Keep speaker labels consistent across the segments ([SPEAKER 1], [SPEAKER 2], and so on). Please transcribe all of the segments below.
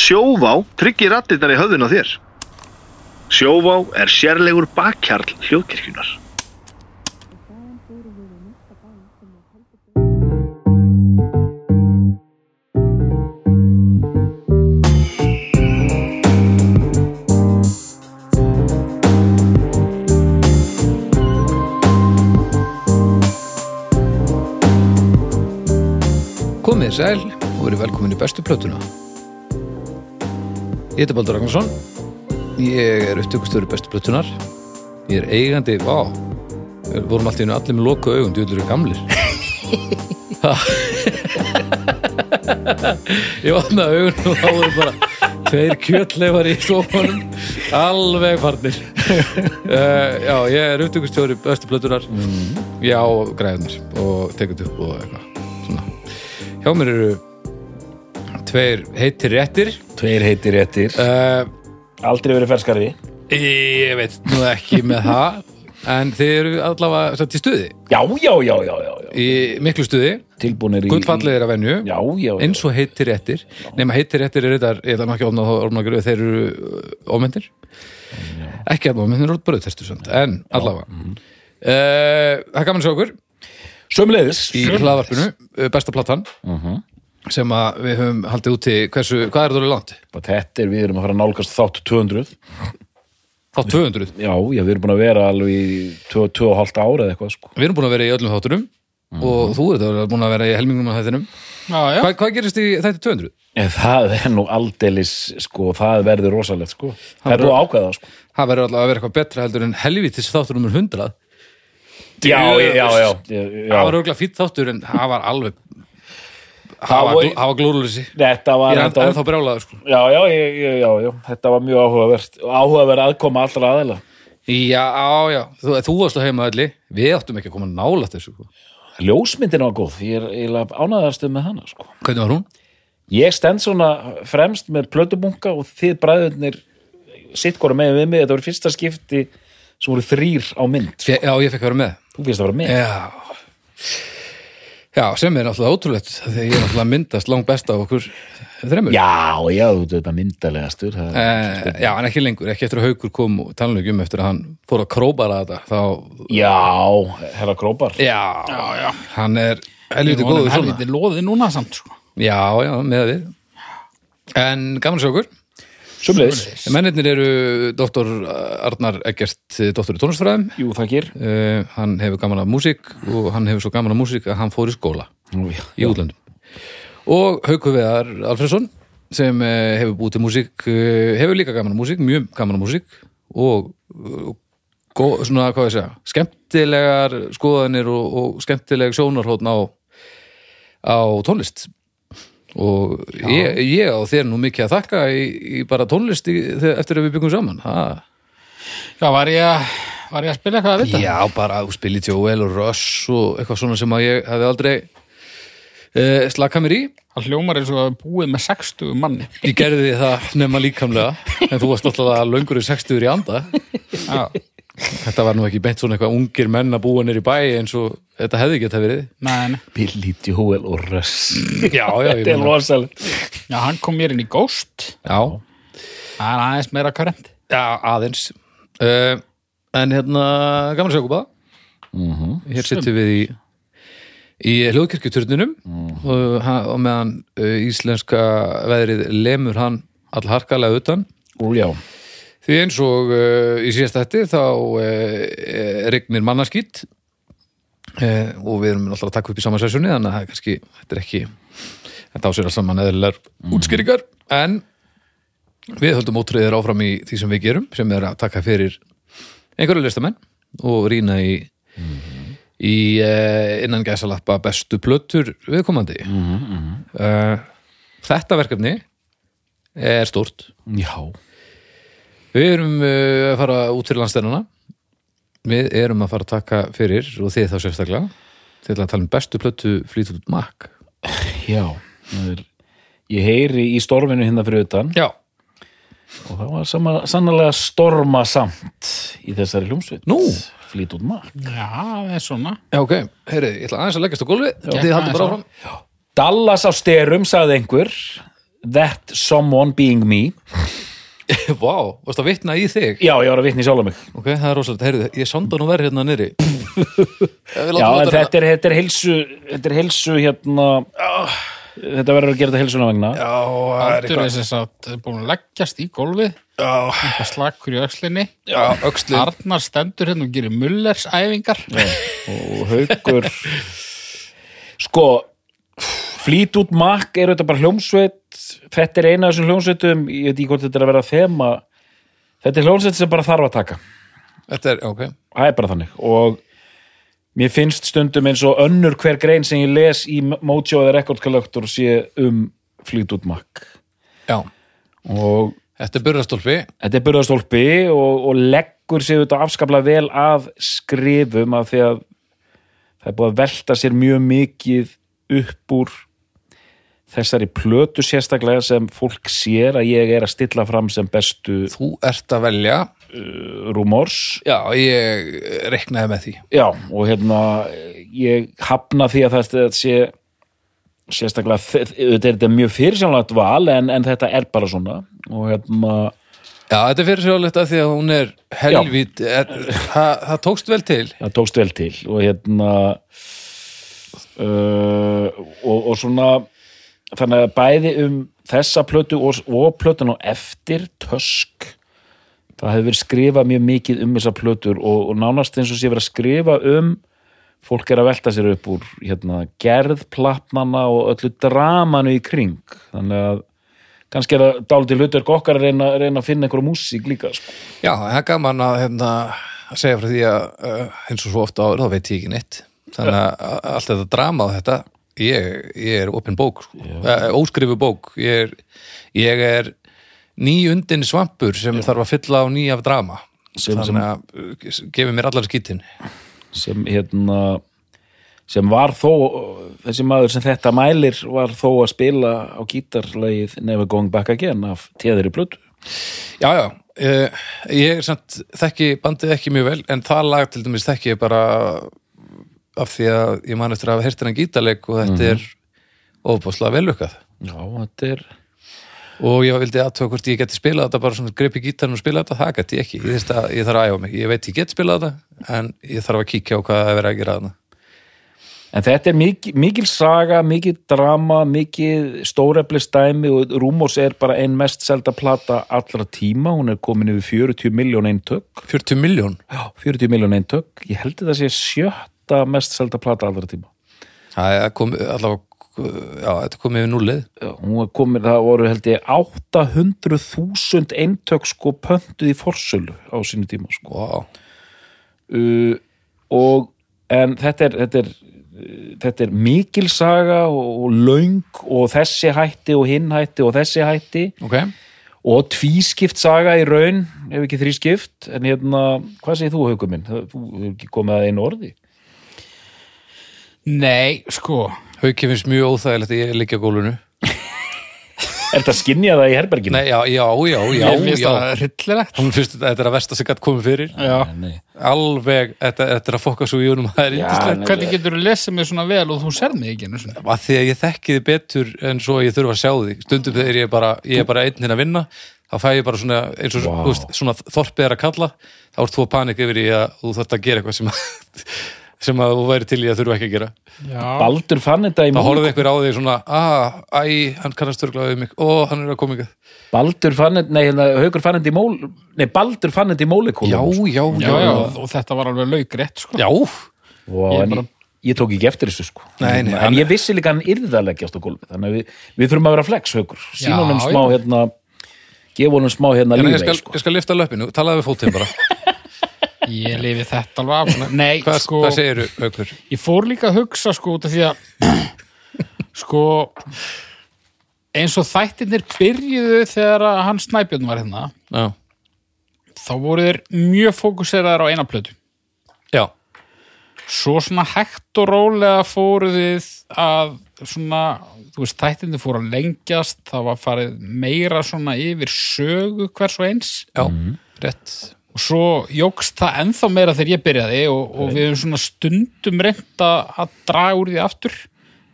[SPEAKER 1] Sjóvá tryggir rattirnar í höfðun á þér. Sjóvá er sérlegur bakkjarl hljóðkirkjunar.
[SPEAKER 2] Komið þið sæl og verið velkomin í bestu plötuna. Ég heiti Baldur Ragnarsson, ég er upptökustöru bestu plötunar, ég er eigandi, vá, við vorum alltaf innu allir með loku augun, djúðlur er gamlir. Ha. ég opnaði augun og þá voru bara tveir kjötleifar í sofanum, alveg farnir. uh, já, ég er upptökustöru bestu plötunar, já, græðunar og tekut upp og eitthvað, svona. Hjá mér eru tveir heitir réttir
[SPEAKER 3] Tveir heitir réttir
[SPEAKER 2] uh,
[SPEAKER 3] Aldrei verið ferskari
[SPEAKER 2] Ég veit nú ekki með það en þið eru allavega satt í stuði
[SPEAKER 3] Já, já, já, já, já, já.
[SPEAKER 2] í miklu stuði,
[SPEAKER 3] Tilbúinir í
[SPEAKER 2] guttfallið er að venju
[SPEAKER 3] Já, já, já
[SPEAKER 2] eins og heitir réttir nema heitir réttir er þetta, ég ætla nú ekki að ofna orðnagur þeir eru uh, ómyndir ekki að ómyndir eru bröðtestu samt en allavega
[SPEAKER 3] mhm.
[SPEAKER 2] uh, það er gaman að sjá okkur
[SPEAKER 3] Sömleiðis
[SPEAKER 2] í hlaðvarpinu, uh, besta platan
[SPEAKER 3] Mhm.
[SPEAKER 2] sem að við höfum haldið úti hversu, hvað er það langt?
[SPEAKER 3] Þetta er, við erum að fara að nálgast þátt 200
[SPEAKER 2] Þá 200
[SPEAKER 3] Já, já, við erum búin að vera alveg í 2,5 ára eða eitthvað sko
[SPEAKER 2] Við erum búin að vera í öllum þáttunum og þú ert að vera- búin að vera í helmingnum af þættinum.
[SPEAKER 4] Já, já.
[SPEAKER 2] Hva, hvað gerist í þætti 200?
[SPEAKER 3] En það er nú aldeilis sko, það verður rosalegt sko Það er nú ákveða sko
[SPEAKER 2] Það verður alltaf að vera eitthvað betra heldur en helvítis þáttur numur 100.
[SPEAKER 3] Já, já, já, já, já.
[SPEAKER 2] Það var örgulega fýtt þáttur en það var alveg
[SPEAKER 3] Það
[SPEAKER 2] það var,
[SPEAKER 3] var-
[SPEAKER 2] gl- það var glóðlösi.
[SPEAKER 3] Þetta
[SPEAKER 2] Ég
[SPEAKER 3] var,
[SPEAKER 2] er enn,
[SPEAKER 3] þetta var,
[SPEAKER 2] ennþá brjálaður sko.
[SPEAKER 3] já, já, já, já, já, já, þetta var mjög áhugavert, áhugaverð aðkoma allra aðeila.
[SPEAKER 2] Já, á, já, þú, þú varst á heima allir, við áttum ekki að koma nála þessu. Sko.
[SPEAKER 3] Ljósmyndin var góð, ég er, er ánæðastu með hana, sko.
[SPEAKER 2] Hvernig var hún?
[SPEAKER 3] Ég stend svona fremst með plötubunka og þið bræðurnir sitt hvora með við mig, þetta voru fyrsta skipti sem voru þrýr á mynd.
[SPEAKER 2] Fe, já, ég fekk að vera með.
[SPEAKER 3] Þú fyrst að vera með.
[SPEAKER 2] Já. Já, sem er náttúrulega ótrúlegt þegar ég er náttúrulega myndast langt best af okkur þremur.
[SPEAKER 3] Já, já, þú veit þetta myndalegastur. Það...
[SPEAKER 2] Uh, já, en ekki lengur, ekki eftir að Haukur kom og tannleikum eftir að hann fór að króbara þetta þá,
[SPEAKER 3] Já, herra grópar.
[SPEAKER 2] já,
[SPEAKER 4] Já, já.
[SPEAKER 2] hann er helviti
[SPEAKER 4] Honum
[SPEAKER 2] góður svona
[SPEAKER 4] Helviti loðið núna samt, sko.
[SPEAKER 2] já, já, með við en gaman að sjá okkur
[SPEAKER 3] Sumleis.
[SPEAKER 2] mennirnir eru doktor Arnar Eggert doktor í tónlistfræðum
[SPEAKER 3] Jú, þakkir.
[SPEAKER 2] uh, hann hefur gaman af músík og hann hefur svo gaman af músík að hann fór í skóla
[SPEAKER 3] Nú, já.
[SPEAKER 2] í útlöndum og Haukur Veðar Alfredsson sem eh, hefur búið til músík eh, hefur líka gaman af músík, mjög gaman af músík og eh, gó, svona, hvað ég segja, skemmtilegar skoðanir og, og skemmtileg sjónarhóttn á, á tónlist og ég, ég á þér nú mikið að þakka í, í bara tónlist í, þegar- eftir að við byggum saman ha.
[SPEAKER 4] Já, var ég, að- var ég að spila eitthvað að vita?
[SPEAKER 2] Já, bara að spila í Joel og Russ og eitthvað svona sem að ég hefði aldrei uh, slakað mér í
[SPEAKER 4] Það hljómar eins og að við búið með 60 manni.
[SPEAKER 2] Ég gerði það nema líkamlega en þú varst náttúrulega löngur í 60 í anda
[SPEAKER 4] Já.
[SPEAKER 2] Þetta var nú ekki beint svona eitthvað ungir menn að búa nýr í bæ eins og þetta hefði geta verið
[SPEAKER 4] Nei, nei.
[SPEAKER 3] Billy Joel og Russ.
[SPEAKER 2] Já, já, ég
[SPEAKER 3] Þetta er
[SPEAKER 2] meina-
[SPEAKER 3] rosalegt.
[SPEAKER 4] Já, hann kom mér inn í Ghost.
[SPEAKER 2] Já,
[SPEAKER 4] Það er aðeins meira körrend.
[SPEAKER 2] já, aðeins uh, En hérna, gaman að sjá kúpa
[SPEAKER 3] Mhm.
[SPEAKER 2] Hér sittum við í í hljóðkirkjuturninum
[SPEAKER 3] Mhm.
[SPEAKER 2] og, ha- og meðan uh, íslenska veðrið lemur hann allharkalega utan
[SPEAKER 3] Ú, já.
[SPEAKER 2] Því eins og uh, í síðast þetta þá uh, regnir mannaskýtt uh, og við erum alltaf að taka upp í sama sessjóni þannig að það er kannski, þetta er ekki þetta á sér alls saman eðlilegar útskýringar en við höldum ótröðir áfram í því sem við gerum sem er að taka fyrir einhverju listamenn og rýna í í uh, innan gæsalappa bestu plötur viðkomandi uh, Þetta verkefni er stórt
[SPEAKER 3] Já.
[SPEAKER 2] Við erum uh, að fara út fyrir landstennuna Við erum að fara að taka fyrir og þið þá sérstaklega Þið ætla að tala um bestu plötu Fleetwood Mac
[SPEAKER 3] Já. Það Er... Ég heyri í storminu hérna fyrir utan.
[SPEAKER 2] Já,
[SPEAKER 3] og það var sama, sannlega stormasamt í þessari hljómsveit
[SPEAKER 2] Nú?
[SPEAKER 3] flýt út mark
[SPEAKER 4] Já, það er svona.
[SPEAKER 2] já ok, heyri, ég ætla aðeins að leggast á gólfi Þið haldið bara áfram
[SPEAKER 3] Dallas á styrum, sagði einhver That Someone Being Me
[SPEAKER 2] Vá, varst að vitna í þig
[SPEAKER 3] Já, ég var að vitna í sjálf mig
[SPEAKER 2] Ok, það er rosalegt, heyrðu, ég sonda nú verð hérna niðri
[SPEAKER 3] Já, en þetta er, þetta er heilsu þetta er heilsu hérna þetta verður að gera þetta heilsuna vegna
[SPEAKER 1] Já, það er
[SPEAKER 4] Aldur er
[SPEAKER 1] eitthvað
[SPEAKER 4] sem sagt búin að leggjast í gólfið
[SPEAKER 1] Já,
[SPEAKER 4] eitthvað slakur í öxlinni
[SPEAKER 2] Já, öxlin
[SPEAKER 4] Arnar stendur hérna og gerir Mullers æfingar
[SPEAKER 3] og haugur sko flýt út makk er þetta bara hljómsveit þetta er eina af þessum hljómsveitum ég veit ekki hvort þetta er að vera þema þetta er hljómsveit sem bara þarf að taka
[SPEAKER 2] Þetta er, ok,
[SPEAKER 3] það er bara þannig og mér finnst stundum eins og önnur hver grein sem ég les í Mojo eða Record Collector sé um flýt út makk
[SPEAKER 2] já
[SPEAKER 3] og
[SPEAKER 2] Þetta er burðastólpi
[SPEAKER 3] þetta er burðastólpi og, og leggur sig auðvitað afskaplega vel að skrifum af því að það er búið að velta sér mjög mikið upp úr þessari plötu sérstaklega sem fólk sér að ég er að stilla fram sem bestu uh,
[SPEAKER 2] Þú ert að velja
[SPEAKER 3] rumors
[SPEAKER 2] Já, ég reiknaði með því
[SPEAKER 3] Já, og hérna ég hafna því að þetta sé sérstaklega þe- auðvitað er þetta mjög fyrirsjónlegt val en, en þetta er bara svona og hérna
[SPEAKER 2] Já, þetta er fyrir sérlega því að hún er helvít er, það, það tókst vel til
[SPEAKER 3] það tókst vel til og hérna uh, og, og svona þannig að bæði um þessa plötu og, og plötun á eftir tösk það hefur verið skrifað mjög mikið um þessa plötur og, og nánast eins og sé verið að skrifa um fólk er að velta sér upp úr hérna, gerð, platnana og öllu dramanu í kring þannig að kannski er það dálítið hlutverk okkar að reyna, reyna að finna einhverja músík líka sko.
[SPEAKER 2] Já, það er gaman að, hérna, að segja frá því að uh, eins og svo ofta áður, þá veit ég ekki neitt þannig að að allt þetta drama og þetta ég, ég er opin bók sko. Eh, óskrifu bók ég er, ég er nýundin svampur sem þarf að fylla á nýja af drama
[SPEAKER 3] Sem- sem-
[SPEAKER 2] þannig að uh, gefi mér allar skítin
[SPEAKER 3] sem hérna sem var þó þessi maður sem þetta mælir var þó að spila á gítarlagið Never Going Back Again af Téðri Blötu
[SPEAKER 2] Já, já, uh, ég er samt þekki bandið ekki mjög vel en það lag til dæmis þekki ég bara af því að ég man eftir að hafa heyrt hennan gítarleik og þetta er ofbúslega velukkað
[SPEAKER 3] Já, þetta er
[SPEAKER 2] og ég vildi aðtöða hvort ég geti spilað þetta bara svona gripi gítarinn og spilað þetta, það geti ég ekki ég, að, ég þarf að æfa mig, ég veit ég get spilað þetta en ég þarf að kíkja á hvað það er verið að gera þarna
[SPEAKER 3] En þetta er mikil, mikil saga, mikil drama, mikil stóreflistæmi og Rúmos er bara ein mest selda plata allra tíma, hún er komin yfir 40 miljón eintök
[SPEAKER 2] 40 miljón,
[SPEAKER 3] Já, 40 miljón eintök, ég held að það sé sjötta mest selda plata allra tíma
[SPEAKER 2] það er komið allavega, já, þetta er komið við núlið
[SPEAKER 3] Já, hún var komin, það voru held ég 800.000 eintök sko pöntuð í forsölu á sínu tíma sko.
[SPEAKER 2] wow.
[SPEAKER 3] uh, og en þetta er, þetta er uh, þetta er mikil saga og, og löng og þessi hætti og hinn hætti og þessi hætti
[SPEAKER 2] ok,
[SPEAKER 3] og tvískipt saga í raun ef ekki þrískipt en hérna, hvað segir þú haukum minn? Það- Þú hefur ekki komið að einu orði
[SPEAKER 4] Nei, sko
[SPEAKER 2] Hauki finnst mjög óþægilegt að ég liggja á gólfinu
[SPEAKER 3] Er þetta skinnjað það í herberginu?
[SPEAKER 2] Nei, já, já, já, já,
[SPEAKER 4] Mér finnst
[SPEAKER 2] já.
[SPEAKER 4] það hryllilegt
[SPEAKER 2] hún finnst þetta, þetta er að versta sem gætt komið fyrir
[SPEAKER 4] Já.
[SPEAKER 3] Nei.
[SPEAKER 2] alveg, þetta, þetta er að fokka svo í unum það er
[SPEAKER 3] Já,
[SPEAKER 2] yndislegt
[SPEAKER 4] Hvernig getur þú lesið mig svona vel og þú serð mig ekki einu sinni?
[SPEAKER 2] að því að ég þekki þið betur en svo ég þurfa að sjá þig stundum þegar ég er bara, ég er bara einn hinn að vinna þá fæ ég bara svona, eins og
[SPEAKER 3] Vá.
[SPEAKER 2] wow. veist, svona þorpið er að kalla þá ert þú að panik yfir í að þú þarft að gera eitthvað sem að, sem að þú væri til í að þurfa ekki að gera
[SPEAKER 4] Já,
[SPEAKER 3] Baldur fann þetta í
[SPEAKER 2] þá
[SPEAKER 3] Mónakó
[SPEAKER 2] horfði einhver á þig svona ah, æ, hann kannast þurrglaði við mig ó, hann er að koma ykkar
[SPEAKER 3] Baldur fann þetta, nei, hérna, Haukur fann þetta í mól nei, Baldur fann þetta í mólikúl
[SPEAKER 2] já, já,
[SPEAKER 4] já, já, og þetta var alveg laugrétt sko.
[SPEAKER 2] já,
[SPEAKER 3] Vá,
[SPEAKER 4] Ég
[SPEAKER 3] en
[SPEAKER 4] bara-
[SPEAKER 3] ég, ég tók ekki eftir þessu sko
[SPEAKER 2] Nei, nei,
[SPEAKER 3] en
[SPEAKER 2] hann-
[SPEAKER 3] ég vissi líka að hann yrði að leggjast á gólfi þannig að við, við þurfum að vera flex haukur sína
[SPEAKER 4] Já,
[SPEAKER 3] honum smá
[SPEAKER 4] já.
[SPEAKER 3] hérna gefa honum smá hérna
[SPEAKER 2] Ég,
[SPEAKER 3] lífið
[SPEAKER 2] ég, skal,
[SPEAKER 3] sko.
[SPEAKER 2] ég skal lifta löpinu, talaði við fótinn bara
[SPEAKER 4] Ég lifi þetta alveg af svona. Nei,
[SPEAKER 2] hvað,
[SPEAKER 4] sko
[SPEAKER 2] hvað segiru, aukur?
[SPEAKER 4] Ég fór líka að hugsa sko út af því að sko eins og þættirnir byrjuðu þegar að hann Snæbjörn var hérna
[SPEAKER 2] Já,
[SPEAKER 4] þá voru þeir mjög fókuseraðar á eina plötu
[SPEAKER 2] já,
[SPEAKER 4] svo svona hægt og rólega fóru þið að svona, þú veist, þættinni fóru að lengjast, það var farið meira svona yfir sögu hvers og eins
[SPEAKER 2] já
[SPEAKER 4] Mm.
[SPEAKER 2] rétt
[SPEAKER 4] og svo jógst það ennþá meira þegar ég byrjaði og, og við höfum svona stundum reynt að að draga úr því aftur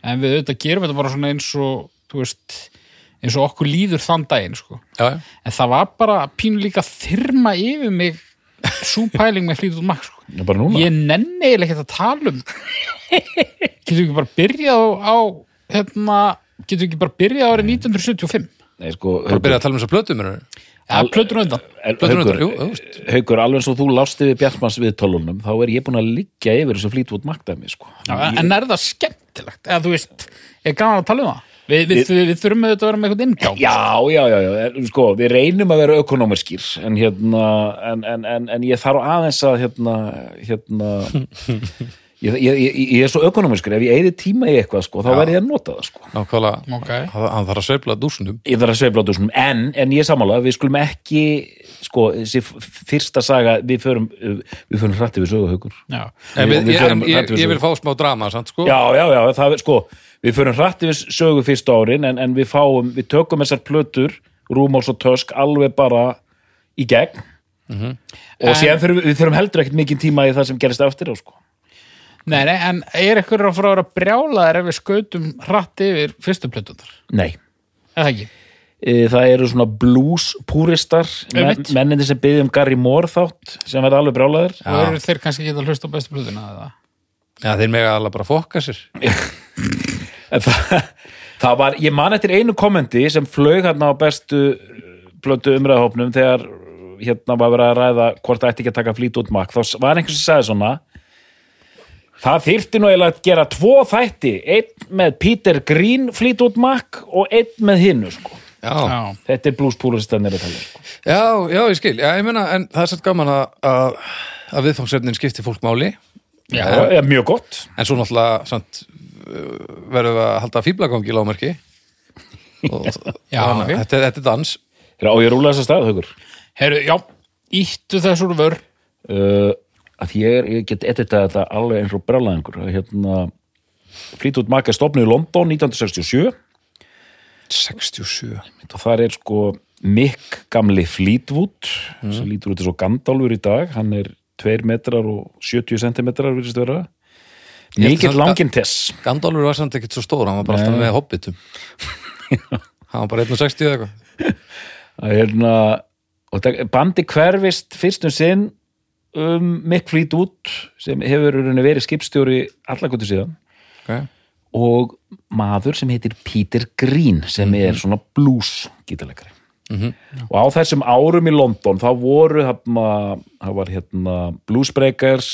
[SPEAKER 4] en við auðvitað gerum þetta bara svona eins og þú veist, eins og okkur líður þann daginn sko.
[SPEAKER 2] já, já.
[SPEAKER 4] en það var bara pínu líka þyrma yfir mig svo pæling með flýtur út sko.
[SPEAKER 3] Já, bara núna.
[SPEAKER 4] ég nenni eiginlega ekkert að tala um getur ekki bara byrjað á, á hérna, getur ekki bara byrjað árið 1975
[SPEAKER 3] Nei, sko,
[SPEAKER 2] Bara byrja að tala um þessar plötum mennur.
[SPEAKER 4] eða plötur undan
[SPEAKER 3] En
[SPEAKER 2] Plötur
[SPEAKER 3] Haukur,
[SPEAKER 2] undan, jú, þú veist.
[SPEAKER 3] Haukur, alveg eins og þú lásti við Bjartmanns við tölunum, þá er ég búin að liggja yfir þessu flýtvot maktæmi, sko.
[SPEAKER 4] en er það skemmtilegt eða þú veist, er gaman að tala um það við, við, við, við þurfum auðvitað að vera með eitthvað inngang
[SPEAKER 3] Já, já, já, já, en, sko, við reynum að vera ökonomiskir, en hérna, en, en, en, en ég þarf aðeins að, hérna, hérna, ég, ég, ég, ég er svo ökonomiskur, ef ég eigði tíma í eitthvað, sko, þá verð ég að nota það, sko.
[SPEAKER 2] Nákvæmlega,
[SPEAKER 4] Ok.
[SPEAKER 2] hann hann þarf að sveifla dúsnum
[SPEAKER 3] ég þarf að sveifla á þessum, en, en ég samála við skulum ekki, sko þessi f- fyrsta saga, við förum við förum hrætti við söguhaukur
[SPEAKER 4] Já.
[SPEAKER 2] En
[SPEAKER 3] Við-
[SPEAKER 2] við,
[SPEAKER 3] við
[SPEAKER 2] ég,
[SPEAKER 3] förum
[SPEAKER 2] en ég,
[SPEAKER 3] ræddum
[SPEAKER 2] ég
[SPEAKER 3] svo.
[SPEAKER 2] vil fá smá drama sant, sko?
[SPEAKER 3] já, já, já, það er sko við förum hrætti við sögu fyrsta árin en, en við fáum, við tökum þessar plötur Rúmós og Tösk, alveg bara í gegn og
[SPEAKER 4] En-
[SPEAKER 3] síðan þurfum við þurfum heldur ekkert mikið tíma í það sem gerist eftir á, sko.
[SPEAKER 4] Nei, nei, en er eitthvað að fara að vera brjálaðir ef við skautum hratt yfir fyrstu plötunar
[SPEAKER 3] nei
[SPEAKER 4] eða ekki
[SPEAKER 3] E, Það eru svona blues púristar men,
[SPEAKER 4] Einmitt.
[SPEAKER 3] menninni sem byggjum Gary Moore þátt sem verða alveg brálaður
[SPEAKER 4] og eru þeir kannski ekki að hlusta á bestu plötuna eða
[SPEAKER 2] Já, þeir mega alveg bara fokka sér
[SPEAKER 3] En það, það var, ég man eftir einu kommenti sem flög hérna á bestu blötu umræðahopnum þegar hérna var verið að ræða hvort það ætti ekki að taka flýt út makk, þá s- var einhvers sem sagði svona það þyrfti nú eiginlega að gera tvo þætti, einn með Peter Green flýt út makk og einn með hinnu sko,
[SPEAKER 2] Já,
[SPEAKER 4] Já,
[SPEAKER 3] þetta er blúspúlistannir að tala sko.
[SPEAKER 2] já, já ég skil já, ég meina, En það er satt gaman að, að, að viðfangsefnin skipti fólk máli
[SPEAKER 4] já,
[SPEAKER 3] það er mjög gott
[SPEAKER 2] En svo náttúrulega sant, verðum við að halda fíblagangi lágmarki og,
[SPEAKER 4] Já,
[SPEAKER 2] og hana,
[SPEAKER 4] ok.
[SPEAKER 2] þetta, er- þetta er dans
[SPEAKER 3] Heyrðu, á ég rúla þess að stað, haukur
[SPEAKER 4] Heru, já, íttu þess úr vör
[SPEAKER 3] uh, að ég, er, ég get editað þetta alveg eins og brálaðingur hérna, flýt út makk er stofnu í London 1967
[SPEAKER 2] 67
[SPEAKER 3] og þar er sko Mick gamli Fleetwood sem
[SPEAKER 2] Mhm.
[SPEAKER 3] lítur út eins og Gandalfur í dag hann er 2 metrar og 70 sentimetrar virðist vera
[SPEAKER 2] held
[SPEAKER 3] mikill
[SPEAKER 2] að-
[SPEAKER 3] langinn tess
[SPEAKER 2] Gandalfur var samt ekkert svo stór, hann var bara alltaf með hobbitum Hann var bara 1.60 eða eitthvað
[SPEAKER 3] Það er hérna, og þetta- bandi hverfist fyrst um sinn um Mick Fleetwood sem hefur í rauninni verið skipstjóri allakotu síðan
[SPEAKER 2] okay.
[SPEAKER 3] og maður sem heitir Peter Green sem er svona blues gítalegari og á þessum árum í London þá voru hafna, það var hérna bluesbreakers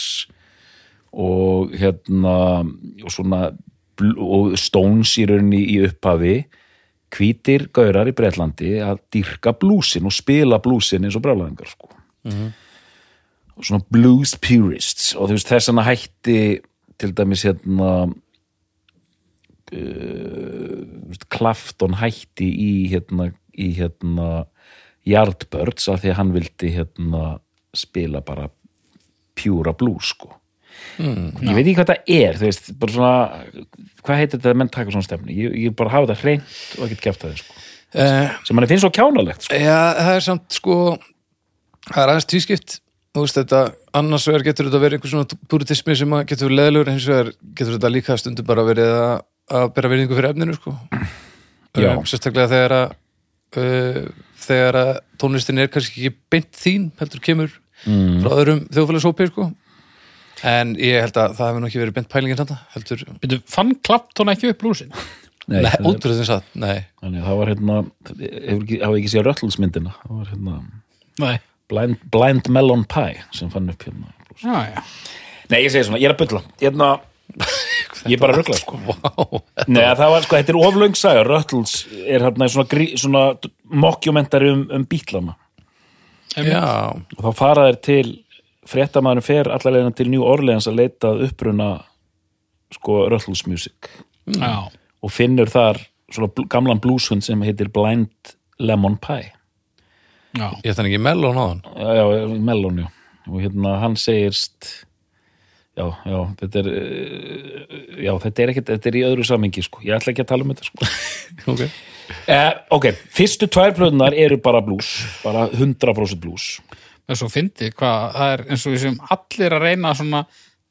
[SPEAKER 3] og hérna og svona bl- og Stones í rauninni í upphafi hvítir gaurar í Bretlandi að dýrka blúsin og spila blúsin eins og brálaðingar sko og svona blues purists og þú veist þess að hætti til dæmis hérna veist, Clapton hætti í hérna, í hérna Yardbirds af því að hann vildi hérna spila bara pjúra blues sko ég veit ekki hvað það er þú veist, bara svona, hvað heitir þetta að menn taka svona stefni, ég, ég bara hafa þetta hreint og ekkert kæft það sko,
[SPEAKER 2] uh,
[SPEAKER 3] sem manni finnst svo kjánalegt sko.
[SPEAKER 2] Já, það er samt sko það er aðeins tvískipt Þú veist þetta, annars vegar getur þetta verið einhver svona puritismi sem að getur verið leðlur hins vegar getur þetta líka stundum bara verið að, að bera verðingu fyrir efninu sko
[SPEAKER 3] Já.
[SPEAKER 2] um, Sérstaklega þegar að uh, þegar að tónlistin er kannski ekki beint þín, heldur kemur mm. frá öðrum þjóðfélagsópi sko En ég held að það hefur nú ekki verið beint pælingin þetta, heldur
[SPEAKER 4] Byrju, fann Clapton ekki upp blúsin?
[SPEAKER 3] Nei,
[SPEAKER 2] Nei,
[SPEAKER 3] þannig
[SPEAKER 2] útrúð þess að, nei
[SPEAKER 3] að það var hérna hefur ekki, hafa ekki séð röllsmyndina það var hérna
[SPEAKER 4] Nei
[SPEAKER 3] blind, blind Melon Pie sem fann upp hérna
[SPEAKER 4] Já, já
[SPEAKER 3] Nei, ég segi svona, ég er að bulla hérna, ég er bara að ruggla sko
[SPEAKER 2] Vá,
[SPEAKER 3] Nei, það var sko, þetta er oflöng saga Ruttles er hérna svona, grí, svona mokkjumentari um, um bítlana
[SPEAKER 2] já,
[SPEAKER 3] og þá fara þeir til fréttamaðurinn fer allalegina til New Orleans að leita að uppruna sko Ruttles music
[SPEAKER 4] Já,
[SPEAKER 3] og finnur þar svona bl gamlan blúshund sem heitir Blind Lemon Pie
[SPEAKER 4] já,
[SPEAKER 2] ég ætti hann ekki melón á hann
[SPEAKER 3] já, já, Melon, já og hérna hann segirst já, já, þetta er eh, já, þetta er ekkert, þetta er í öðru samingi sko, ég ætla ekki að tala um þetta sko
[SPEAKER 2] okay.
[SPEAKER 3] Eh, ok, fyrstu tvær plöðunar eru bara blues, bara 100% blues
[SPEAKER 4] það er svo fyndi hvað það er eins og við sem allir að reyna svona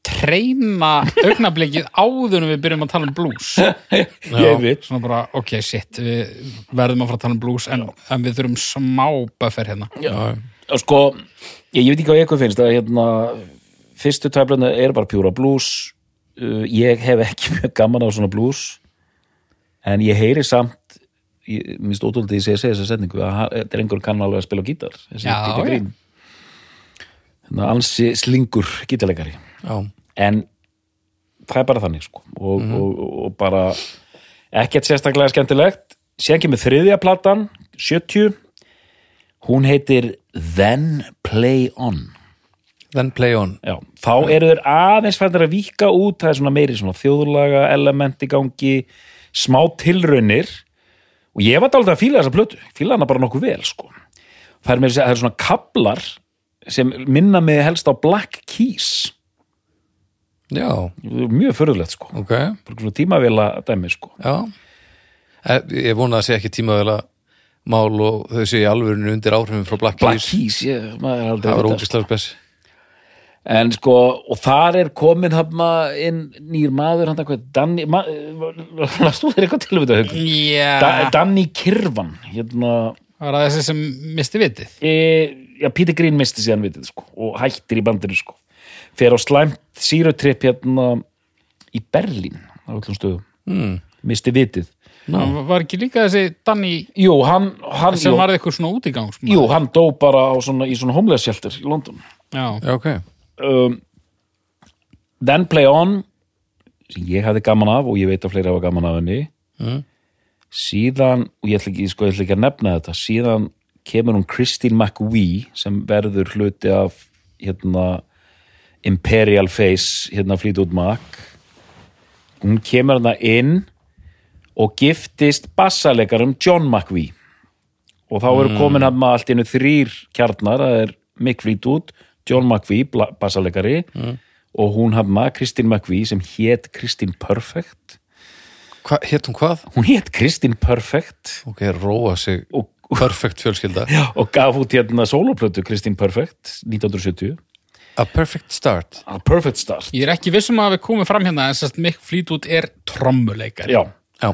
[SPEAKER 4] treyna augnablikið áður en við byrjum að tala um blues
[SPEAKER 3] ég veit
[SPEAKER 4] svona bara, ok, shit við verðum að fara að tala um blues en, en við þurfum smá buffer hérna
[SPEAKER 2] Já.
[SPEAKER 3] og sko, ég, ég veit ekki hvað ykkur finnst að hérna, fyrstu töflunni er bara pjúra blues uh, ég hef ekki mjög gaman á svona blues en ég heyri samt ég- minnst ótrúldið ég segi segja þessa setningu að ha- drengur kann alveg að spila á gítar þessi
[SPEAKER 4] Já,
[SPEAKER 3] Peter
[SPEAKER 4] já.
[SPEAKER 3] Green þannig að ansi slingur gítarleikari
[SPEAKER 2] Já.
[SPEAKER 3] en það er bara þannig sko og, og, og bara ekkert sérstaklega skemmtilegt síðan kemur þriðja platan 70 hún heitir Then Play On
[SPEAKER 2] Then play on
[SPEAKER 3] Já, þá eru þeir aðeins fættir að víka út það er svona meiri svona þjóðlaga element í gangi, smá tilraunir og ég var dálítið að fíla þessa plötu, fíla hana bara nokkuð vel sko. það er, meira að segja- það er svona kablar sem minna mig helst á Black Keys
[SPEAKER 2] Já,
[SPEAKER 3] mjög förðulegt sko
[SPEAKER 2] ok
[SPEAKER 3] Bara svona tímavila dæmi sko
[SPEAKER 2] Já Eh, Ég vona að sé ekki tímaðala mál og þau séu í alvörinu undir áhrifin frá Black
[SPEAKER 3] Black
[SPEAKER 2] Keys
[SPEAKER 3] Keys, ég, maður er aldrei
[SPEAKER 2] Það
[SPEAKER 3] að
[SPEAKER 2] var
[SPEAKER 3] vita,
[SPEAKER 2] ógislega spes
[SPEAKER 3] sko. en sko, og þar er komin hafna inn nýr maður hann hvað, Danny ma, lastu þér eitthvað til að vita haukur Da,
[SPEAKER 4] Já,
[SPEAKER 3] Danny Kirvan hérna,
[SPEAKER 4] það var það þessi sem misti vitið
[SPEAKER 3] e, já, Peter Green misti síðan vitið sko, og hættir í bandinu sko fer á slæmt sírutripp hérna í Berlín á öllum stöðum,
[SPEAKER 2] mm.
[SPEAKER 3] misti vitið
[SPEAKER 4] Það var ekki líka þessi Danny
[SPEAKER 3] jú, hann, hann
[SPEAKER 4] sem
[SPEAKER 3] jú,
[SPEAKER 4] varði eitthvað svona útigang
[SPEAKER 3] jú, hann dó bara á svona, í svona homeless shelter í London
[SPEAKER 4] Já,
[SPEAKER 2] Já, ok
[SPEAKER 3] um, Then Play On sem ég hafði gaman af og ég veit að fleiri hafa gaman af henni
[SPEAKER 2] Mm.
[SPEAKER 3] síðan og ég ætla, ekki, sko, ég ætla ekki að nefna þetta síðan kemur hún Christine McVie sem verður hluti af hérna Imperial Face hérna flýt út Mac hún kemur hann inn og giftist bassalegarum John McVie og þá eru komin hann maður allt í einu þrýr kjarnar, það er Mick Fleetwood John McVie, bla- bassalegari og hún hann maður Kristín McVie sem hét Kristín Perfect
[SPEAKER 2] Hva, Hétt hún hvað?
[SPEAKER 3] hún hét Kristín Perfect
[SPEAKER 2] Ok, róa sig
[SPEAKER 3] og,
[SPEAKER 2] Perfect fjölskylda
[SPEAKER 3] og gaf út hérna sóloplötu Kristín Perfect 1970
[SPEAKER 2] A perfect start
[SPEAKER 3] A Ah, Perfect Start
[SPEAKER 4] ég er ekki vissum að við komum fram hérna en sérst Mick Fleetwood er trommuleikari
[SPEAKER 3] já,
[SPEAKER 2] Já,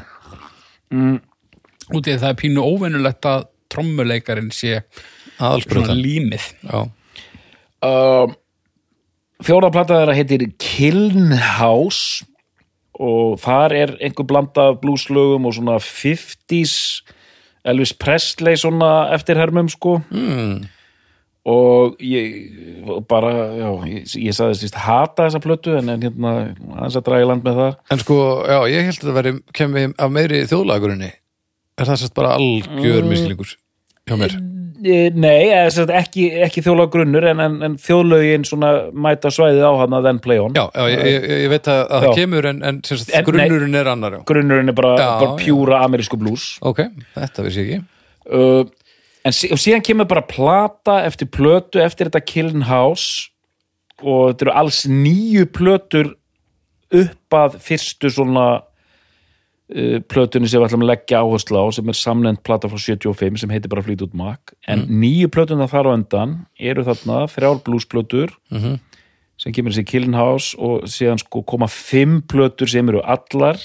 [SPEAKER 4] út í að það er pínu óvennulegt að trommuleikarin sé svona
[SPEAKER 2] aðalsbröðan
[SPEAKER 4] límið
[SPEAKER 2] Já,
[SPEAKER 3] um, fjóra plata þeirra heitir Kiln House og þar er einhver blanda af blúslögum og svona 50s Elvis Presley svona eftirhermum sko mm.
[SPEAKER 2] Hmm.
[SPEAKER 3] og ég og bara, já, ég, ég sagðist víst hata þessa plötu en, en hérna aðeins að draga í land með það
[SPEAKER 2] en sko, já, ég held að það veri kemur af meiri þjóðlagurinni Er það sérst bara algjör misklingur hjá mér?
[SPEAKER 3] Eh, Nei, eða sem sagt ekki, ekki þjóðlega grunnur en, en, en þjóðlaugin svona mæta svæðið á hana then play on
[SPEAKER 2] Já, já ég, ég, ég veit að, að
[SPEAKER 3] Já.
[SPEAKER 2] það kemur en, en sérst,
[SPEAKER 3] En- nei.
[SPEAKER 2] grunnurinn er annar já.
[SPEAKER 3] grunnurinn er bara,
[SPEAKER 2] Já,
[SPEAKER 3] bara
[SPEAKER 2] já.
[SPEAKER 3] pjúra amerísku blues
[SPEAKER 2] Ok, þetta vissi ég ekki
[SPEAKER 3] uh, en sí, og síðan kemur bara plata eftir plötu eftir þetta Kiln House og þetta eru alls nýju plötur upp að fyrstu svona uh, plötunni sem við ætlum að leggja áherslu á sem er samnend plata frá 75 sem heitir bara Flýt út makk en nýju plötuna þar á endan eru þarna þrjár bluesplötur sem kemur þessi Kiln House og síðan sko koma fimm plötur sem eru allar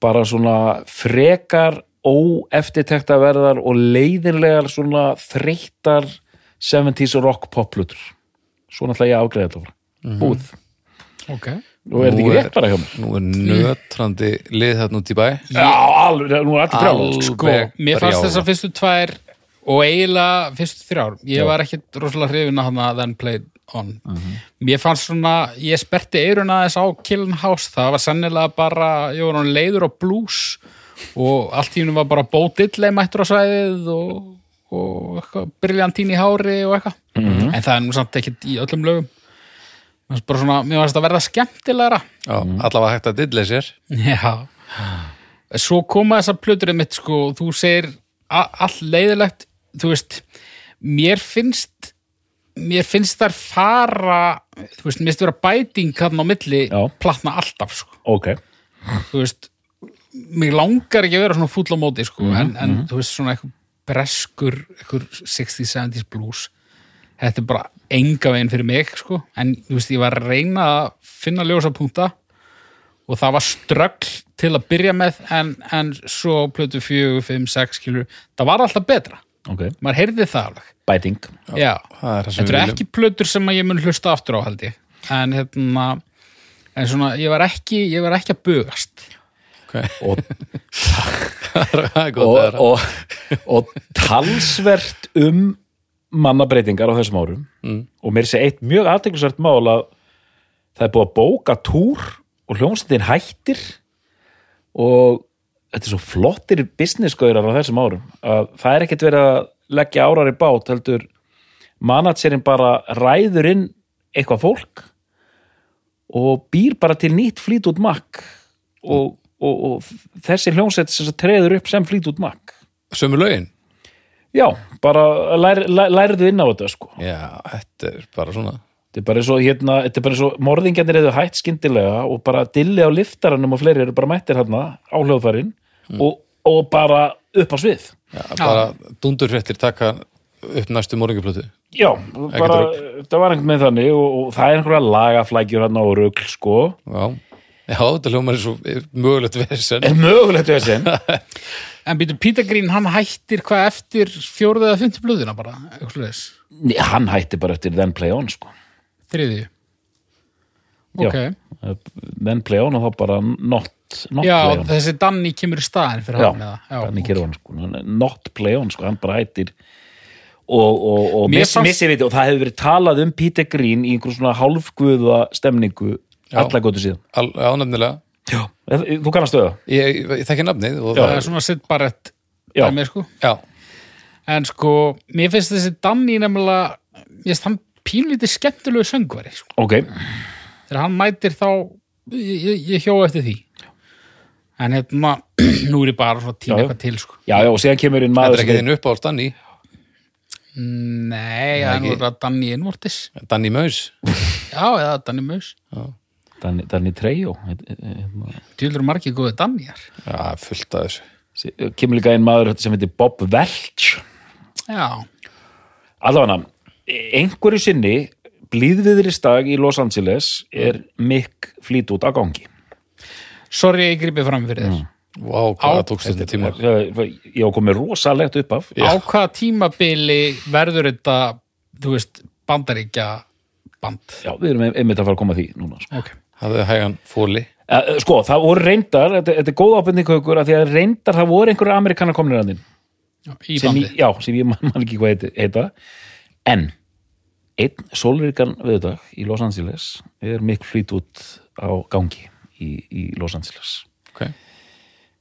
[SPEAKER 3] bara svona frekar óeftirtektaverðar og leiðinlegar svona þreyttar 70s rock poplutur svona ætla ég að afgreða þetta frá búð
[SPEAKER 4] ok
[SPEAKER 3] og
[SPEAKER 2] Nú
[SPEAKER 3] er þetta ekki
[SPEAKER 2] er-
[SPEAKER 3] rétt bara hjá mér
[SPEAKER 2] Nú er nötrandi lið þarna út í bæ
[SPEAKER 3] já, alveg, nú er allir brjálað
[SPEAKER 2] Alveg
[SPEAKER 3] sko.
[SPEAKER 4] sko, mér fannst
[SPEAKER 2] brjálað.
[SPEAKER 4] þessar fyrstu tvær og eiginlega fyrstu þrjár ég var ekkit rosalega hrifin að hana then played on mér fannst svona, ég sperti eiruna þess á Killen House, það var sennilega bara ég var hann leiður á blues og allt í hennu var bara Bo Diddley mættur á svæðið og, og eitthvað, briljantín í hári og eitthvað en það er nú samt ekkit í öllum lögum Mér fannst bara svona, mér fannst að verða skemmtilegra
[SPEAKER 2] Já, allavega hægt að dilla sér
[SPEAKER 4] Já. Svo koma þessar plötur mitt sko, þú segir a- allt leiðilegt, þú veist, mér finnst mér finnst þar fara þú veist, mér finnst vera bæting hann á milli
[SPEAKER 3] Já.
[SPEAKER 4] platna alltaf sko,
[SPEAKER 3] ok,
[SPEAKER 4] þú veist mér langar ekki að vera svona fúll á móti sko,
[SPEAKER 2] Mhm.
[SPEAKER 4] en, en þú veist svona eitthvað breskur, eitthvað 60s, 70s blues þetta er bara enga veginn fyrir mig sko. en þú veist, ég var að reyna að finna ljósapunkta og það var ströggl til að byrja með en, en svo plötu 4, 5, 6 kilur, það var alltaf betra
[SPEAKER 3] ok,
[SPEAKER 4] maður heyrði það alveg
[SPEAKER 3] bæting
[SPEAKER 4] Já,
[SPEAKER 2] það er það sem
[SPEAKER 4] þetta eru
[SPEAKER 2] við viljum.
[SPEAKER 4] ekki plötur sem að ég mun hlusta aftur á held ég en hérna en svona, ég var ekki, ég var ekki að bugast
[SPEAKER 3] og,
[SPEAKER 2] það er gott að
[SPEAKER 3] og,
[SPEAKER 2] vera.
[SPEAKER 3] og, og talsvert um mannabreitingar á þessum árum mm. og mér sé eitt mjög aðteklisvert mál að það er búið að bóka túr og hljómsveitin hættir og þetta er svo flottir businessgaurar á þessum árum að það er ekkert verið að leggja árar í bát heldur managerinn bara ræður inn eitthvað fólk og býr bara til nýtt flýt út makk og, og, og þessi hljómsveit sem sagt treður upp sem flýt út makk
[SPEAKER 2] sömu lögin
[SPEAKER 3] já, bara lær, lær, lærðu inn á þetta sko
[SPEAKER 2] já, þetta er bara svona
[SPEAKER 3] Þetta er bara eins og, hérna, þetta er bara eins og morðingjarnir eða hætt skyndilega og bara dilli á liftaranum og fleiri eru bara mættir hérna á hljóðfærin og, og bara upp á svið.
[SPEAKER 2] já, bara dundurfréttir taka upp næstu morgunplötu
[SPEAKER 3] Já, bara, þetta var einhvern veginn þannig og, og það er einhverja lagaflækjur hérna og rugl sko.
[SPEAKER 2] já, já þetta hljómar er svo mögulegt versen
[SPEAKER 3] En mögulegt við þessin.
[SPEAKER 4] en býtu Peter Green, hann hættir hvað eftir fjórðu eða fymti plötuna bara eitthvað svoleiðis.
[SPEAKER 3] Hann hætti bara eftir Then Play On sko.
[SPEAKER 4] þriðju
[SPEAKER 3] Já.
[SPEAKER 4] ok,
[SPEAKER 3] Then Play On og þá bara Not, not
[SPEAKER 4] já,
[SPEAKER 3] Play On.
[SPEAKER 4] þessi Danny kemur í staðin fyrir
[SPEAKER 3] Já,
[SPEAKER 4] hann eða
[SPEAKER 3] þannig gerði hann sko. Hann er Not Play On sko, hann bara hættir og, og, og
[SPEAKER 4] Mér
[SPEAKER 3] missi,
[SPEAKER 4] fannst-
[SPEAKER 3] missi viti og það hefur verið talað um Peter Green í einhver svona hálfguða stemningu
[SPEAKER 2] Já.
[SPEAKER 3] alla gótu síðan
[SPEAKER 2] Al, já, nefnilega
[SPEAKER 3] Já. Þú kannast þau það?
[SPEAKER 2] ég, ég, ég þekki nafnið og
[SPEAKER 4] það
[SPEAKER 2] það
[SPEAKER 4] er svona sitt bara ett
[SPEAKER 3] Já.
[SPEAKER 4] sko.
[SPEAKER 2] já,
[SPEAKER 4] en sko, mér finnst þessi Danny nefnilega, ég finnst hann pínlítið skemmtilegu söngvari sko.
[SPEAKER 3] Ok,
[SPEAKER 4] þegar hann mætir þá ég, ég, ég hjó eftir því en hérna, nú er ég bara svo að
[SPEAKER 3] Já,
[SPEAKER 4] týna
[SPEAKER 3] já.
[SPEAKER 4] eitthvað til sko.
[SPEAKER 3] já, já, og síðan kemur inn
[SPEAKER 2] þetta er
[SPEAKER 3] maður
[SPEAKER 2] ekki
[SPEAKER 3] sem
[SPEAKER 2] þinn upp á Danni
[SPEAKER 4] nei, það er nú að Danny innvortis
[SPEAKER 2] Danni Maus
[SPEAKER 4] já, eða Danny Maus
[SPEAKER 3] Danny, Danny Trejo hérna.
[SPEAKER 4] djúlur margir góði Dannyar
[SPEAKER 2] já, fullt af þessu
[SPEAKER 3] Sí- kemur líka inn maður sem heitir Bob Welch
[SPEAKER 4] já,
[SPEAKER 3] Allavega, einhverju sinni blíðviðristag í Los Angeles er mikk flýt út á gangi
[SPEAKER 4] sorry ég gripið fram fyrir þér
[SPEAKER 2] Vá, hvað
[SPEAKER 4] Á,
[SPEAKER 2] það tók stundum tíma
[SPEAKER 3] Ég á komið rosalegt upp af
[SPEAKER 4] á hvaða tímabili verður þetta þú veist, bandaríkja band
[SPEAKER 3] Já, við erum ein- einmitt að fara að koma að því núna sko.
[SPEAKER 4] okay.
[SPEAKER 2] hafði hægan fóli
[SPEAKER 3] Eh, eh, sko, það voru reyndar, þetta, þetta er góð ábending haukur, að því að reyndar það voru einhverju amerikanar komnir að þinn,
[SPEAKER 4] í
[SPEAKER 3] sem,
[SPEAKER 4] bandi
[SPEAKER 3] ég- já, sem ég man, man ekki hvað heiti- heita en einn sólríkan viðudag í Los Angeles er mikk flýt út á gangi í, í Los Angeles
[SPEAKER 2] okay.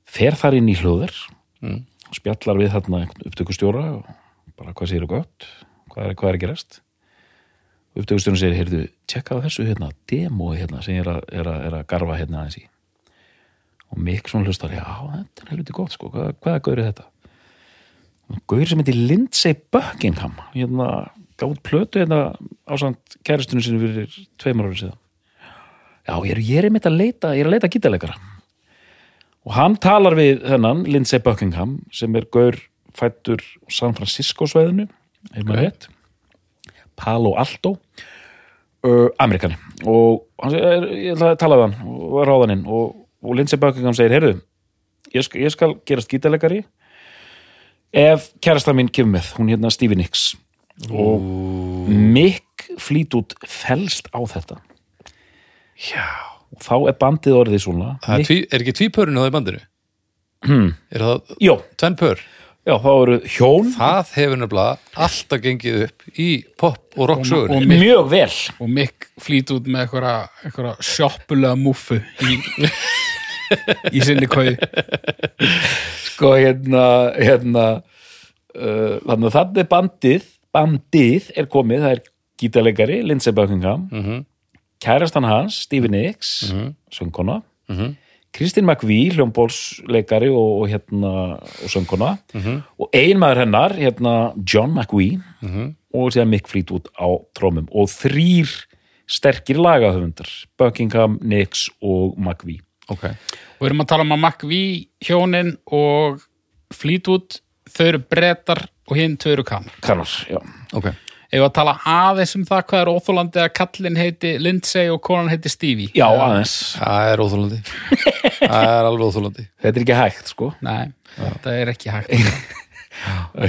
[SPEAKER 3] fer þar inn í hlöður og spjallar við þarna einhvern upptökustjóra og bara hvað séu gott hvað er, hvað er að gerast upptökustjóra segir, heyrðu, tjekka á þessu hérna, demo hérna sem ég er að, er að, er að garfa hérna aðeins í og Mikksson hlustar, já, þetta er helviti gott sko, hvað, hvað er gaurið þetta gaurið sem heitir Lindsay Buckingham hérna, gátt plötu hérna ásand kæristunum sinni fyrir tveimur árið síðan já, ég er, ég er einmitt að leita, ég er að leita gítalegara og hann talar við þennan Lindsay Buckingham sem er gaur fættur á San Francisco sveðinu ef maður rétt Palo Alto uh, Amerikani og hann segir, ég ætla að tala við hann og er ráðaninn og, og Lindsay Buckingham segir, heyrðu ég skal, ég skal gerast gítalegari ef kærasta mín kemur með hún hérna Stevie Nicks og Mick Fleetwood fellst á þetta
[SPEAKER 2] já,
[SPEAKER 3] og þá er bandið orðið svona
[SPEAKER 2] það er, tví, er ekki tvípörun á það í bandinu hmm. er það
[SPEAKER 3] Jó,
[SPEAKER 2] tvenn pör
[SPEAKER 3] já, þá eru hjón
[SPEAKER 2] það hefur nefnilega alltaf gengið upp í pop og rock sögur
[SPEAKER 4] og, Mick,
[SPEAKER 3] mjög vel
[SPEAKER 4] og Mick flýt út með einhverja, einhverja sjoppulega múfu í, í sinni kauð
[SPEAKER 3] sko hérna hérna uh, þannig að þannig er bandið bandið er komið, það er gítalegari Lindsay Buckingham kærastan hans, Stevie Nicks mm söngkona Kristín McVie, hljómbólsleikari og, og hérna, og söngkona og einmaður hennar, hérna John McVie og síðan Mick Fleetwood á trómum og þrýr sterkir lagahöfundar Buckingham, Nicks og McVie
[SPEAKER 2] ok,
[SPEAKER 4] Við erum að tala um að McVie, hjónin og Fleetwood, þau eru brettar og hinn þau eru kanar.
[SPEAKER 3] kannar, já
[SPEAKER 2] ok
[SPEAKER 4] Ef að tala aðeins um það hvað er óþólandi að kallinn heiti Lindsay og konan heiti Stevie
[SPEAKER 3] Já, aðeins.
[SPEAKER 2] Það er óþólandi Það er alveg óþólandi
[SPEAKER 3] Þetta er ekki hægt, sko.
[SPEAKER 4] Nei, þetta er ekki hægt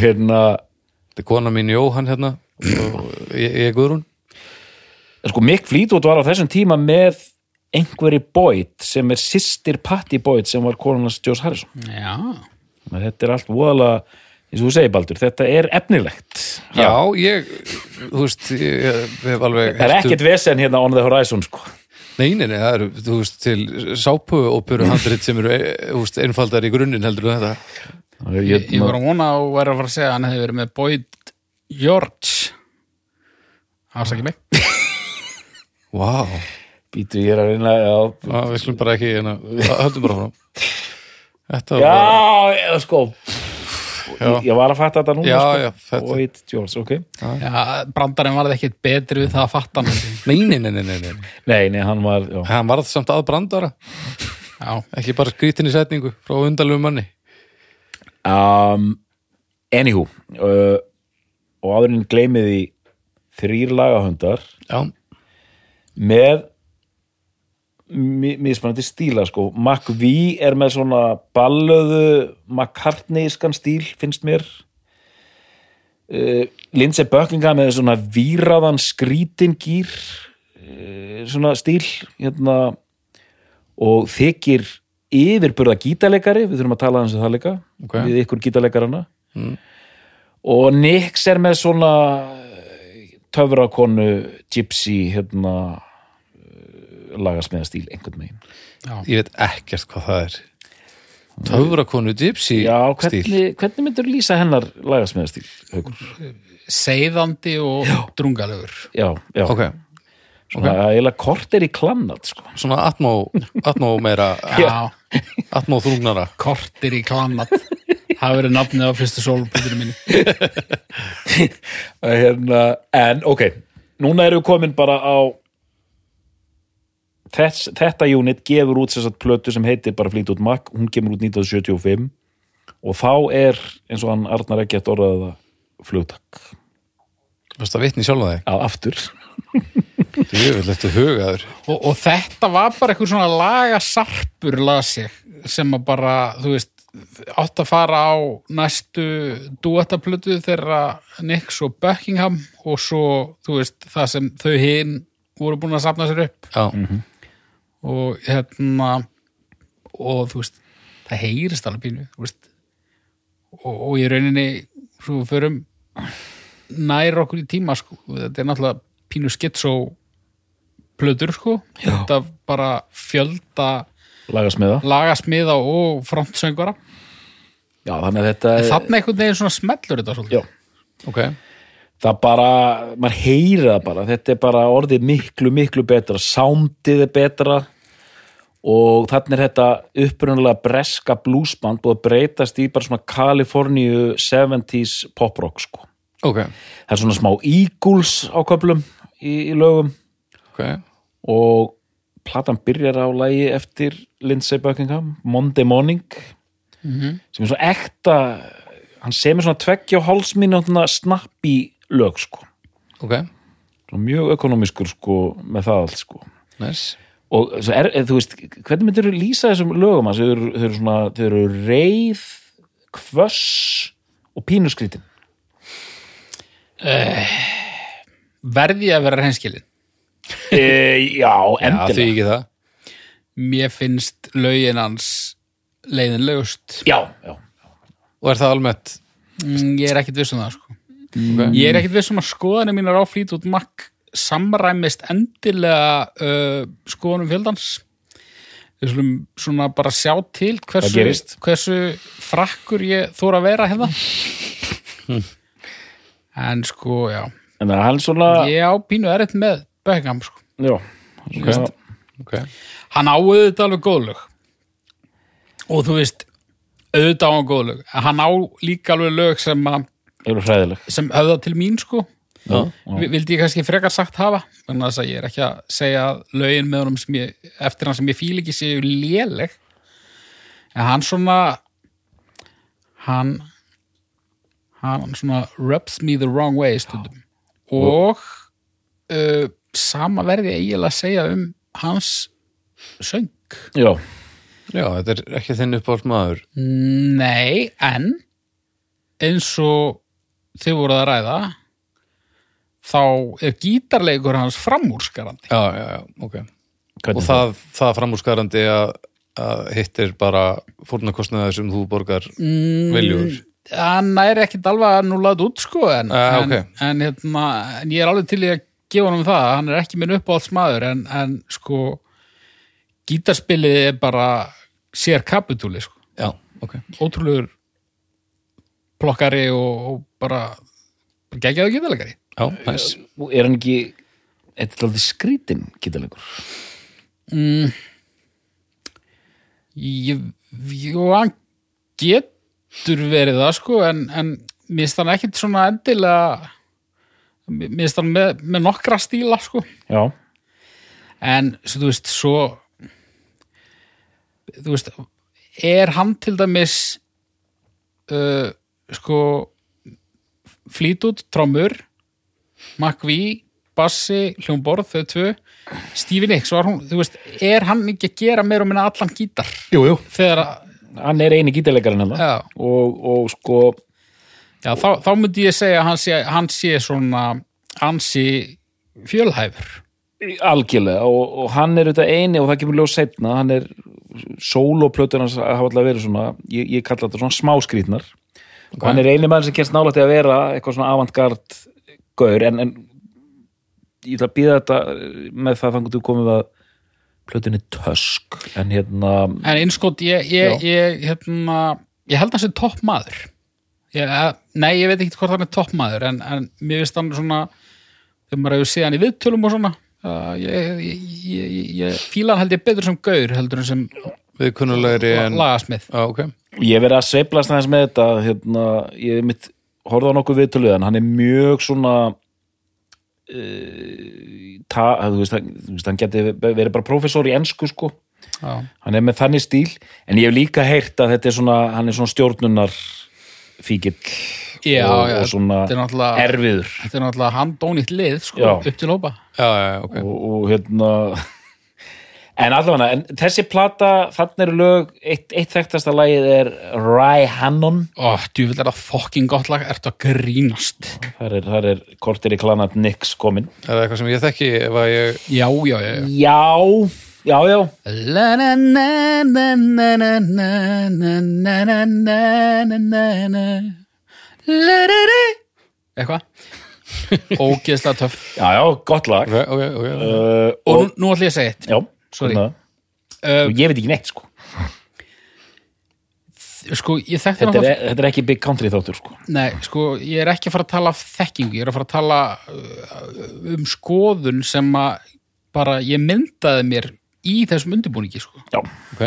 [SPEAKER 3] Hérna,
[SPEAKER 2] Þetta er kona mín Jóhann hérna og ég, ég Guðrún
[SPEAKER 3] sko, Mick Fleetwood var á þessum tíma með einhverji Boyd sem er sýstir Patty Boyd sem var konunars Joss Harrison.
[SPEAKER 4] Já,
[SPEAKER 3] Þannig að Þetta er allt voðalega, eins og þú segir, Baldur, þetta er efnilegt.
[SPEAKER 2] Já, ég, þú veist ég, ég, hef alveg um-
[SPEAKER 3] Það er ekkert vesen hérna on the horizon, sko.
[SPEAKER 2] Nei, nei, nei, það eru, þú veist, til sápuóperu handrit sem eru, eh, þú veist, einfaldar í grunninn heldur en þetta
[SPEAKER 4] ég, ég var að vona og var að fara að segja að hann hefði verið með Boyd George Ásaki mig
[SPEAKER 2] Vá,
[SPEAKER 3] Býtu, ég er að reyna, já.
[SPEAKER 2] wow. við skulum bara ekki hérna, höldum bara frá Þetta
[SPEAKER 3] Já,
[SPEAKER 2] var,
[SPEAKER 3] ég, sko.
[SPEAKER 2] Já.
[SPEAKER 3] Ég, ég var að fatta þetta núna,
[SPEAKER 2] Já,
[SPEAKER 3] sko.
[SPEAKER 2] já, þetta-
[SPEAKER 3] Boyd Joss, ok.
[SPEAKER 4] Já, brandarinn varði ekkit betri við það að fatta hann
[SPEAKER 2] nei, nei, nei, nei, nei, nei
[SPEAKER 3] Nei, nei, hann var, já.
[SPEAKER 2] Hann varð samt að brandara,
[SPEAKER 4] Já,
[SPEAKER 2] ekki bara skrítin í setningu frá undalum manni
[SPEAKER 3] um, Anywho uh, og áðurinn gleymið í þrýr lagahundar
[SPEAKER 2] Já,
[SPEAKER 3] með mi- mismunandi stíla sko McVie er með svona ballöðu McCartney-skan stíl finnst mér uh, Lindsay Buckingham með svona víraðan skrítingýr uh, svona stíl hérna og þykir yfirburða gítarleikari, við þurfum að tala aðeins um það líka
[SPEAKER 2] Ok.
[SPEAKER 3] við ykkur gítarleikarana og Nix er með svona töfrakonu gypsy hérna lagasmiða stíl einhvern veginn
[SPEAKER 2] ég veit ekkert hvað það er Töfrakonu gypsy
[SPEAKER 3] Já,
[SPEAKER 2] stíl
[SPEAKER 3] hvernig, hvernig myndur lýsa hennar lagasmiða stíl? Haukur?
[SPEAKER 4] seiðandi og drungalögur
[SPEAKER 3] Já, já
[SPEAKER 2] Ok,
[SPEAKER 3] svona eiginlega kort er í klannat sko.
[SPEAKER 2] svona atmó, atmó meira
[SPEAKER 4] Já,
[SPEAKER 2] atmó þrungnara
[SPEAKER 4] kortir í klanat Það verið nafnið á fyrstu sólbúðinu mínu
[SPEAKER 3] hérna, En ok, núna erum við komin bara á þess, þetta unit gefur út þess að plötu sem heitir bara Fleetwood Mac, hún kemur út 1975 og þá er eins og hann Arnar ekki að orðaða það flugtak
[SPEAKER 2] Varst það vitni sjálf að
[SPEAKER 3] á aftur
[SPEAKER 2] þig? Ég vil þetta hugaður
[SPEAKER 4] og, og þetta var bara eitthvað svona lagasarpur lasi sem að bara, þú veist átt að fara á næstu duettaplutu þeirra Nix og Buckingham og svo, þú veist, það sem þau hinn voru búin að safna sér upp
[SPEAKER 2] Já,
[SPEAKER 4] og hérna og þú veist, það heyrist alveg pínu, þú veist og, og í rauninni, svo við förum nær okkur í tíma sko, þetta er náttúrulega pínu skitsó plötur sko þetta bara fjölda
[SPEAKER 3] lagasmiða
[SPEAKER 4] lagasmiða og frontsöngvara
[SPEAKER 3] Já, þannig að þetta er
[SPEAKER 4] þannig einhvern veginn svona smellur þetta svolítið
[SPEAKER 3] Já.
[SPEAKER 2] ok
[SPEAKER 3] það bara, maður heyri það bara þetta er bara orðið miklu, miklu betra soundið er betra og þannig er þetta upprunalega breska bluesband búið að breytast í bara svona Kaliforníu 70s poprock sko
[SPEAKER 2] Ok,
[SPEAKER 3] það er svona smá Eagles á köflum í, í lögum
[SPEAKER 2] ok
[SPEAKER 3] og platan byrjar á lagi eftir Lindsay Buckingham Monday Morning sem er svona ekta hann semur svona tveggja og hálsmínjóttuna snappi lög sko
[SPEAKER 2] Ok,
[SPEAKER 3] Svona mjög ökonomískur sko með það allt sko
[SPEAKER 2] nice
[SPEAKER 3] og svo er, er, þú veist, hvernig myndir þú lýsa þessum lögum hans, þau eru, þau eru svona þau eru reið, kvöss og pínuskritin
[SPEAKER 4] verði ég að vera reynskilin
[SPEAKER 3] e, já,
[SPEAKER 2] Já, því
[SPEAKER 3] endilega
[SPEAKER 2] ekki það
[SPEAKER 4] mér finnst lögin hans leiðinlegust
[SPEAKER 3] já, já,
[SPEAKER 2] Og er það almennt
[SPEAKER 4] mm, ég er ekkit viss um það sko
[SPEAKER 2] okay.
[SPEAKER 4] Ég er ekkert viss um að skoðanir mínar á Fleetwood Mac samræmist endilega uh, skoðanum fjöldans við slum svona bara sjá til hversu,
[SPEAKER 3] Það gerist.
[SPEAKER 4] hversu frakkur ég þóra að vera hérna
[SPEAKER 3] Hm.
[SPEAKER 4] en sko, já
[SPEAKER 3] en það er hann svona
[SPEAKER 4] ég á pínu erfitt með Beckham sko.
[SPEAKER 3] já, svona,
[SPEAKER 2] ok
[SPEAKER 4] hann á auðvitað alveg góðlög og þú veist auðvitað á hann góðlög en hann á líka alveg lög sem, að,
[SPEAKER 3] eru hræðileg
[SPEAKER 4] sem höfða til mín sko
[SPEAKER 2] Já,
[SPEAKER 4] Vi- vildi ég kannski frekar sagt hafa en þess að ég er ekki að segja að lögin með honum sem ég, eftir hann sem ég fíl ekki séu léleg en hann svona hann hann svona rubs me the wrong way stundum og uh, sama verði eiginlega að segja um hans söng
[SPEAKER 3] já,
[SPEAKER 2] Já, þetta er ekki þinn uppáhalds maður
[SPEAKER 4] Nei, en eins og þið voruð að ræða þá er gítarleikur hans framúrskarandi
[SPEAKER 2] Já, já, já, ok Og
[SPEAKER 3] hvernig það?
[SPEAKER 2] það, það framúrskarandi að, að hitt er bara fórnarkostnaður sem þú borgar mm, viljur
[SPEAKER 4] hann er ekkit alveg að núla þetta út sko en,
[SPEAKER 2] Ah,
[SPEAKER 4] en,
[SPEAKER 2] ok.
[SPEAKER 4] en, hérna, en ég er alveg til í að gefa hann það hann er ekki minn uppáhaldsmaður en, en sko gítarspilið er bara sér kapitúli sko
[SPEAKER 2] Já, ok
[SPEAKER 4] ótrúlegur plokkari og, og bara geggjaðu gítarleikari
[SPEAKER 2] Já, næs
[SPEAKER 3] Nú er hann ekki eitthvað aldrei skrítin gítalengur
[SPEAKER 4] ég, ég, og hann getur verið það sko en, en minnst hann ekkit svona endilega minnst hann með, með nokkra stíla sko
[SPEAKER 3] já,
[SPEAKER 4] en svo, þú veist svo þú veist er hann til dæmis uh, sko flýtut, trommur McVie, bassi hljómborð, þau tvö Stevie Nicks, var hún, þú veist er hann ekki að gera meira og minna allan gítar
[SPEAKER 2] Jú, jú
[SPEAKER 4] þegar að,
[SPEAKER 3] hann er eini gítalengarinn hann
[SPEAKER 4] Já.
[SPEAKER 3] og, og sko
[SPEAKER 4] já, þá, þá myndi ég segja að hann sé, hann sé svona hann sé fjölhæfur
[SPEAKER 3] algjörlega og, og hann er auðvitað eini og það kemur ljóð setna hann er sóloplötur hans hafa alltaf verið svona ég, ég kalla þetta svona smáskrýtnar og hann er eini maður sem kemst nálætti að vera eitthvað svona avantgard gaur en, en ég ætla að býða þetta eh, með það þangur þú komið að plötunni Tusk en hérna
[SPEAKER 4] En innskot, ég, ég, ég, hérna, ég held hann sem toppmaður. Ég, eh, nei, ég veit ekki hvort hann er toppmaður, en, en mér finnst hann svona, þegar maður hefur séð hann í viðtölum og svona, uh, ég, ég, ég, ég, ég fíla hann held ég betur sem gaur, heldur en sem
[SPEAKER 2] Við kunnulegri en
[SPEAKER 4] lagasmið.
[SPEAKER 2] Já, ok
[SPEAKER 3] ég verið að sveiflast aðeins með þetta hérna, ég mitt horfði á nokkuð viðtölu en hann er mjög svona uh, ta, þú, veist, hann, þú veist hann geti verið bara prófessor í ensku sko
[SPEAKER 4] Já,
[SPEAKER 3] hann er með þannig stíl en ég hef líka heyrt að þetta er svona hann er svona stjórnunar fíkill
[SPEAKER 4] Já,
[SPEAKER 3] og,
[SPEAKER 4] já,
[SPEAKER 3] og svona
[SPEAKER 4] þetta er náttúrulega-
[SPEAKER 3] erfiður
[SPEAKER 4] þetta er náttúrulega handónýtt lið, sko,
[SPEAKER 3] Já.
[SPEAKER 4] upp til hópa.
[SPEAKER 2] Já, já, já, ok
[SPEAKER 3] og, og hérna en allavega, en þessi plata þannig eru lög, eitt, eitt þekktasta lagið er Rai Hannon
[SPEAKER 4] Ó, djúvill er það fucking gott lag, ertu að grínast.
[SPEAKER 3] þar er, þar er kortir í klanat Nix komin
[SPEAKER 2] Er það eitthvað sem ég þekki ef að ég
[SPEAKER 4] Já, já, já, já.
[SPEAKER 3] já, já, já
[SPEAKER 4] La na na na na na na na na na na na na na La da da Eitthvað Ógeðslega töff
[SPEAKER 3] já, já, gott lag
[SPEAKER 2] Ok, ok, ok
[SPEAKER 3] uh,
[SPEAKER 4] Og nú, nú ætlum ég að segja eitt
[SPEAKER 3] já,
[SPEAKER 4] Sorry.
[SPEAKER 3] hérna.
[SPEAKER 4] Uh,
[SPEAKER 3] ég veit ekki neitt sko
[SPEAKER 4] Sko, ég
[SPEAKER 3] Mm. þetta er,
[SPEAKER 4] þekkti
[SPEAKER 3] e-
[SPEAKER 4] náttúrulega
[SPEAKER 3] þetta er ekki big country þáttur sko
[SPEAKER 4] Nei, sko, ég er ekki að fara að tala af þekkingu Ég er að fara að tala uh, um skoðun sem að bara ég myndaði mér í þessum undirbúningi, sko
[SPEAKER 3] já,
[SPEAKER 2] Ok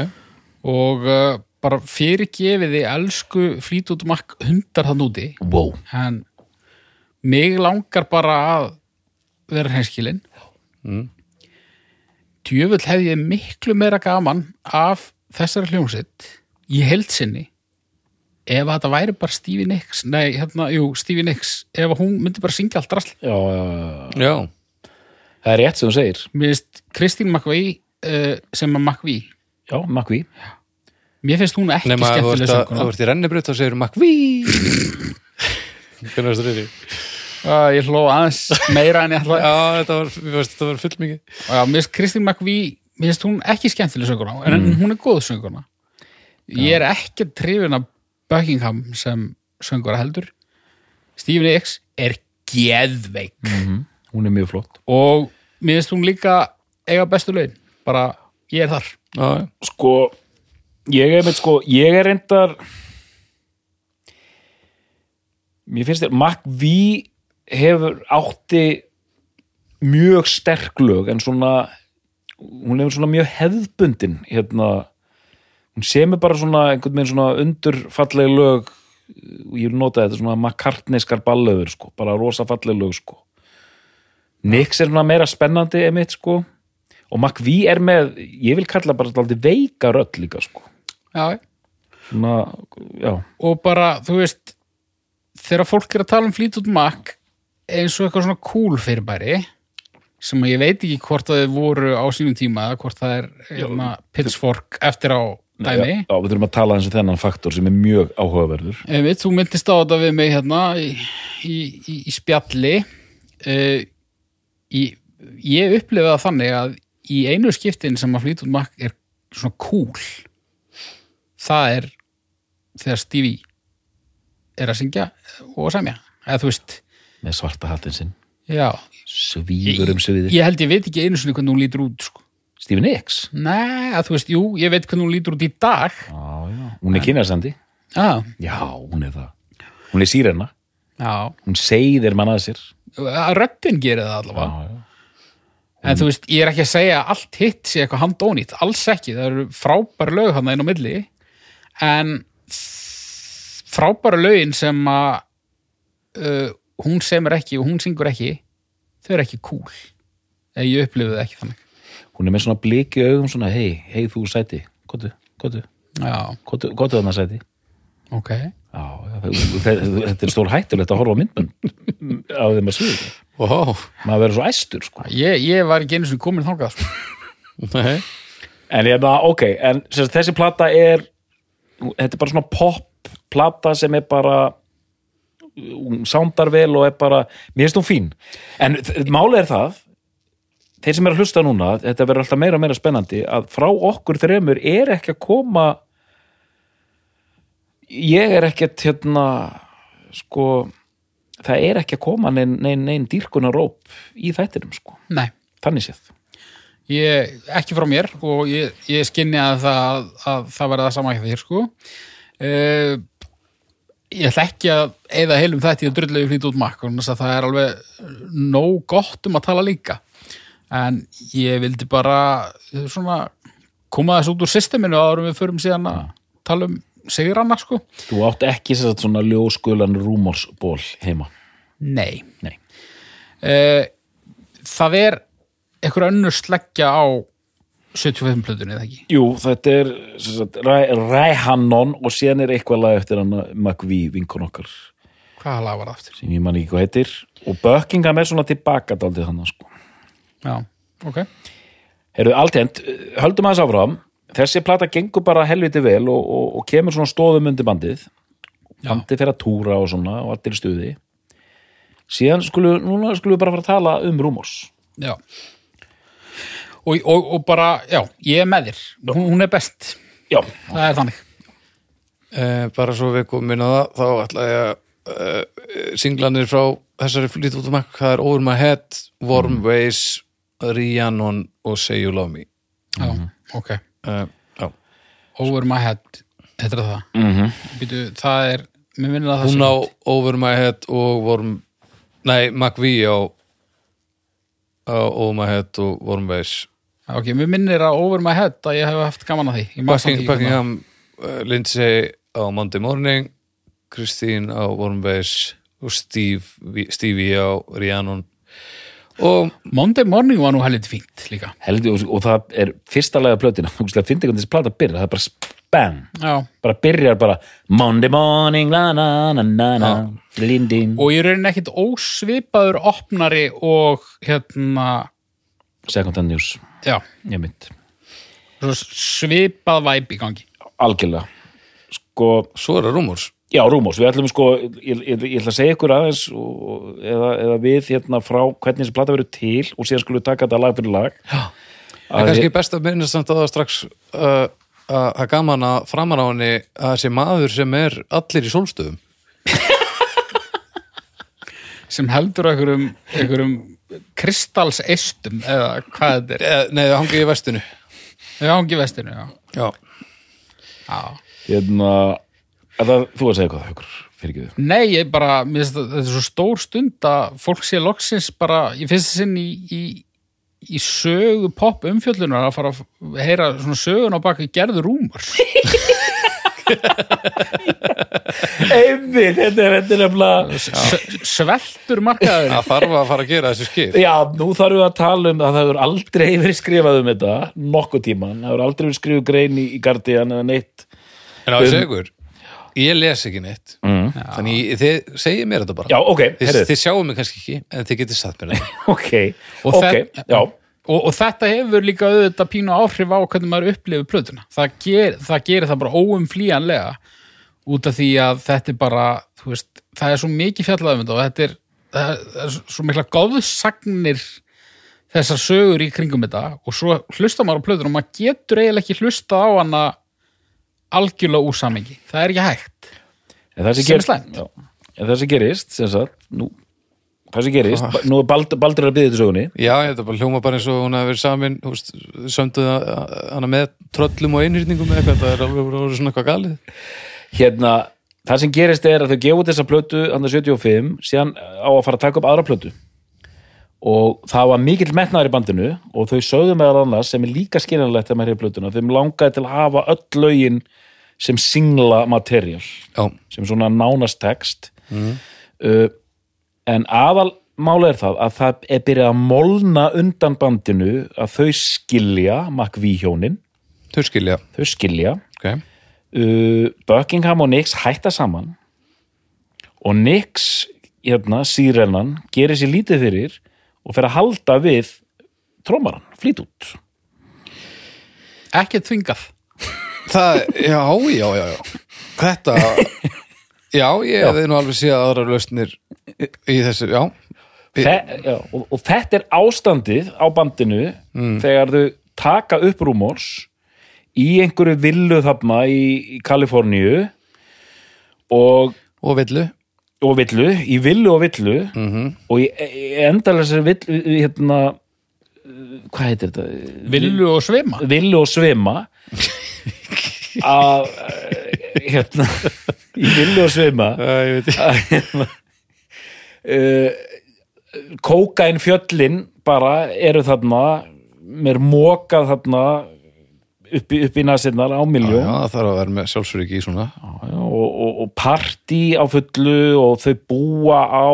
[SPEAKER 4] Og uh, bara fyrirgefiði elsku flýtutmakk hundar þann úti
[SPEAKER 3] wow
[SPEAKER 4] en mig langar bara að vera hreinskilin mm. djöfull hef ég miklu meira gaman af þessari hljómsitt í heldsinni ef að þetta væri bara Stevie Nicks nei, hérna, jú, Stevie Nicks ef að hún myndi bara syngja allt rasl
[SPEAKER 3] já, já, já.
[SPEAKER 2] Já,
[SPEAKER 3] það er rétt sem þú segir
[SPEAKER 4] mér finnst Kristín McVie uh, sem að McVie
[SPEAKER 3] já, Makvi
[SPEAKER 4] mér finnst hún ekki
[SPEAKER 2] nema að þú ert
[SPEAKER 4] skemmtileg
[SPEAKER 2] að- þú
[SPEAKER 4] sönguna
[SPEAKER 2] ert í rennibrut og segir McVie Hvernig varstu reyði?
[SPEAKER 4] uh, ég hló aðeins meira en ég ætlaði
[SPEAKER 2] Já, þetta var, mér varst, þetta var full mikið
[SPEAKER 4] Og Já, mér finnst Kristín McVie, mér finnst hún ekki skemmtileg sönguna, en hún er góð sönguna. Ég er ekki trifin af Buckingham sem söngura heldur. Stephen X er geðveik
[SPEAKER 3] Mm. Mhm. hún er mjög flott
[SPEAKER 4] og mér finnst hún líka eiga bestu laun, bara ég er þar.
[SPEAKER 2] Já, já
[SPEAKER 3] sko ég er með sko, ég er reyndar mér finnst þér MacV hefur átti mjög sterk lög en svona hún hefur svona mjög hefðbundin hérna hún semur bara svona einhvern veginn svona undurfalleg lög og ég notaði þetta svona makartneskar ballöður sko, bara rosa falleg lög sko Nix er svona meira spennandi emitt sko og McVie er með, ég vil kalla bara alltaf veika rödd líka sko
[SPEAKER 4] Já,
[SPEAKER 3] svona, já,
[SPEAKER 4] og bara, þú veist, þegar fólk er að tala um flýt út makk, eins og eitthvað svona cool fyrirbæri sem að ég veit ekki hvort að þau voru á sínum tíma eða hvort það er hérna, pitchfork eftir á dæmi
[SPEAKER 3] Já, við þurfum að tala eins og þennan faktor sem er mjög áhugaverður.
[SPEAKER 4] Ef við, þú myndist á þetta við mig hérna í, í, í, í spjalli uh, í, ég upplifa það þannig að í einu skiptin sem að Fleetwood Mac er svona cool það er þegar Stevie er að syngja og að semja eða þú veist,
[SPEAKER 3] Með svarta hattinn sinn.
[SPEAKER 4] já
[SPEAKER 3] Svífur um sviðið.
[SPEAKER 4] ég held ég veit ekki einu sinni hvernig hún lítur út sko.
[SPEAKER 3] Stephen X.
[SPEAKER 4] nei, að þú veist, jú, ég veit hvernig hún lítur út í dag
[SPEAKER 3] Já, já. Hún er kynjarsandi.
[SPEAKER 4] já,
[SPEAKER 3] Já, hún er það. Hún er sírenna.
[SPEAKER 4] já
[SPEAKER 3] Hún segðir mann að sér.
[SPEAKER 4] að röddin gerir það allavega
[SPEAKER 3] já.
[SPEAKER 4] En þú veist, ég er ekki að segja að allt hitt sé eitthvað handónýtt, alls ekki, það eru frábæra lög hann einn á milli, en frábæra lögin sem að uh, hún semur ekki og hún syngur ekki, þau eru ekki cool. Eða ég upplifið það ekki þannig.
[SPEAKER 3] Hún er með svona bliki augum svona, hei, hei þú sæti, gotu, gotu,
[SPEAKER 4] Já,
[SPEAKER 3] gotu, gotu þarna sæti.
[SPEAKER 4] ok.
[SPEAKER 3] Já, já, þe- þe- þetta er stór hættulegt að horfa á myndbönd á þeim að sviðið.
[SPEAKER 2] Ó,
[SPEAKER 3] Maður verður svo æstur, sko.
[SPEAKER 4] Ég, ég var ekki einu sem komin þangað, sko.
[SPEAKER 2] nei.
[SPEAKER 3] En ég bara, ok, en sem sagt, þessi plata er, þetta er bara svona pop plata sem er bara, hún sándar vel og er bara, mér finnst hún fín. En þ- málið er það, þeir sem eru að hlusta núna, þetta verður alltaf meira og meira spennandi, að frá okkur þremur er ekki að koma, ég er ekkert hérna, sko, það er ekki að koma neinn nein, nein dýrkunaróp í þættinum, sko,
[SPEAKER 4] Nei,
[SPEAKER 3] þannig séð.
[SPEAKER 4] ég, ekki frá mér og ég, ég skinni að það, að það verða það sama ekki þér, sko. Uh, ég ætla ekki að eða heilum þetta í að drullegu flýta út makk þannig að það er alveg nóg gott um að tala líka en ég vildi bara eh, svona koma þess út úr systeminu árum við förum síðan að tala um sigranna sko
[SPEAKER 3] Þú átt ekki sem sagt svona ljóskulan rúmorsból heima.
[SPEAKER 4] Nei,
[SPEAKER 3] Nei.
[SPEAKER 4] Eh, Það er einhver önnur sleggja á 75 plötunni eða ekki
[SPEAKER 3] Jú, þetta er sem sagt, Ræ- Ræhannon og síðan er eitthvað lag eftir hann McVie vinkon okkar
[SPEAKER 4] Hvaða lag var það aftur?
[SPEAKER 3] sem ég man ekki hvað heitir og Buckingham er svona tilbaka daldið hann sko.
[SPEAKER 4] Já, ok
[SPEAKER 3] Herðu, alltend, höldum aðeins áfram þessi plata gengur bara helviti vel og, og, og kemur svona stóðum undir bandið bandið fyrir að túra og svona og allt er í stuði síðan skulum, núna skulum við bara fara að tala um Rúmors
[SPEAKER 4] Já. Og, og, og bara, já, ég er með þér. Hún, hún er best.
[SPEAKER 3] Já,
[SPEAKER 4] Það er þannig.
[SPEAKER 2] Eh, bara svo við komin að það þá ætla ég að eh, singlanir frá þessari flýtt út um ekk það er Over My Head, Warm Ways Rhiannon og Say You Love Me
[SPEAKER 4] Já, ok.
[SPEAKER 2] eh, já.
[SPEAKER 4] Over my head, þetta er það. Mm -hmm. Býtu, það er, mér minnir að það
[SPEAKER 2] hún á Over My Head og Warm nei, McVie á, á Over My Head og Warm Ways
[SPEAKER 4] Ok, mér minnir að over my head að ég hef haft gaman að því. Ég man samt
[SPEAKER 2] Bucking-
[SPEAKER 4] ekki hvernig
[SPEAKER 2] Buckingham, uh, Lindsay á Monday Morning Christine á Warm Ways og Steve, Stevie á Rhiannon og
[SPEAKER 4] það- Monday morning var nú helviti fínt líka.
[SPEAKER 3] heldur, og, og það er fyrsta lagið af plötina, þú veist að fyndi hvernig þessi plata byrja það er bara bang
[SPEAKER 4] Já.
[SPEAKER 3] bara byrjar bara Monday morning la na na na na lindin
[SPEAKER 4] Og ég raunin ekkit ósvipaður opnari og hérna,
[SPEAKER 3] second hand news
[SPEAKER 4] já,
[SPEAKER 3] ég mynd
[SPEAKER 4] svo svipað væp í gangi.
[SPEAKER 3] algjörlega sko
[SPEAKER 2] svo er það Rúmors
[SPEAKER 3] já Rúmos við ætlum sko ég, ég, ég ætla að segja ykkur aðeins og, eða, eða við hérna frá hvernig þessi plata verður til og síðan skulum við taka þetta lag fyrir lag já
[SPEAKER 2] En kannski best að minna samt á það strax uh, að að gaman að framar á henni að þessi maður sem er allir í sólstöðum.
[SPEAKER 4] sem heldur á einhverjum, einhverjum kristalseistum eða hvað þetta er
[SPEAKER 2] Eh, nei, það hangi í vestinu.
[SPEAKER 4] já, ekki vestinu, já,
[SPEAKER 2] Já.
[SPEAKER 4] já.
[SPEAKER 3] hérna að það, þú að segja eitthvað haukur fyrir ekki
[SPEAKER 4] nei, ég bara, mér finnst þetta þetta er svo stór stund að fólk sé loksins bara, ég finnst sinn í, í í sögu pop umfjöllunar að fara að f- heyra svona sögun á baki gerður rúmar
[SPEAKER 3] einmitt þetta er þetta er nefnilega
[SPEAKER 4] sveltur markaður
[SPEAKER 2] Það þarf að fara að gera þessu skip.
[SPEAKER 3] Já, nú þarfum við að tala um að það hefur aldrei verið skrifað um þetta nokkuð tíman, það hefur aldrei verið skrifað grein í, í gardiðan eða neitt
[SPEAKER 2] En á þessu ykkur, ég les ekki neitt Um- mm. þannig ég- þið segið mér þetta bara
[SPEAKER 3] Já, ok,
[SPEAKER 2] þið,
[SPEAKER 3] heyrðu.
[SPEAKER 2] þið sjáum mig kannski ekki en þið getið satt mér þetta.
[SPEAKER 3] ok,
[SPEAKER 4] Og
[SPEAKER 3] ok,
[SPEAKER 4] þær-
[SPEAKER 3] já
[SPEAKER 4] og, og þetta hefur líka auðvitað pínu áhrif á hvernig maður upplifir plötuna það, ger, það gerir það bara óumflýjanlega út af því að þetta er bara þú veist, það er svo mikið fjallað um þetta og þetta er, það er- það er svo mikla góðsagnir þessar sögur í kringum þetta og svo hlustar maður á plötuna og maður getur eiginlega ekki hlusta á hana algjörlega úr samingi það er ekki hægt
[SPEAKER 3] En það sem,
[SPEAKER 4] Sem er
[SPEAKER 3] gerist-
[SPEAKER 4] slæmt.
[SPEAKER 3] já. En það sem gerist, sem sagt, nú, það sem gerist, ba- nú er Bald, Baldur er að byggja þetta sögunni.
[SPEAKER 2] já, þetta bara hljóma bara eins og hún hafi verið samin þú veist, sömduð hana með tröllum og einhyrningum eða eitthvað, það er alveg voru svona eitthvað galið
[SPEAKER 3] Hérna, það sem gerist er að þau gefa út þessa plötu, hann 75, síðan eh, á að fara að taka upp aðra plötu. Og það var mikill metnaður í bandinu og þau sögðu meðal annars, sem er líka skiljanlegt þegar maður hefur plötuna, þeim langaði til að hafa öll lögin sem singla material.
[SPEAKER 2] já,
[SPEAKER 3] sem svona nánast text uh, en aðal mála er það að það er byrjað að molna undan bandinu að þau skilja McVie hjónin,
[SPEAKER 2] þau skilja
[SPEAKER 3] þau skilja
[SPEAKER 2] okay.
[SPEAKER 3] uh, Buckingham og Nix hætta saman og Nix hérna, sírennan, gerir sér lítið fyrir og fer að halda við trómaran, flýt út
[SPEAKER 4] ekki þvingað
[SPEAKER 2] það, já, já, já, já þetta já, ég hefði nú alveg séð aðrar lausnir í þessu, já
[SPEAKER 3] Þe, já, og, og þetta er ástandið á bandinu þegar þau taka upp rúmors í einhverju villu þarna í, í Kaliforníu og,
[SPEAKER 2] og villu
[SPEAKER 3] og villu, í villu og villu -hmm. og í, í endalega villu, hérna hvað heitir þetta?
[SPEAKER 4] villu og svima
[SPEAKER 3] villu og svima að hérna í villu og svima
[SPEAKER 2] ég veit
[SPEAKER 3] að, hérna, uh, kókain fjöllin bara eru þarna mér mokað þarna upp í, upp í nasinnar á
[SPEAKER 2] Já,
[SPEAKER 3] miljón
[SPEAKER 2] það þarf að vera með sjálfsöryggi í svona
[SPEAKER 3] og, og, og partí á fullu og þau búa á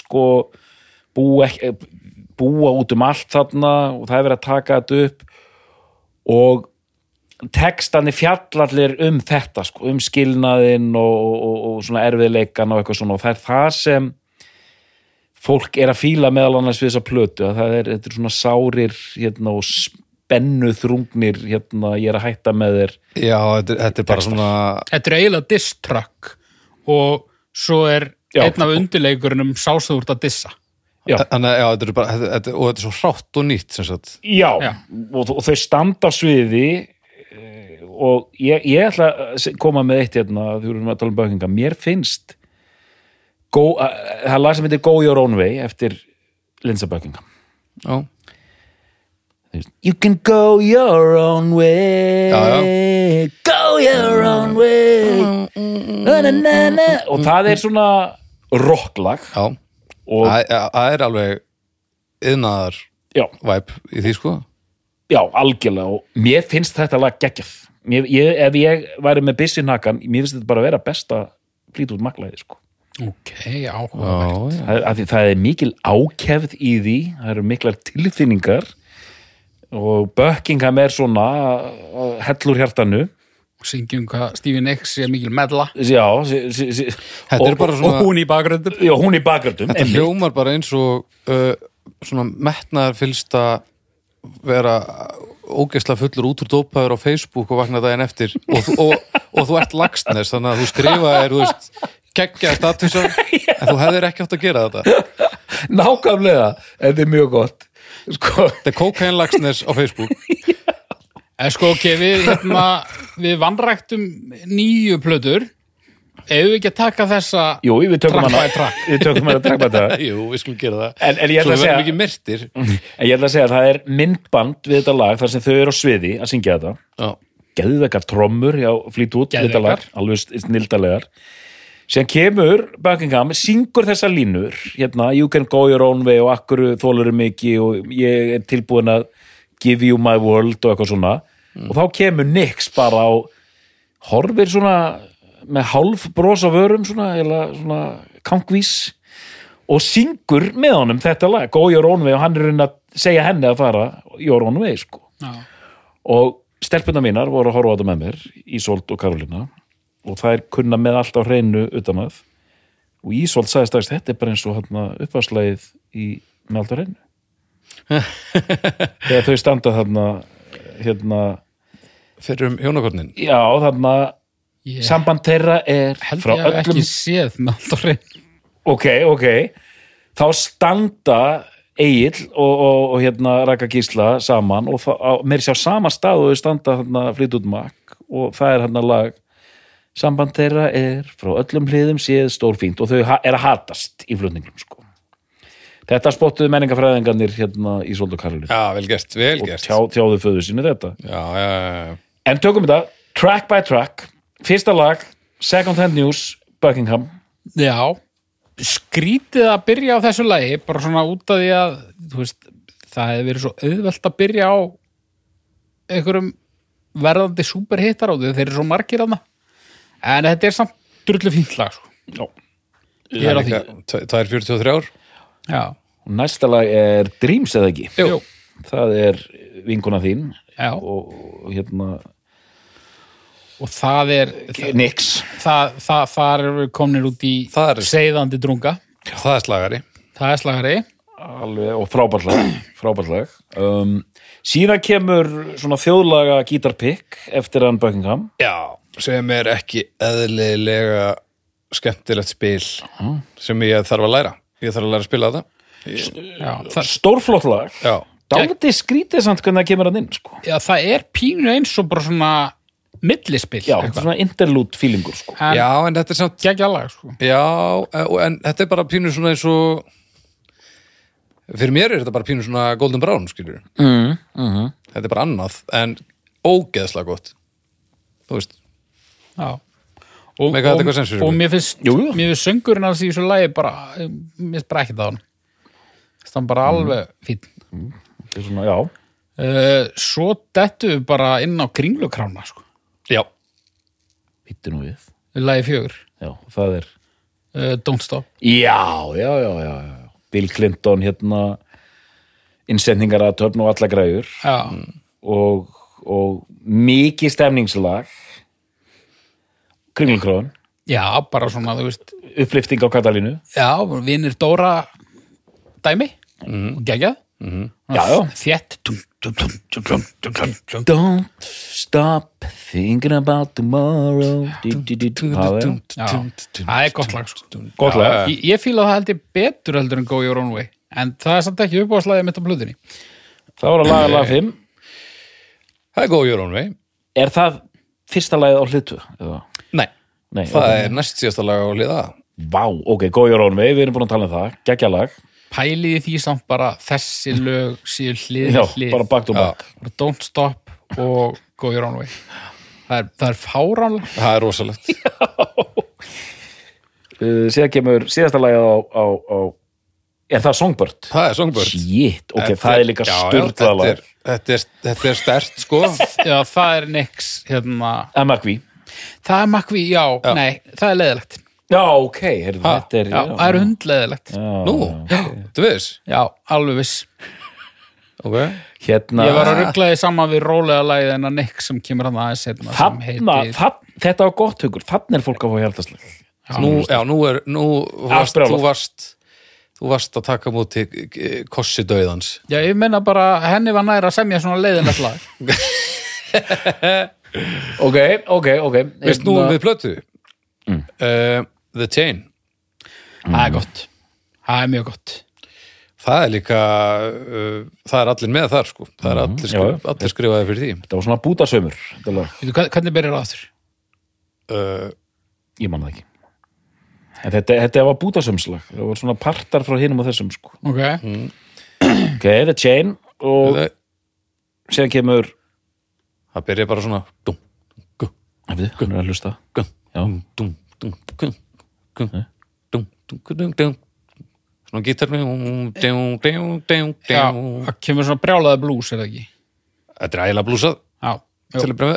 [SPEAKER 3] sko búa, ekki- búa út um allt þarna og það er verið að taka þetta upp og textandi fjallallir um þetta sko, um skilnaðinn og, og, og, og svona erfiðleikan og eitthvað svona og það er það sem fólk er að fíla meðal annars við þessa plötu að það er, þetta er svona sárir hérna, og spennu þrungnir hérna, ég er að hætta með þér
[SPEAKER 2] Já, þetta, þetta er bara svona
[SPEAKER 4] þetta er eiginlega diss-track og svo er
[SPEAKER 3] Já.
[SPEAKER 4] einn af undirleikurunum sástu úr að dissa
[SPEAKER 3] Já.
[SPEAKER 2] Þannig að já, þetta er bara, þetta, þetta, og þetta er svo hrátt og nýtt sem sagt
[SPEAKER 3] Já,
[SPEAKER 4] Já.
[SPEAKER 3] Og, og þau standa á sviði eh, og ég, ég ætla að se- koma með eitt hérna, þú erum að tala um bökinga mér finnst go, að, það er lag sem heitir Go Your Own Way eftir Linsa Bökinga
[SPEAKER 2] Já,
[SPEAKER 3] You can go your own way
[SPEAKER 2] Já,
[SPEAKER 3] Go your own way na, na, na, na. og það er svona rocklag
[SPEAKER 2] já,
[SPEAKER 3] og
[SPEAKER 2] það það- það er alveg yðnaðar
[SPEAKER 3] já,
[SPEAKER 2] væp í því sko
[SPEAKER 3] Já, algjörlega og mér finnst þetta lag geggjað. Mér, ég, ef ég væri með byssi nakan, mér finnst þetta bara að vera besta flýt út maglaði, sko.
[SPEAKER 4] ok, áhuga
[SPEAKER 2] Já, já,
[SPEAKER 3] Það, er- af því, það er mikil ákefð í því, það eru miklar tilfinningar og Buckingham er svona uh, hellur hjartanu.
[SPEAKER 4] og syngjum hvað Stevie Nicks er mikil medla
[SPEAKER 3] Já, sí, sí, sí.
[SPEAKER 2] Þetta er bara svona-
[SPEAKER 4] og hún í bakgröndum
[SPEAKER 3] Já, hún í bakgröndum.
[SPEAKER 2] þetta hljómar bara eins og uh, svona metnaðar fylst að vera ógeðslega fullur út úr dópaður á Facebook og vakna daginn eftir og, þú- og, og þú ert lagstnes þannig að þú skrifa er, þú veist, geggja statusa en þú hefðir ekki átt að gera þetta
[SPEAKER 3] Nákvæmlega, þetta er mjög gott. Sko,
[SPEAKER 2] The Cocaine Lagsnes á Facebook
[SPEAKER 4] en sko ok, við hérna við vanræktum nýju plötur ef við ekki að taka þessa
[SPEAKER 3] jú, við tökum
[SPEAKER 4] Track
[SPEAKER 3] hana.
[SPEAKER 4] by track.
[SPEAKER 3] Við tökum hana track by track.
[SPEAKER 2] Jú, við skulum gera það
[SPEAKER 3] En- en ég
[SPEAKER 2] Svo
[SPEAKER 3] ætla að
[SPEAKER 2] við
[SPEAKER 3] segja- Mm.
[SPEAKER 2] verðum ekki myrtir
[SPEAKER 3] En ég ætla að segja að það er myndband við þetta lag þar sem þau eru á sviði að syngja þetta.
[SPEAKER 2] Já,
[SPEAKER 3] geðvekar trommur já, flýt út,
[SPEAKER 4] Geðveikar.
[SPEAKER 3] þetta lag, alveg snildalegar sem kemur Buckingham, syngur þessa línur hérna, you can go your own way og akkur þólurum mikið og ég er tilbúin að give you my world og eitthvað svona og þá kemur Nix bara á horfir svona með hálf bros á vörum svona, eða svona kankvís og syngur með honum þetta lag, go your own way og hann er reyna að segja henni að fara your own way sko
[SPEAKER 4] Já.
[SPEAKER 3] og stelpuna mínar voru að horfa á þetta með mér Ísolt og Karolina og það er kunna með allt á hreinu utan að og Ísolt sagði strax þetta er bara eins og hérna uppfarslægið í með allt á hreinu þegar þau standa þarna hérna,
[SPEAKER 2] fyrir um hjónakornin
[SPEAKER 3] já þarna
[SPEAKER 4] Ég
[SPEAKER 3] samband þeirra er
[SPEAKER 4] held
[SPEAKER 3] frá
[SPEAKER 4] ég hef
[SPEAKER 3] öllum
[SPEAKER 4] ekki séð með alltaf reynd.
[SPEAKER 3] ok, ok þá standa Egil og, og, og hérna Raka Gísla saman og þá- á- meira sér á sama stað og þau standa hérna flýt út makk og það er hérna lag samband þeirra er frá öllum hliðum séð stórfínt og þau ha- er að hatast í flutningum sko þetta spottuðu menningafræðingarnir hérna í Svoldu Karlu
[SPEAKER 2] já, vel gert, vel
[SPEAKER 3] og
[SPEAKER 2] gert
[SPEAKER 3] tjá, tjáðu föðu sínu þetta
[SPEAKER 2] já, já, já,
[SPEAKER 3] En tökum þetta, track by track Fyrsta lag, Second Hand News Buckingham
[SPEAKER 4] Já, skrítið að byrja á þessu lagi, bara svona út af því að, þú veist, það hefði verið svo auðvelt að byrja á einhverjum verðandi superhittar á því, þeir eru svo margir aðna. En þetta er samt drullu fínt lag, sko.
[SPEAKER 3] Já.
[SPEAKER 4] Ég er á því.
[SPEAKER 2] já. það er 43 ár
[SPEAKER 4] Já,
[SPEAKER 3] Næsta lag er Dreams eða ekki
[SPEAKER 4] jú,
[SPEAKER 3] Það er vinkona þín
[SPEAKER 4] já.
[SPEAKER 3] og og hérna
[SPEAKER 4] Og það er, það,
[SPEAKER 3] Nix
[SPEAKER 4] það, það, það er komnir út í
[SPEAKER 2] Það er-
[SPEAKER 4] seiðandi drunga.
[SPEAKER 2] það er slagari
[SPEAKER 4] Það er slagari.
[SPEAKER 3] Alveg, og frábært lag, frábært lag. Um, Síðan kemur svona þjóðlaga gítarpikk eftir hann Buckingham
[SPEAKER 2] Já, sem er ekki eðlilega skemmtilegt spil sem ég þarf að læra. Ég þarf að læra að spila þetta.
[SPEAKER 4] Já, það,
[SPEAKER 3] Stórflott lag
[SPEAKER 2] Já,
[SPEAKER 3] Dálítið skrítið samt hvernig það kemur hann inn sko.
[SPEAKER 4] já, það er pínu eins og bara svona millispill.
[SPEAKER 3] Já, þetta er svona interlude feelingur sko.
[SPEAKER 4] En
[SPEAKER 2] já en þetta er samt...
[SPEAKER 4] geggja lag, sko.
[SPEAKER 2] Já, eh, og- en þetta er bara pínu svona eins og... Fyrir mér er þetta bara pínu svona Golden Brown, skilur. Mm,
[SPEAKER 4] mhm.
[SPEAKER 2] Þetta er bara annað, en ógeðslega gott. Þú veist,
[SPEAKER 4] Já. Og,
[SPEAKER 2] Make þetta
[SPEAKER 4] og,
[SPEAKER 2] eitthvað sens fyrir
[SPEAKER 4] og
[SPEAKER 2] mig.
[SPEAKER 4] mér finnst,
[SPEAKER 3] Jú, jú.
[SPEAKER 4] mér finnst söngurinn alls í þessu lagi bara, mér finnst bara ekkert á hann finnst hann
[SPEAKER 3] Mm.
[SPEAKER 4] bara alveg fín
[SPEAKER 3] Þetta er svona, Já
[SPEAKER 4] uh, svo dettu við bara inn á kringlukrána sko,
[SPEAKER 2] já.
[SPEAKER 3] Hittu nú við
[SPEAKER 4] lagi fjögur
[SPEAKER 3] Já, það er
[SPEAKER 4] uh, Don't Stop
[SPEAKER 3] Já, já, já, já, já. Bill Clinton hérna innsendingar að töfn og alla græður
[SPEAKER 4] Já,
[SPEAKER 3] Mm. og, og mikið stemningslag kringlunkrón
[SPEAKER 4] já bara svona, þú veist
[SPEAKER 3] upplifting á Katalínu
[SPEAKER 4] já, vinir Dóra dæmi og geggjað
[SPEAKER 3] Mm. Já, já.
[SPEAKER 4] þétt Dum, dum, dum, dum, dum, dum, dum, dum.
[SPEAKER 3] Don't stop thinking about tomorrow Du- du- du- du- Já, já.
[SPEAKER 4] Já, það er gott lag sko.
[SPEAKER 3] Gott lag
[SPEAKER 4] ég, ég fíla það held ég betur heldur en Go Your Own Way en það er samt ekki uppáðslæðið mitt á blöðinni
[SPEAKER 3] Það voru að laga lag 5
[SPEAKER 2] Það er góð jörun vei.
[SPEAKER 3] Er það fyrsta lagið á hlutu?
[SPEAKER 2] Nei,
[SPEAKER 3] Nei,
[SPEAKER 2] það
[SPEAKER 3] ok.
[SPEAKER 2] er næst síðasta lag á hliða.
[SPEAKER 3] Vá, ok, góð jórón við, við erum búin að tala um það Gækjalag,
[SPEAKER 4] pæliði því samt bara þessi lög síðu hlið
[SPEAKER 3] Mm. já,
[SPEAKER 4] við hlið
[SPEAKER 3] bara bakt og bak
[SPEAKER 4] Bara Don't Stop og Go Your Own Way það er, það er fáránlega
[SPEAKER 2] Það er rosalegt.
[SPEAKER 3] uh, síðan kemur síðasta lagið á, á, á er það Songbird?
[SPEAKER 2] Það er songbörn.
[SPEAKER 3] Shit, ok,
[SPEAKER 2] Þetta-
[SPEAKER 3] það er líka
[SPEAKER 2] já, já,
[SPEAKER 3] sturdað
[SPEAKER 2] þetta
[SPEAKER 3] lag
[SPEAKER 2] er- þetta er- þetta er stert sko
[SPEAKER 4] já, það er nix hérna.
[SPEAKER 3] MRV
[SPEAKER 4] það er makvi, já, nei, það er leðilegt já,
[SPEAKER 3] Já, ok, heyrðu,
[SPEAKER 2] Ha,
[SPEAKER 3] þetta er
[SPEAKER 4] það er hundleðilegt já.
[SPEAKER 2] nú, þú veist
[SPEAKER 4] alveg viss
[SPEAKER 2] ok,
[SPEAKER 3] Hérna
[SPEAKER 4] ég var að rugglaði saman við rólega lagið en að nix sem kemur hann aðeins hérna, sem
[SPEAKER 3] Þarna,
[SPEAKER 4] heitir
[SPEAKER 3] þarna, þetta var gott hugur, þarna er fólk að fá hjartaslega
[SPEAKER 2] nú, já, nú er nú varst,
[SPEAKER 3] brjálað.
[SPEAKER 2] þú varst þú varst að taka múti kossi döðans
[SPEAKER 4] já, ég menna bara, henni var næra að semja svona leiðilegt lag
[SPEAKER 3] Ok, ok, ok
[SPEAKER 2] veist
[SPEAKER 3] Hérna-
[SPEAKER 4] Hérna-
[SPEAKER 2] nú við plötu
[SPEAKER 3] Mm.
[SPEAKER 2] uh, The Chain
[SPEAKER 4] það er gott, það er mjög gott
[SPEAKER 2] það er líka uh, það er allir með þar sko það er allir,
[SPEAKER 3] Mhm, já,
[SPEAKER 2] skrif, allir skrifaði fyrir því
[SPEAKER 3] Þetta var svona bútasömmur, þetta lag
[SPEAKER 4] Veitu, hvern- hvernig byrjar það aftur?
[SPEAKER 2] uh,
[SPEAKER 3] Ég man það ekki En þetta, þetta var bútasömslag Það var svona partar frá hinum og þessum sko.
[SPEAKER 4] Ok,
[SPEAKER 3] Ok, The Chain og
[SPEAKER 2] það,
[SPEAKER 3] síðan kemur
[SPEAKER 2] það byrja bara svona dum, gum,
[SPEAKER 3] Hefðu, hann er að hlusta
[SPEAKER 2] gum,
[SPEAKER 3] Já.
[SPEAKER 4] Mm.
[SPEAKER 2] dum, dum, gum, gum, dum, dum, dum, dum svona gítar dum, dum, dum, dum,
[SPEAKER 4] já,
[SPEAKER 2] dum
[SPEAKER 4] það kemur svona brjálaði blús, er það ekki?
[SPEAKER 2] Þetta er ægilega blúsað
[SPEAKER 4] Já,
[SPEAKER 2] til
[SPEAKER 4] jú,
[SPEAKER 2] að breyða
[SPEAKER 4] er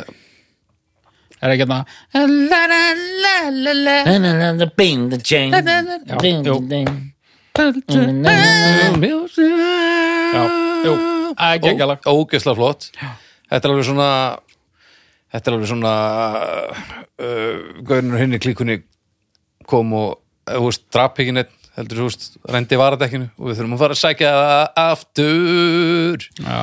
[SPEAKER 4] ekki hérna La la la la la
[SPEAKER 5] Na, na, na, na, Bing the chain.
[SPEAKER 4] Já,
[SPEAKER 5] Bing
[SPEAKER 4] jú,
[SPEAKER 5] the ding.
[SPEAKER 4] já, jú, það er geggjalag
[SPEAKER 2] Ógeðslega flott Þetta er alveg svona þetta er alveg svona uh, gaurinn og hinni klíkunni kom og uh, húst, drap ekki neitt heldur húst, rendi varadekkinu og við þurfum að fara að sækja það aftur
[SPEAKER 4] Já.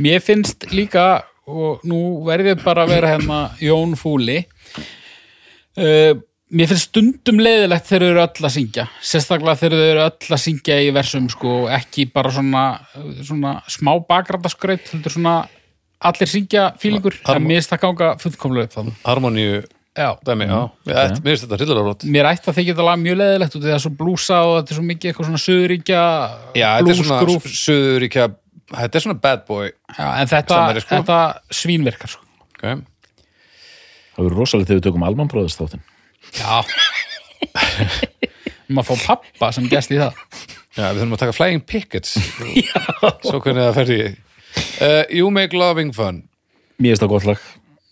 [SPEAKER 4] Mér finnst líka og nú verðið bara að vera hérna Jón Fúli uh, Mér finnst stundum leiðilegt þegar þau eru öll að syngja sérstaklega þegar þau eru öll að syngja í versum sko, og ekki bara svona, svona smá bakrætaskraut heldur svona allir syngja fílingur en mér finnst það ganga fullkomlega upp þannig
[SPEAKER 2] harmoníu
[SPEAKER 4] Já.
[SPEAKER 2] dæmi, já, okay. mér finnst þetta hryllilega rót
[SPEAKER 4] Mér ætti að þykja þetta lag mjög leiðilegt út af því það er svo blúsa og þetta er svo mikið eitthvað svona söguríkja
[SPEAKER 2] já, þetta er svona
[SPEAKER 4] blúsgrúf.
[SPEAKER 2] söðuríkja þetta er svona bad boy
[SPEAKER 4] Já, en þetta,
[SPEAKER 2] Samari, sko.
[SPEAKER 4] þetta svínverkar sko.
[SPEAKER 2] okay.
[SPEAKER 3] Það verður rosalegt þegar við tökum almanbróðistóttin.
[SPEAKER 4] Já Maður fá pappa sem gæst í það
[SPEAKER 2] já, við þurfum að taka flying pickets svo hvernig það fer í uh, you make loving fun
[SPEAKER 3] Mér finnst það gott lag.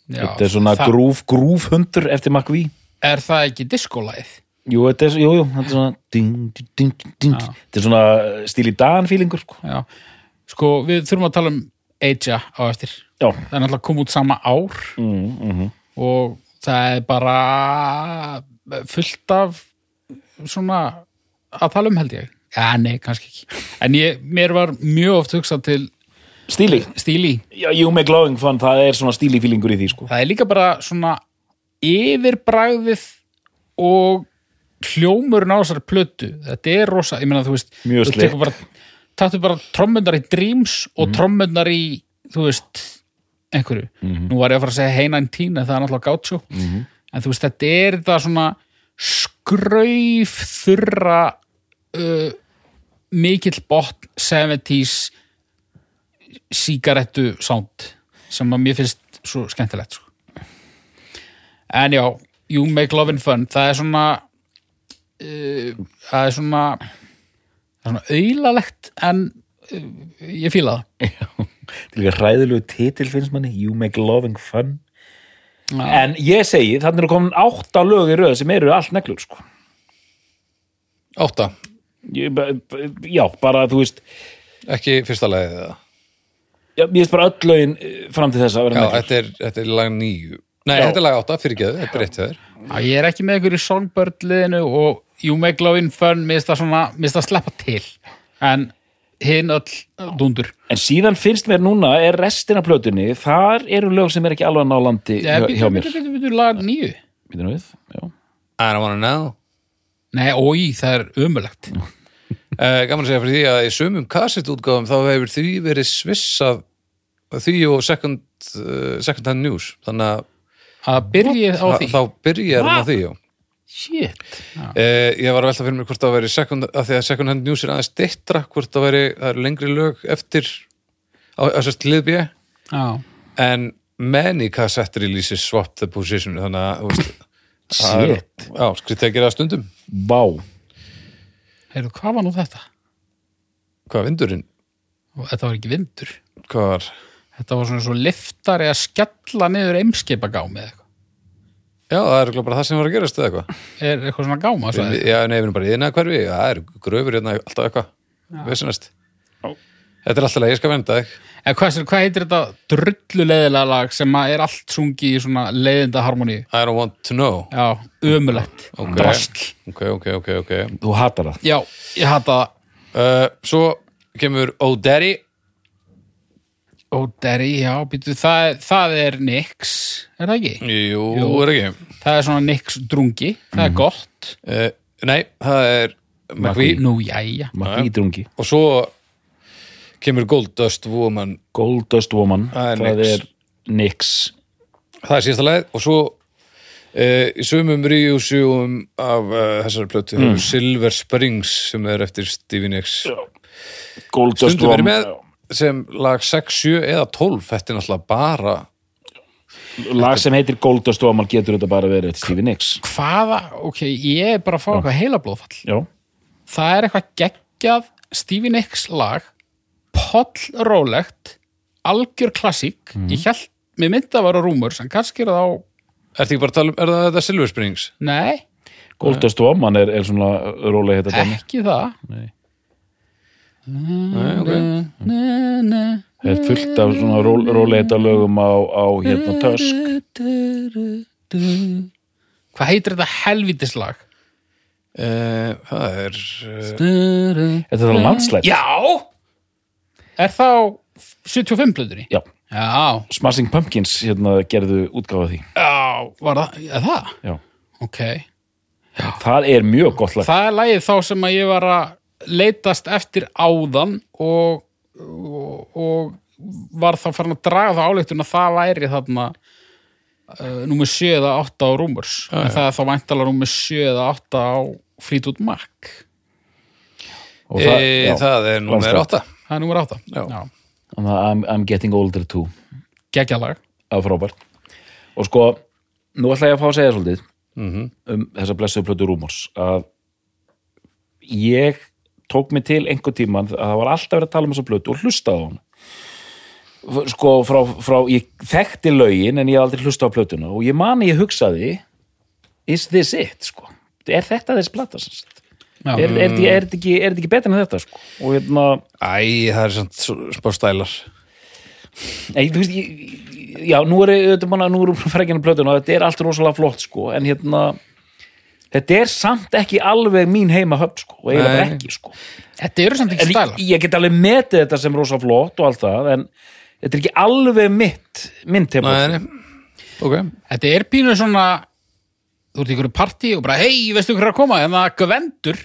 [SPEAKER 4] Já,
[SPEAKER 3] Þetta er svona
[SPEAKER 4] það-
[SPEAKER 3] grúf, grúf hundur eftir McVie.
[SPEAKER 4] Er það ekki diskolæð?
[SPEAKER 3] Jú, þetta er, jú, jú, þetta er svona ding, ding, ding, ding. Þetta er svona stíl í dan fílingur, sko.
[SPEAKER 4] Já Sko, við þurfum að tala um Eija á eftir
[SPEAKER 3] Já,
[SPEAKER 4] Það er náttúrulega kom út sama ár mm,
[SPEAKER 3] mhm.
[SPEAKER 4] -hmm. og það er bara fullt af svona að tala um held ég Já, nei, kannski ekki En ég, mér var mjög oft hugsað til
[SPEAKER 3] stíli.
[SPEAKER 4] stíli
[SPEAKER 3] Já, jú, með glowing fun, það er svona stíli fílingur í því, sko.
[SPEAKER 4] það er líka bara svona yfirbragðið og hljómurinn á þessari plötu þetta er rosa, ég meina þú veist
[SPEAKER 3] Mjög
[SPEAKER 4] þú
[SPEAKER 3] sleikt.
[SPEAKER 4] tekur bara, taktu bara trommundar í Dreams og mm. trommundar í þú veist, einhverju nú var ég að fara að segja Hey 19 en það er náttúrulega gátsjó en þú veist, þetta er þetta svona skrauf þurra uh, mikill botn 70s sígarettu sound sem að mér finnst svo skemmtilegt sko. en já You Make Lovin' Fun, það er svona uh, það er svona það er svona auðlalegt en uh, ég fíla það
[SPEAKER 3] Til líka hræðilegu titil finnst manni, you make loving fun. En ég segi, þannig eru komin átta lög í röð sem eru allt neglur, sko.
[SPEAKER 2] átta,
[SPEAKER 3] Ég, ba- ba- já, bara, þú veist,
[SPEAKER 2] ekki fyrsta lagið eða
[SPEAKER 3] já, ég veist bara öll lögin eh, fram til þess að vera
[SPEAKER 2] Já,
[SPEAKER 3] neglur.
[SPEAKER 2] þetta er, þetta er lag níu Nei,
[SPEAKER 3] Já.
[SPEAKER 2] þetta er lag átta, fyrirgeðu, þetta er rétt hjá þér
[SPEAKER 4] Já, ég er ekki með ykkur í Songbird liðinu og You Make Lovin' Fun mér finnst það svona, mér finnst það sleppa til en hinn öll dundur
[SPEAKER 3] En síðan finnst mér núna, er restin af plötunni, þar eru lög sem er ekki alveg að ná landi
[SPEAKER 4] Já,
[SPEAKER 3] hjá, hjá
[SPEAKER 4] býttu,
[SPEAKER 3] mér.
[SPEAKER 4] býttu, býttu, býttu, lag nýju
[SPEAKER 3] Býtum við, já.
[SPEAKER 2] I don't wanna know
[SPEAKER 4] Nei, ói, það er ömulegt
[SPEAKER 2] uh, Gaman að segja fyrir því að í sumum kassettútgáfum þá hefur því verið svissað því og second, uh, second hand news þannig að
[SPEAKER 4] að byrja á
[SPEAKER 2] að-
[SPEAKER 4] því
[SPEAKER 2] þá byrjar hann á því já.
[SPEAKER 4] Shit
[SPEAKER 2] Uh, ég var að velta fyrir mér hvort það væri second, að því að second hand news er aðeins dittra hvort það væri, það eru lengri lög eftir á, á sérst liðbjö
[SPEAKER 4] Já
[SPEAKER 2] en many kassettir í lýsi swap the position þannig að þú veist, það er-
[SPEAKER 3] Shit.
[SPEAKER 2] Já, skritt að gera það stundum
[SPEAKER 3] Vá.
[SPEAKER 4] Heyrðu, hvað var nú þetta?
[SPEAKER 2] Hvað, vindurinn?
[SPEAKER 4] Þetta var ekki vindur.
[SPEAKER 2] Hvað var?
[SPEAKER 4] Þetta var svona svo liftar eða skella niður eimskipa gámi eða eitthvað.
[SPEAKER 2] Já, það er örugglega bara það sem var að gerast eða eitthvað.
[SPEAKER 4] Er eitthvað svona gáma? Svo
[SPEAKER 2] Við- Já, nei, við erum bara yðna hverfi, það er gröfur hérna alltaf eitthvað. Vissinast. Þetta er alltaf leið, ég skal venda þig.
[SPEAKER 4] eða hvað, sem- hvað heitir þetta drulluleðilega lag sem að er allt sungi í svona leiðinda harmoníu?
[SPEAKER 2] I don't want to know.
[SPEAKER 4] Já, ömulegt.
[SPEAKER 2] Ok.
[SPEAKER 4] Drasl.
[SPEAKER 2] Ok, ok, ok, ok.
[SPEAKER 3] Þú hatar það.
[SPEAKER 4] Já, ég hata það.
[SPEAKER 2] Uh, svo kemur Oh Daddy.
[SPEAKER 4] Ó, Derry, já, býtu, það, er- það er Nix, er það ekki?
[SPEAKER 2] Jú,
[SPEAKER 4] Jú.
[SPEAKER 2] er ekki.
[SPEAKER 4] Það er svona Nix drungi, það er gott.
[SPEAKER 2] Uh, nei, það er McVie.
[SPEAKER 4] Nú, jæja.
[SPEAKER 3] Maður ídrungi.
[SPEAKER 2] Og svo kemur Gold Dust Woman.
[SPEAKER 3] Goldust Woman.
[SPEAKER 2] Það er Nyx.
[SPEAKER 3] er Nix.
[SPEAKER 2] Það er síðasta leið. Og svo uh, í sumum ríjusjúum af uh, þessari plötu mm. Silver Springs sem er eftir Stevie Nicks. Já.
[SPEAKER 3] Goldust
[SPEAKER 2] stundum
[SPEAKER 3] Woman.
[SPEAKER 2] verið með sem lag 6, 7 eða 12 þetta er náttúrulega bara
[SPEAKER 3] Lag sem heitir Goldust Woman getur þetta bara verið eitt Stevie Nicks.
[SPEAKER 4] Hvaða, ok, ég er bara að fá eitthvað heila blóðfall.
[SPEAKER 3] Já.
[SPEAKER 4] það er eitthvað geggjað Stevie Nicks lag pollrólegt algjör klassík ég held, mér myndi að vara rúmur sem kannski er það á,
[SPEAKER 2] er þetta ekki bara að tala um, er það þetta Silver Springs?
[SPEAKER 4] nei,
[SPEAKER 3] Goldust Woman er, er svona rólega þetta dæmi.
[SPEAKER 4] ekki það
[SPEAKER 3] Nei.
[SPEAKER 2] Nei, ok
[SPEAKER 4] na, na,
[SPEAKER 3] Það er fullt af svona ról, róleita lögum á, á hérna tösk
[SPEAKER 2] Mm.
[SPEAKER 4] Hvað heitir þetta helvítislag?
[SPEAKER 2] Eh, Það er eh,
[SPEAKER 3] Þetta
[SPEAKER 2] Mm.
[SPEAKER 3] er það landslætt?
[SPEAKER 4] Já! Er þá 75 plöðunni?
[SPEAKER 3] Já.
[SPEAKER 4] Já,
[SPEAKER 3] Smashing Pumpkins hérna gerðu útgáfa því
[SPEAKER 4] já, var það, er það?
[SPEAKER 3] Já.
[SPEAKER 4] Ok.
[SPEAKER 3] Það er mjög gott lag
[SPEAKER 4] Það er lagið þá sem að ég var að leitast eftir áðan og, og, og var þá farin að draga þá áleiktun að það væri þarna uh, númer 7 eða 8 á Rúmurs. En það er þá væntalega númer 7 eða 8 á Fleetwood Mac.
[SPEAKER 3] og
[SPEAKER 2] Það,
[SPEAKER 3] já.
[SPEAKER 2] Eh, það er númer
[SPEAKER 3] Landslag.
[SPEAKER 2] 8
[SPEAKER 4] Það er númer 8.
[SPEAKER 2] Já.
[SPEAKER 3] Og það I'm, I'm getting older too
[SPEAKER 4] Gekkjalag.
[SPEAKER 3] Það er frábært Og sko, nú ætla ég að fá að segja svolítið um þessa blessuðu plötu Rúmors að ég tók mig til einhver tíman að það var alltaf verið að tala um þessa plötu og hlustaði á hún sko, frá, frá, ég þekkti lögin en ég hafði aldrei hlustaði á plötuna og ég mani ég hugsaði is this it, sko er þetta þess plata, sem sagt
[SPEAKER 4] Já.
[SPEAKER 3] er, er, er, er, þetta ekki, er þetta ekki betur en þetta, sko og hérna
[SPEAKER 2] Æ, það er samt svo- smá stælar
[SPEAKER 3] Nei, þú veist, ég, ég- já, nú er þetta manna, nú erum við frækjana plötun og þetta er allt rosalega flott, sko, en hérna þetta er samt ekki alveg mín heima höfn, sko, og eiginlega bara
[SPEAKER 2] Nei.
[SPEAKER 3] ekki, sko
[SPEAKER 4] Þetta eru samt ekki
[SPEAKER 3] en ég,
[SPEAKER 4] stælar.
[SPEAKER 3] ég get alveg metið þetta sem rosa flott og allt það, en þetta er ekki alveg mitt, mitt heima
[SPEAKER 2] Nei, nei. Ok,
[SPEAKER 4] Þetta er pínu svona þú ert í einhverju partí og bara hei, veistu hver er að koma, en það Gvendur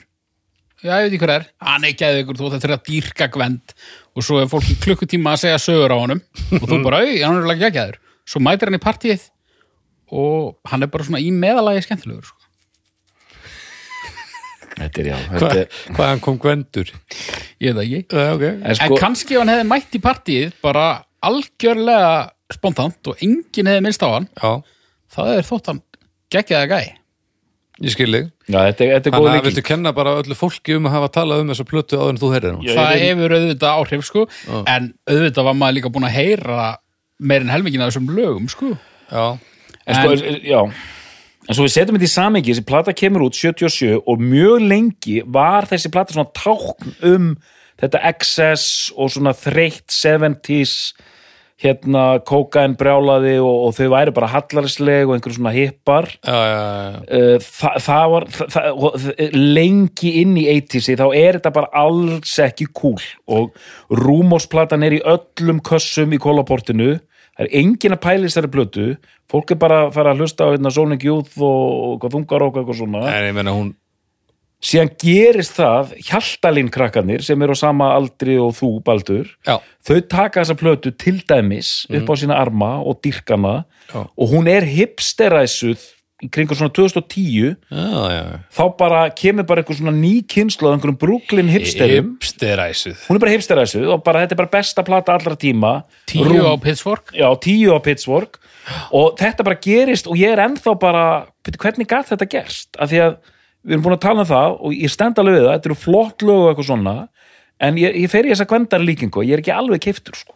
[SPEAKER 4] já, ég veit ekki hver er, hann er gæði ykkur þú ætti að dýrka Gvend og svo er fólk í klukkutíma að segja sögur á honum og þú bara, au, hann er alveg gæðir svo mætir hann í partíið og hann er bara svona í meðalagi skemmtilegur sko.
[SPEAKER 3] þetta er já,
[SPEAKER 2] Hva,
[SPEAKER 3] þetta er
[SPEAKER 2] hvaðan kom Gvendur?
[SPEAKER 4] ég veit það ekki,
[SPEAKER 2] Eh, Ok,
[SPEAKER 3] en
[SPEAKER 4] en
[SPEAKER 3] sko,
[SPEAKER 4] kannski ef hann hefði mætt í partíið bara algjörlega spontant og enginn hefði minnst á hann
[SPEAKER 2] já,
[SPEAKER 4] það er þótt hann geggjaða gæ
[SPEAKER 2] ég skil þig
[SPEAKER 3] já, þetta, er- þetta er góð
[SPEAKER 2] Þannig að
[SPEAKER 3] líking
[SPEAKER 2] viltu kenna bara öllu fólki um að hafa talað um þessa plötu áður en þú heyrðir hún
[SPEAKER 3] Já, ég
[SPEAKER 4] það
[SPEAKER 3] reyni-
[SPEAKER 4] hefur auðvitað áhrif sko en auðvitað var maður líka búin að heyra meir en helmingin af þessum lögum sko
[SPEAKER 2] Já,
[SPEAKER 3] en, sko, er- er- já en svo við setjum þetta í samingi, þessi plata kemur út 77 og mjög lengi var þessi plata svona tákn um þetta excess og svona þreytt 70s hérna kókain brjálaði og, og þau væri bara hallarsleg og einhverjum svona hippar
[SPEAKER 2] já, já, já.
[SPEAKER 3] Uh, þa það var þa þa og þ- lengi inn í 80s þá er þetta bara alls ekki cool og rúmósplatan er í öllum kössum í kólaportinu það er engin að pæla í þessari blötu fólk er bara að fara að hlusta á hérna, Sonic Youth og, og hvað þungar og eitthvað svona
[SPEAKER 4] Eh.
[SPEAKER 2] En ég meina hún
[SPEAKER 3] síðan gerist það hjaltalinn krakkanir sem eru á sama aldri og þú Baldur
[SPEAKER 2] Já.
[SPEAKER 3] þau taka þessa plötu til dæmis upp á sína arma og
[SPEAKER 2] Mhm.
[SPEAKER 3] dýrkana
[SPEAKER 2] Já.
[SPEAKER 3] og hún er hipsteræsuð í kringu svona 2010
[SPEAKER 2] Já, já,
[SPEAKER 3] þá bara kemur bara einhver svona ný kynslu af einhverjum Brooklyn
[SPEAKER 2] já
[SPEAKER 3] hipsterum
[SPEAKER 2] Hipsteræsuð
[SPEAKER 3] hún er bara hipsteræsuð og bara þetta er bara besta plata allra tíma
[SPEAKER 4] tíu
[SPEAKER 3] Rúm-
[SPEAKER 4] á Pitchfork
[SPEAKER 3] já, tíu á Pittsburgh og þetta bara gerist og ég er ennþá bara "Bíddu, hvernig gat þetta gerst af því að við erum búin að tala um það og ég stend alveg við það, þetta eru flott lög og eitthvað svona en ég, ég fer í þessa kvendar líkingu ég er ekki alveg keiftur sko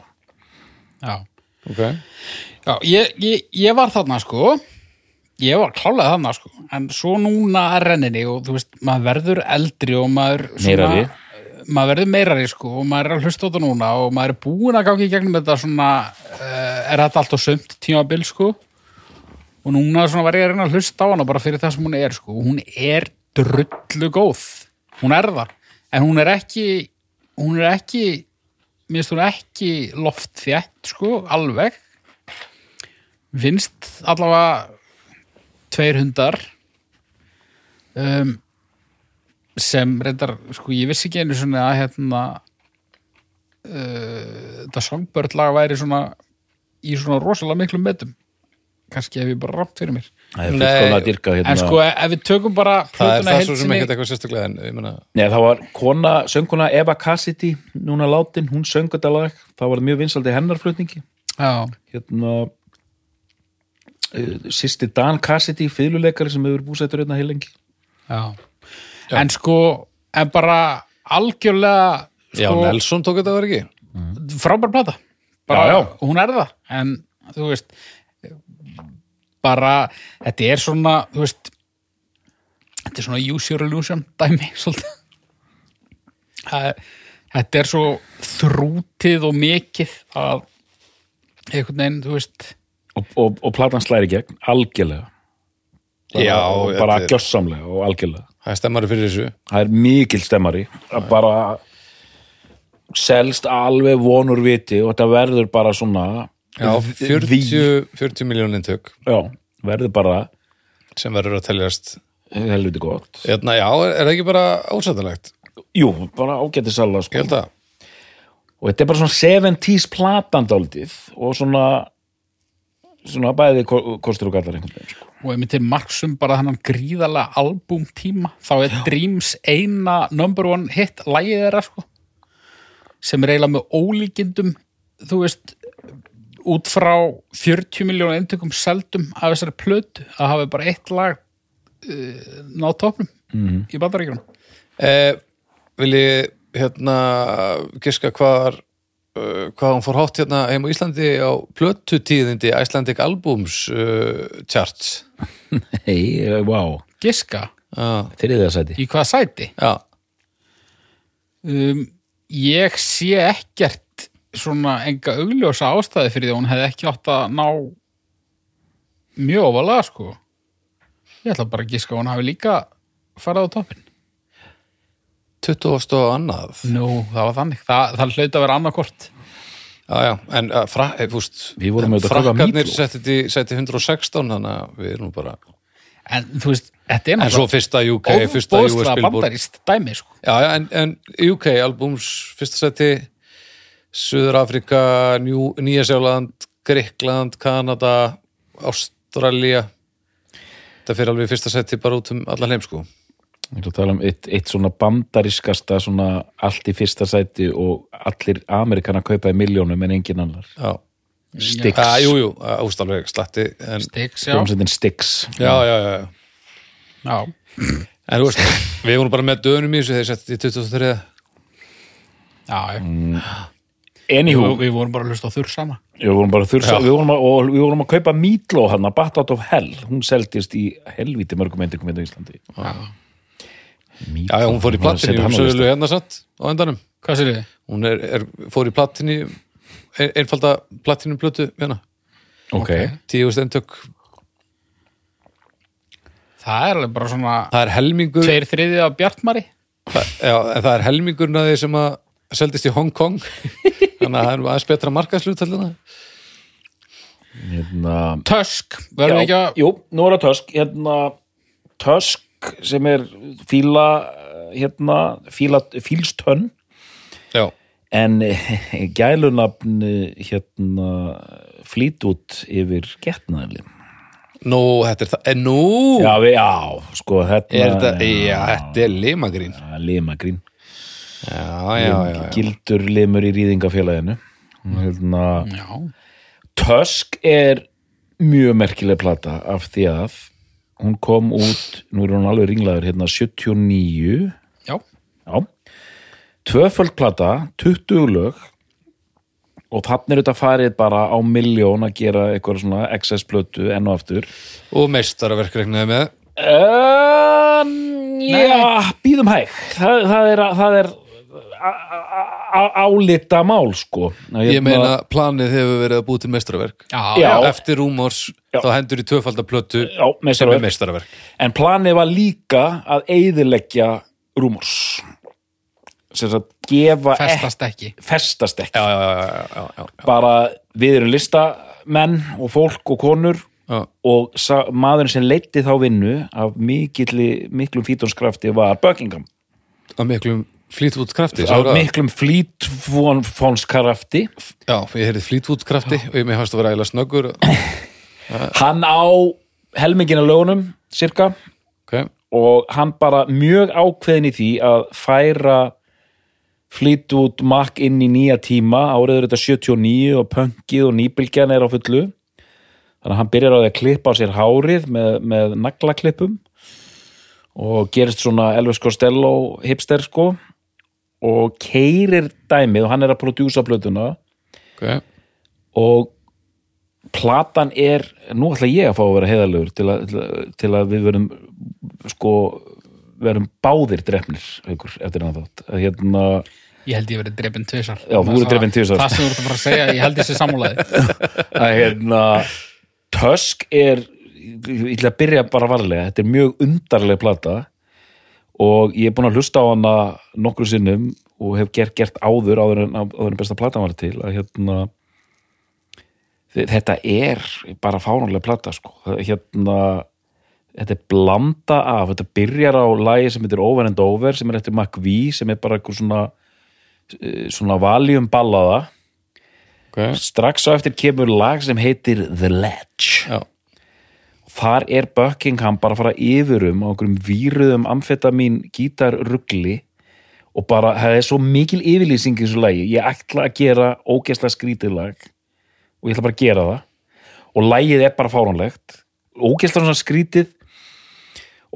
[SPEAKER 4] já,
[SPEAKER 2] Ok,
[SPEAKER 4] já ég, ég, ég var þarna sko ég var klálega þarna sko en svo núna að renninni og þú veist maður verður eldri og maður
[SPEAKER 3] Meirari.
[SPEAKER 4] maður verður meirari sko og maður er að hlusta á þetta núna og maður er búin að gangi í gegnum þetta svona uh, er þetta allt og sumt tímabil sko og núna svona var ég að reyna að hlusta á hana bara fyrir það sem hún er sko. hún er drullu góð hún er það en hún er ekki hún er ekki minnst hún ekki loftþjætt sko, alveg finnst allavega tveir hundar um, sem reyndar sko ég vissi ekki einu svona að hérna uh, þetta songbörn lag væri svona í svona rosalega miklum metum kannski ef ég bara rátt fyrir mér
[SPEAKER 3] það
[SPEAKER 2] er fullkomlega
[SPEAKER 3] dyrkað
[SPEAKER 4] en sko ef við tökum bara
[SPEAKER 2] Hérna- það er
[SPEAKER 4] plötuna
[SPEAKER 2] það
[SPEAKER 4] heild
[SPEAKER 2] svo sem
[SPEAKER 4] sinni-
[SPEAKER 2] ekkert eitthvað sérstaklega en ég meina
[SPEAKER 3] Nei, það var kona, sönguna Eva Cassidy, núna látin, hún söng þetta lag, það var mjög vinsaldi hennarflutningi
[SPEAKER 4] já,
[SPEAKER 3] hérna uh, sýsti Dan Cassidy, fyluleikari sem hefur búsettur hérna heilengi
[SPEAKER 4] já. en sko en bara algjörlega
[SPEAKER 2] Já,
[SPEAKER 4] sko,
[SPEAKER 2] Nelson tók þetta var ekki
[SPEAKER 4] frábær plata
[SPEAKER 3] Já, já.
[SPEAKER 4] bara, hún er það en þú veist bara, þetta er svona þú veist þetta er svona use your illusion dæmi svolítið það er- þetta þetta er svo þrútið og mikið að einhvern veginn, þú veist
[SPEAKER 3] og, og, og platan slæri gegn algjörlega bara,
[SPEAKER 2] Já,
[SPEAKER 3] og
[SPEAKER 2] þetta
[SPEAKER 3] bara
[SPEAKER 2] er-
[SPEAKER 3] gjörsamlega og algjörlega
[SPEAKER 2] Það er stemmari fyrir þessu
[SPEAKER 3] það er mikil stemmari að bara selst alveg vonur viti og þetta verður bara svona
[SPEAKER 2] Já,
[SPEAKER 3] vi-
[SPEAKER 2] 40, 40 miljónin tök
[SPEAKER 3] já, verður bara
[SPEAKER 2] sem verður að teljast
[SPEAKER 3] helviti gott
[SPEAKER 2] Eðna, Já, er, er það ekki bara ásættalegt?
[SPEAKER 3] jú, bara ágæti sala
[SPEAKER 2] Ég
[SPEAKER 3] sko.
[SPEAKER 2] held að
[SPEAKER 3] og þetta er bara svona 70s platan daldið og svona svona bæði ko- kostur og gallar einhvern veginn sko.
[SPEAKER 4] og einmitt til marksum bara þannan gríðalega albúmtíma, þá er Dreams eina number one hit lægið þeirra sko sem er eiginlega með ólíkindum þú veist, út frá 40 miljónu eintökum seldum af þessari plötu að hafi bara eitt lag uh, ná topnum í bandaríkjum
[SPEAKER 2] eh, Vil ég hérna giska hvar uh, hvað hún fór hátt hérna heim á Íslandi á plötutíðindi Icelandic Albums uh, charts
[SPEAKER 3] hei, eh, wow,
[SPEAKER 4] Giska,
[SPEAKER 2] Já,
[SPEAKER 3] þriðja sæti
[SPEAKER 4] í hvaða sæti?
[SPEAKER 2] Ah, já,
[SPEAKER 4] Um, ég sé ekkert svona enga augljósa ástæði fyrir því að hún hefði ekki átt að ná mjög ofalega sko ég ætla bara að giska að hún hafi líka farað á toppin
[SPEAKER 2] 20 og annað
[SPEAKER 3] Mm.
[SPEAKER 4] Nú, það var þannig, það, það hlaut að vera annarkort
[SPEAKER 2] Já, já, en uh, fra, eh, fúst,
[SPEAKER 3] Við vorum auðvitað að kaupa
[SPEAKER 2] frakkarnir
[SPEAKER 3] mýfló.
[SPEAKER 2] setti þetta í- setti 116 þannig að við erum bara
[SPEAKER 3] Mm.
[SPEAKER 4] en þú veist, þetta er
[SPEAKER 2] en svo fyrsta UK, fyrsta US
[SPEAKER 4] óbóðslega
[SPEAKER 2] Billboard
[SPEAKER 4] bandarist dæmi sko
[SPEAKER 2] já, já, en, en UK albums fyrsta seti Suður Afrika, Nýjasjáland Gríkland, Kanada Ástralía þetta fyrir alveg í fyrsta seti bara út um allan heim sko
[SPEAKER 3] ég ætla að tala um eitt, eitt svona bandariskasta svona allt í fyrsta sæti og allir Amerikana kaupaði miljónum en engin annar
[SPEAKER 2] já,
[SPEAKER 3] Styx,
[SPEAKER 2] já, Ah, jú, jú, ást alveg slatti en,
[SPEAKER 4] Stiggs, já,
[SPEAKER 3] hljómsveitin Styx
[SPEAKER 2] já, já, já, já
[SPEAKER 4] já.
[SPEAKER 2] en þú veist, við vorum bara með dönum í þessu þeir setti í 23
[SPEAKER 4] já, já.
[SPEAKER 3] anywho,
[SPEAKER 4] Jú, við vorum bara að hlusta á þurr sama
[SPEAKER 3] Við vorum bara þurrsa, við vorum að, og við vorum að kaupa Meatloaf hann, Bat Out of Hell, hún seldist í helvíti mörgum eindikum hérna á Íslandi.
[SPEAKER 2] Ah. já, já, hún fór í platinu, hún sögulegu hérna satt á endanum
[SPEAKER 4] Hvað sér þið?
[SPEAKER 2] hún er, er, fór í platinu einfalda platinu plötu hérna,
[SPEAKER 3] Ok.
[SPEAKER 2] tíu stendök
[SPEAKER 4] Það er alveg bara svona
[SPEAKER 2] það er helmingur
[SPEAKER 4] tveir þriðið af Bjartmari
[SPEAKER 2] það, já, en það er helmingurinn að því sem að seldist í Hong Kong þannig að það er aðeins betra markaðslut hérna.
[SPEAKER 3] Hérna,
[SPEAKER 4] Tösk, verðum við ekki að
[SPEAKER 3] jú, nú er það Tösk, hérna, Tösk sem er fíla, hérna, fíla, fílstönn,
[SPEAKER 2] já,
[SPEAKER 3] en eh, gælunafn, hérna, flýt út yfir getnaðlinn.
[SPEAKER 2] nú, þetta er það en nú,
[SPEAKER 3] Já, við, já, sko, hérna,
[SPEAKER 2] er þetta já, þetta er limagrín já,
[SPEAKER 3] limagrín.
[SPEAKER 2] já, já, já,
[SPEAKER 3] gildur limur í rýðingafélaginu hérna,
[SPEAKER 4] Já,
[SPEAKER 3] Tusk er mjög merkileg plata af því að hún kom út, nú er hún alveg ringlaður hérna 79
[SPEAKER 4] já,
[SPEAKER 3] já, tvöföld plata 20 lög og þannig er þetta farið bara á miljón að gera eitthvað svona excess plötu enn og aftur
[SPEAKER 2] og meistaraverk regnaði með
[SPEAKER 3] Um, já, býðum hæg það, það er, það er álita mál sko
[SPEAKER 2] ég meina planið hefur verið að búið til meistaraverk
[SPEAKER 4] já,
[SPEAKER 3] Já.
[SPEAKER 2] eftir rúmors,
[SPEAKER 3] Já.
[SPEAKER 2] þá hendur í tvöfalda plötu
[SPEAKER 3] já,
[SPEAKER 2] sem er
[SPEAKER 3] meistaraverk.
[SPEAKER 2] meistaraverk
[SPEAKER 3] en planið var líka að eyðileggja rúmurs sem sagt gefa ek,
[SPEAKER 4] festast ekki
[SPEAKER 3] festast ekki
[SPEAKER 2] já, já, já, já, já, já, já.
[SPEAKER 3] bara við erum listamenn og fólk og konur
[SPEAKER 2] Já.
[SPEAKER 3] og sa, maðurinn sem leiddi þá vinnu af mikilli, miklum fítonskrafti var Buckingham
[SPEAKER 2] af miklum flýtvút krafti
[SPEAKER 3] af miklum flýtfónskrafti
[SPEAKER 2] já, ég heyrði flýtvút krafti og ég með hans að vera ægilega snöggur
[SPEAKER 3] hann á helmingina lögunum cirka
[SPEAKER 2] okay.
[SPEAKER 3] og hann bara mjög ákveðin í því að færa flýt út makk inn í nýja tíma áriður þetta 79 og pönkið og nýbylgjan er á fullu þannig að hann byrjar á því að klippa á sér hárið með, með naglaklippum og gerist svona Elvis Costello hipster sko og keirir dæmið og hann er að prodúsa plötuna
[SPEAKER 2] Okay.
[SPEAKER 3] og platan er, nú ætla ég að fá að vera heiðalegur til að, til að- til að við verum sko verum báðir drefnir ykkur eftir hann þátt að hérna,
[SPEAKER 4] Ég held ég verið drefin tvisar.
[SPEAKER 3] Já, þú verið drepinn tvisvar.
[SPEAKER 4] Það sem þú ert að fara að segja, ég held ég sér samúlaði.
[SPEAKER 3] að hérna Tusk er ég ætla að byrja bara varlega, þetta er mjög undarlega plata og ég er búin að hlusta á hana nokkru sinnum og hef gert, gert áður áður en, áður en besta platan var til að hérna þe- þetta er bara fánulega plata sko, Það- hérna þetta er blanda af, þetta byrjar á lagi sem heitir Over and Over sem er eftir McVie sem er bara einhver svona eh, svona valjum ballaða
[SPEAKER 2] okay.
[SPEAKER 3] strax á eftir kemur lag sem heitir The Ledge
[SPEAKER 2] Já.
[SPEAKER 3] þar er Buckingham bara að fara yfirum á einhverjum výruðum amfetamin gítarrugli og bara, það er svo mikil yfirlýsing í þessu lagi, ég ætla að gera ógeðslega skrítið lag og ég ætla bara að gera það og lagið er bara fáránlegt ógeðslega svona skrítið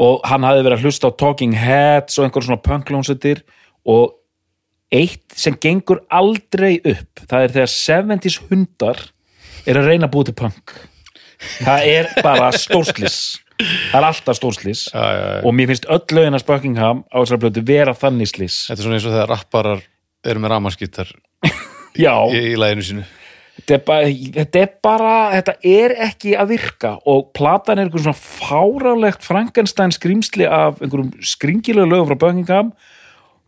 [SPEAKER 3] og hann hafði verið að hlusta á Talking Heads og einhver svona punklónsetir og eitt sem gengur aldrei upp það er þegar 70s hundar er að reyna að búa til punk það er bara stórslis það er alltaf stórslis
[SPEAKER 2] Já, já, já.
[SPEAKER 3] og mér finnst öll lögin að Buckingham á þessari blötu vera þannig slis
[SPEAKER 2] Þetta er svona eins og þegar rapparar eru með ramaskittar
[SPEAKER 3] já,
[SPEAKER 2] í, í læginu sínu
[SPEAKER 3] þetta er, bara, þetta er bara þetta er ekki að virka og platan er einhverjum svona fárálegt Frankenstein skrýmsli af einhverjum skringilega lögum frá Buckingham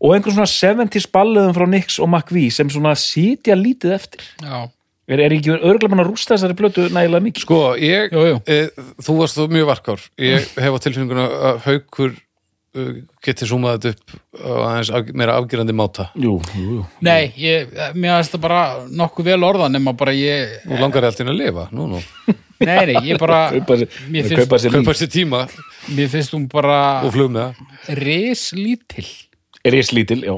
[SPEAKER 3] og einhverjum svona 70s balliðum frá Nix og McVie sem svona sitja lítið eftir
[SPEAKER 4] Já,
[SPEAKER 3] Er, er ekki örgulega mann að rústa þessari plötu nægilega mikið?
[SPEAKER 2] Sko, ég,
[SPEAKER 4] Jú, jú.
[SPEAKER 2] E, þú varst þú mjög varkár ég hef á tilfinninguna að haukur eh, geti súmað þetta upp á aðeins af, meira afgerandi máta
[SPEAKER 3] Jú, jú, jú.
[SPEAKER 4] nei, ég, mér finnst það bara nokkuð vel orða nema bara ég,
[SPEAKER 2] Nú langar ég allt inn að lifa, nú, nú
[SPEAKER 4] nei, nei, ég bara,
[SPEAKER 3] Kaupa sér,
[SPEAKER 4] mér
[SPEAKER 3] finnst, kaupa
[SPEAKER 4] finnst,
[SPEAKER 3] sér
[SPEAKER 2] Kaupa sér tíma
[SPEAKER 4] mér finnst hún bara
[SPEAKER 2] og flug með það
[SPEAKER 4] rislítil
[SPEAKER 3] Er ég slítil, já.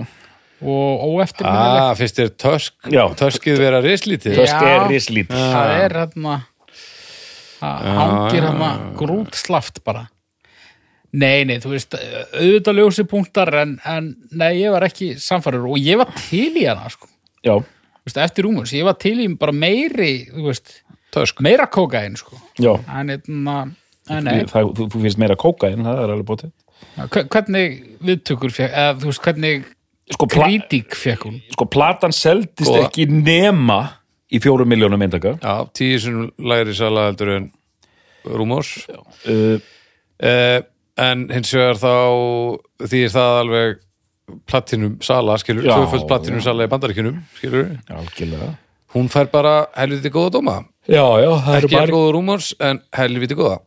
[SPEAKER 4] og óeftirminnileg.
[SPEAKER 2] Ah, finnst þér törsk,
[SPEAKER 3] Já.
[SPEAKER 2] törskið vera rislítið
[SPEAKER 3] Tösk
[SPEAKER 4] Já.
[SPEAKER 3] er ég slítil.
[SPEAKER 4] það er hérna,
[SPEAKER 3] Ah.
[SPEAKER 4] það hangir
[SPEAKER 2] já,
[SPEAKER 4] hérna grútslaft bara. Nei, nei, þú veist, auðvitað ljósi punktar en, en nei, ég var ekki samfærir og ég var til í hana, sko.
[SPEAKER 3] Já,
[SPEAKER 4] Þú veist, eftir rúmur, ég var til í bara meiri, þú veist,
[SPEAKER 2] Törsk
[SPEAKER 4] meira kókain, sko.
[SPEAKER 3] já.
[SPEAKER 4] En, hérna, en nei,
[SPEAKER 3] Það, þú, þú finnst meira kóka en það er alveg bótið.
[SPEAKER 4] Hve- hvernig viðtökur fekk, eða þú veist, hvernig
[SPEAKER 3] Sko, pla,
[SPEAKER 4] kritík fekk hún?
[SPEAKER 3] sko platan seldist
[SPEAKER 4] Sko-
[SPEAKER 2] Góða.
[SPEAKER 3] ekki nema í fjórum miljónum eindaka.
[SPEAKER 2] Já, tíu sinum lægri sala heldur en rúmors
[SPEAKER 3] Uh,
[SPEAKER 2] eh, En hins vegar þá því er það alveg platinum sala, skilur,
[SPEAKER 3] Já,
[SPEAKER 2] tvöföld platinum sala í bandaríkjunum, skilur
[SPEAKER 3] algjörlega.
[SPEAKER 2] Hún fær bara helviti góða dóma
[SPEAKER 3] Já, já, það
[SPEAKER 2] ekki bara... góða rúmors en helviti góða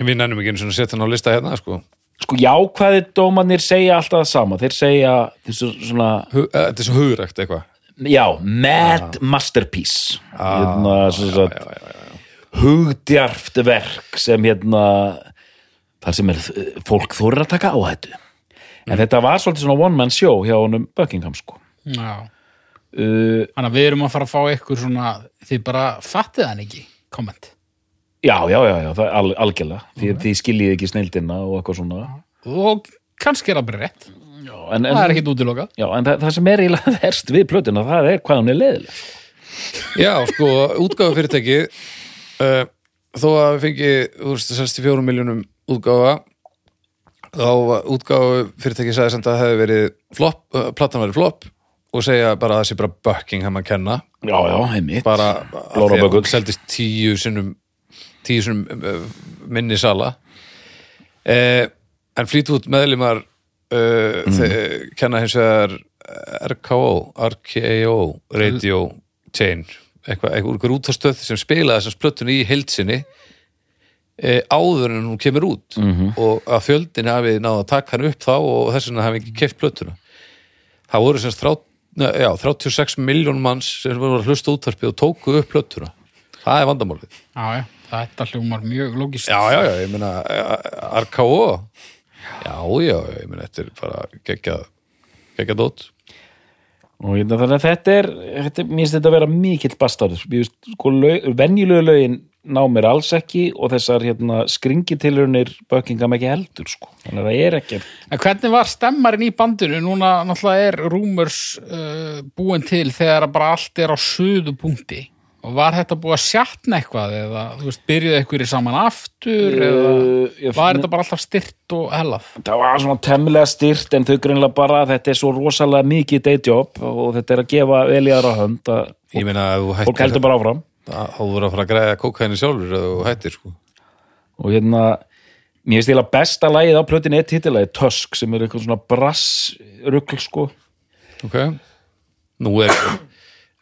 [SPEAKER 2] við nennum ekki eins og setja hann á lista hérna sko.
[SPEAKER 3] Sko, jákvæði dómanir segja alltaf það sama. Þeir segja, þessu svona,
[SPEAKER 2] Hu- eh, þetta er svo hugrækt eitthvað
[SPEAKER 3] já, mad masterpiece. hérna, sem sagt, hugdjarft verk sem hérna þar sem er eh, fólk þorir að taka áhættu en þetta var svolítið svona one man show hjá honum Buckingham sko
[SPEAKER 4] Já.
[SPEAKER 3] uh,
[SPEAKER 4] Þannig að við erum að fara að fá ykkur svona, þið bara fattið hann ekki, komment.
[SPEAKER 3] já, já, já, já, það er al, algjörlega því, því skiljið ekki snildina og eitthvað svona
[SPEAKER 4] Mm. Og kannski er það bara rétt,
[SPEAKER 3] já, en, en,
[SPEAKER 4] það er ekkit útilokað.
[SPEAKER 3] já, en það, það sem er eiginlega verst við plötuna það er hvað hún er leiðileg
[SPEAKER 2] já sko, útgáfa fyrirtæki uh, þó að við fengi úrstu 64 miljónum útgáfa þá var útgáfa fyrirtæki sagði samt að það hefði verið flop, uh, platan verið flop og segja bara að það sé bara Buckingham að kenna
[SPEAKER 3] já, já, heimitt
[SPEAKER 2] bara að
[SPEAKER 3] Blóra
[SPEAKER 2] því að
[SPEAKER 3] bökull.
[SPEAKER 2] hún seldist tíu sinnum tíu sinnum uh, minni sala eh, en flýtút meðlimar uh, mm. kenna hins vegar eh, RKO RKO Radio Chain eitthvað, eitthvað, eitthvað útastöð sem spilaði þessar splöttun í heilsinni eh, áður en hún kemur út -hmm. og að fjöldin hafi náð að taka hann upp þá og þess vegna hafi ekki keft plöttuna það voru semst 30, ne- já, 36 miljón manns sem voru að hlusta á útvarpið og tóku upp plöttuna það er vandamálið
[SPEAKER 4] Já, já, þetta hljómar mjög logist.
[SPEAKER 2] já, já, já, ég meina eh, RKO já, já, ég meina þetta er bara geggjað geggjað dót
[SPEAKER 3] og hérna, þannig að þetta er þetta, mér finnst þetta að vera mikill bastarður Mér finnst, sko, lög, venjulegu lögin ná mér alls ekki og þessar hérna, skringitilurnir Buckingham ekki heldur sko. þannig að það er ekki
[SPEAKER 4] En hvernig var stemmarinn í bandinu? Núna náttúrulega er Rúmurs uh, búin til þegar bara allt er á suðu punkti. og var þetta búið að sjatna eitthvað eða þú veist, byrjuðu einhverju saman aftur eða
[SPEAKER 3] Uh, ég
[SPEAKER 4] var
[SPEAKER 3] finn-
[SPEAKER 4] þetta bara alltaf styrt og hellað
[SPEAKER 3] það var svona temmilega styrt en þau greinlega bara þetta er svo rosalega mikið dayjob og þetta er að gefa vel í aðra hönd að
[SPEAKER 2] Ég meina að þú
[SPEAKER 3] fólk
[SPEAKER 2] hættir
[SPEAKER 3] heldur bara áfram
[SPEAKER 2] að þú voru að fara að græða kókaini sjálfur eða þú hættir sko.
[SPEAKER 3] og hérna mér finnst eiginlega besta lagið á plötin eitt hittilagið Tusk sem er eitthvað svona brass rugl sko
[SPEAKER 2] Ok. Nú er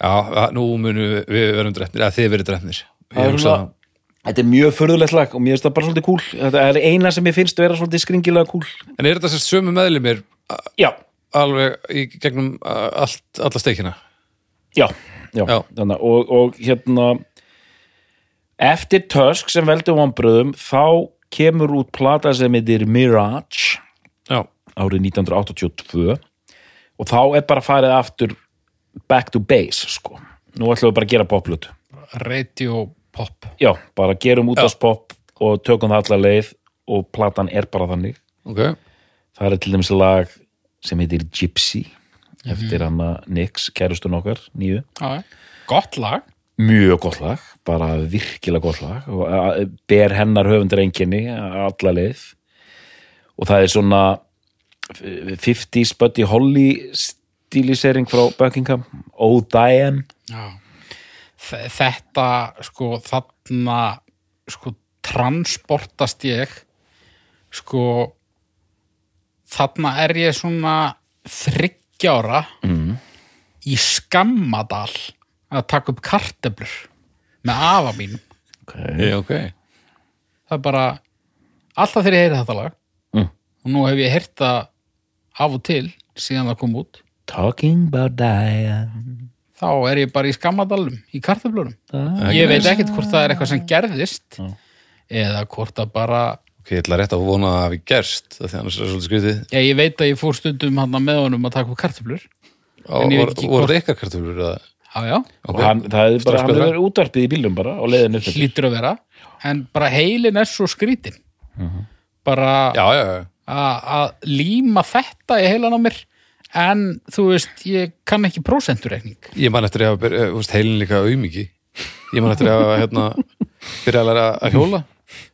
[SPEAKER 2] Já, að- nú munu við verðum drefnir eða þið verið drefnir.
[SPEAKER 3] Það
[SPEAKER 2] Ég
[SPEAKER 3] er
[SPEAKER 2] hugsa
[SPEAKER 3] svona- þetta er mjög förðulegt lag og mér finnst það bara svolítið kúl þetta er eina sem ég finnst vera svolítið skringilega kúl
[SPEAKER 2] það. En er þetta sér sömu meðlimir
[SPEAKER 3] já,
[SPEAKER 2] alveg í gegnum uh, allt, alla steikina?
[SPEAKER 3] já, já,
[SPEAKER 2] Já.
[SPEAKER 3] Þannig, að- og, og hérna eftir Tusk sem veldur vonbröðum þá kemur út plata sem heitir Mirage
[SPEAKER 2] Já.
[SPEAKER 3] árið 1982 og þá er bara farið aftur back to base sko nú ætlum við bara að gera poplut
[SPEAKER 4] radio pop
[SPEAKER 3] já, bara gerum út popp og tökum það allar leið og platan er bara þannig
[SPEAKER 2] Ok.
[SPEAKER 3] það er til dæmis lag sem heitir Gypsy
[SPEAKER 4] Mhm.
[SPEAKER 3] eftir hann að Nix, kærustun okkar, nýju
[SPEAKER 4] Já, gott lag
[SPEAKER 3] mjög gott lag, bara virkilega gott lag og a- ber hennar höfundur enginni alla leið og það er svona eh, 50s Buddy Holly stílisering frá Buckingham Oh Diane
[SPEAKER 4] Já. Þe- Þetta, sko, þarna, sko, transportast ég, sko, þarna er ég svona þryggjára mm. í skammadal að taka upp karteblur með afa mínum.
[SPEAKER 2] Hey, ok.
[SPEAKER 4] Það er bara, alltaf þegar ég heyri þetta lag,
[SPEAKER 3] Mm.
[SPEAKER 4] og nú hef ég heyrt það af og til síðan það kom út,
[SPEAKER 3] Talking about Diane
[SPEAKER 4] þá er ég bara í skammadalum, í karteflurum.
[SPEAKER 3] Ah.
[SPEAKER 4] Ég veit ekkert hvort það er eitthvað sem gerðist eða hvort það bara
[SPEAKER 2] Ok, ég ætla rétt að vona að það hafi gerst það því annars er það svolítið skrítið.
[SPEAKER 4] Já, ég veit að ég fór stundum hann með honum að taka upp karteflur
[SPEAKER 2] Á,
[SPEAKER 4] En ég veit
[SPEAKER 2] Voru
[SPEAKER 4] ekki
[SPEAKER 2] voru það ykkar kartöflur eða?
[SPEAKER 4] Já, já,
[SPEAKER 3] og hann, það er bara, hann
[SPEAKER 2] Strax
[SPEAKER 3] hefur verið útvarpið í bílum bara og leiðin upp til
[SPEAKER 4] hlýtur að vera en bara heilin er svo skrítin bara
[SPEAKER 2] Mhm. Já, já, já.
[SPEAKER 4] a- að líma þetta í heilan á mér en þú veist, ég kann ekki prósentureikning
[SPEAKER 2] Ég man eftir að hafa byrja- eh, þú veist, heilin líka auðmiki. Ég man eftir að hafa hérna, byrja að læra að hjóla.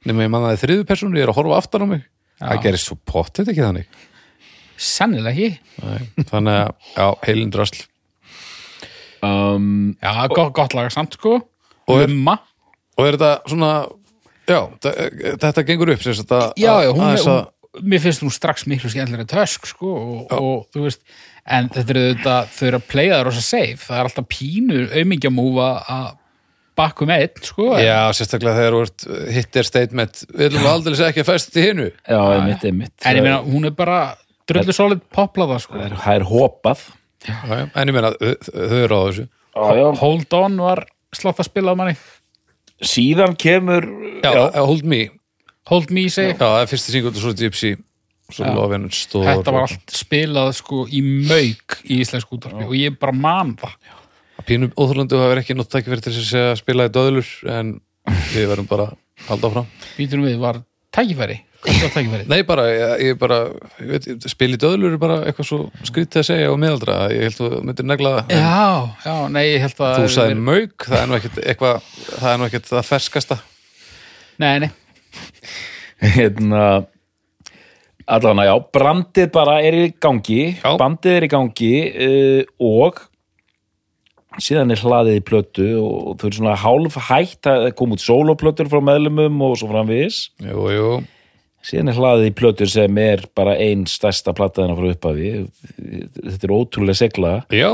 [SPEAKER 2] Nefnum ég man að það er þriðu persónu, ég er að horfa aftan á mig. Það gerist svo pottet ekki þannig.
[SPEAKER 4] Sennilega ekki
[SPEAKER 2] Nei. Þannig að, já, heilin drasl.
[SPEAKER 3] um,
[SPEAKER 4] Já, gott, gott laga samt sko
[SPEAKER 2] Og er-
[SPEAKER 4] Lumma
[SPEAKER 2] Og er þetta svona, já, þe- þetta gengur upp, sem sagt að...
[SPEAKER 4] já, já, hún,
[SPEAKER 2] að,
[SPEAKER 4] er,
[SPEAKER 2] að,
[SPEAKER 4] hún mér finnst hún strax miklu skemmtilega tösk sko, og, og þú veist en þetta er auðvitað, þau eru að playa það rosa safe það er alltaf pínu aumingjamúfa að bakku með einn sko, en-
[SPEAKER 2] Já, sérstaklega þegar þú ert hittir statement, við ætlum aldrei ekki að fæst í hinu.
[SPEAKER 3] já, einmitt, einmitt
[SPEAKER 4] en ég meina, hún er bara drullu solid poplaða sko.
[SPEAKER 3] það er, það er hopað
[SPEAKER 2] Já, já. En ég meina, þau þau eru á þessu.
[SPEAKER 4] Hold On var slátt að spila á manni
[SPEAKER 3] síðan kemur
[SPEAKER 2] Já, eh, Hold Me,
[SPEAKER 4] Hold Me
[SPEAKER 2] Já,
[SPEAKER 4] segi,
[SPEAKER 2] það er fyrsti singull og svo er Gypsy svo Love and Store
[SPEAKER 4] þetta var allt spilað sko, í mauk í íslensk útarpi og ég bara man það
[SPEAKER 2] Pínum óþorlandu hafa ekki nótt tækifæri til þess að spila í döðlur en við verðum bara að halda áfram
[SPEAKER 4] býtunum við var tækifæri, hvað var tækifæri?
[SPEAKER 2] Nei, bara, ég, ég bara ég veit, spil í döðlur er bara eitthvað svo skrítið að segja og miðaldra, ég held að þú myndir negla það. En
[SPEAKER 4] Já, já, nei, ég held að
[SPEAKER 2] þú sagði mauk, það er nú ekkert eitthvað, það er nú ekkert það ferskasta
[SPEAKER 4] Nei, nei
[SPEAKER 3] hérna allan að já, brandið bara er í gangi
[SPEAKER 2] Já.
[SPEAKER 3] bandið er í gangi uh, og síðan er hlaðið í plötu og þau eru svona hálf hægt að koma út sóloplötur frá meðlumum og svo framvegis
[SPEAKER 2] Jú, jú,
[SPEAKER 3] síðan er hlaðið í plötur sem er bara ein stærsta plataðina frá upphafi þetta er ótrúlega segla
[SPEAKER 2] já,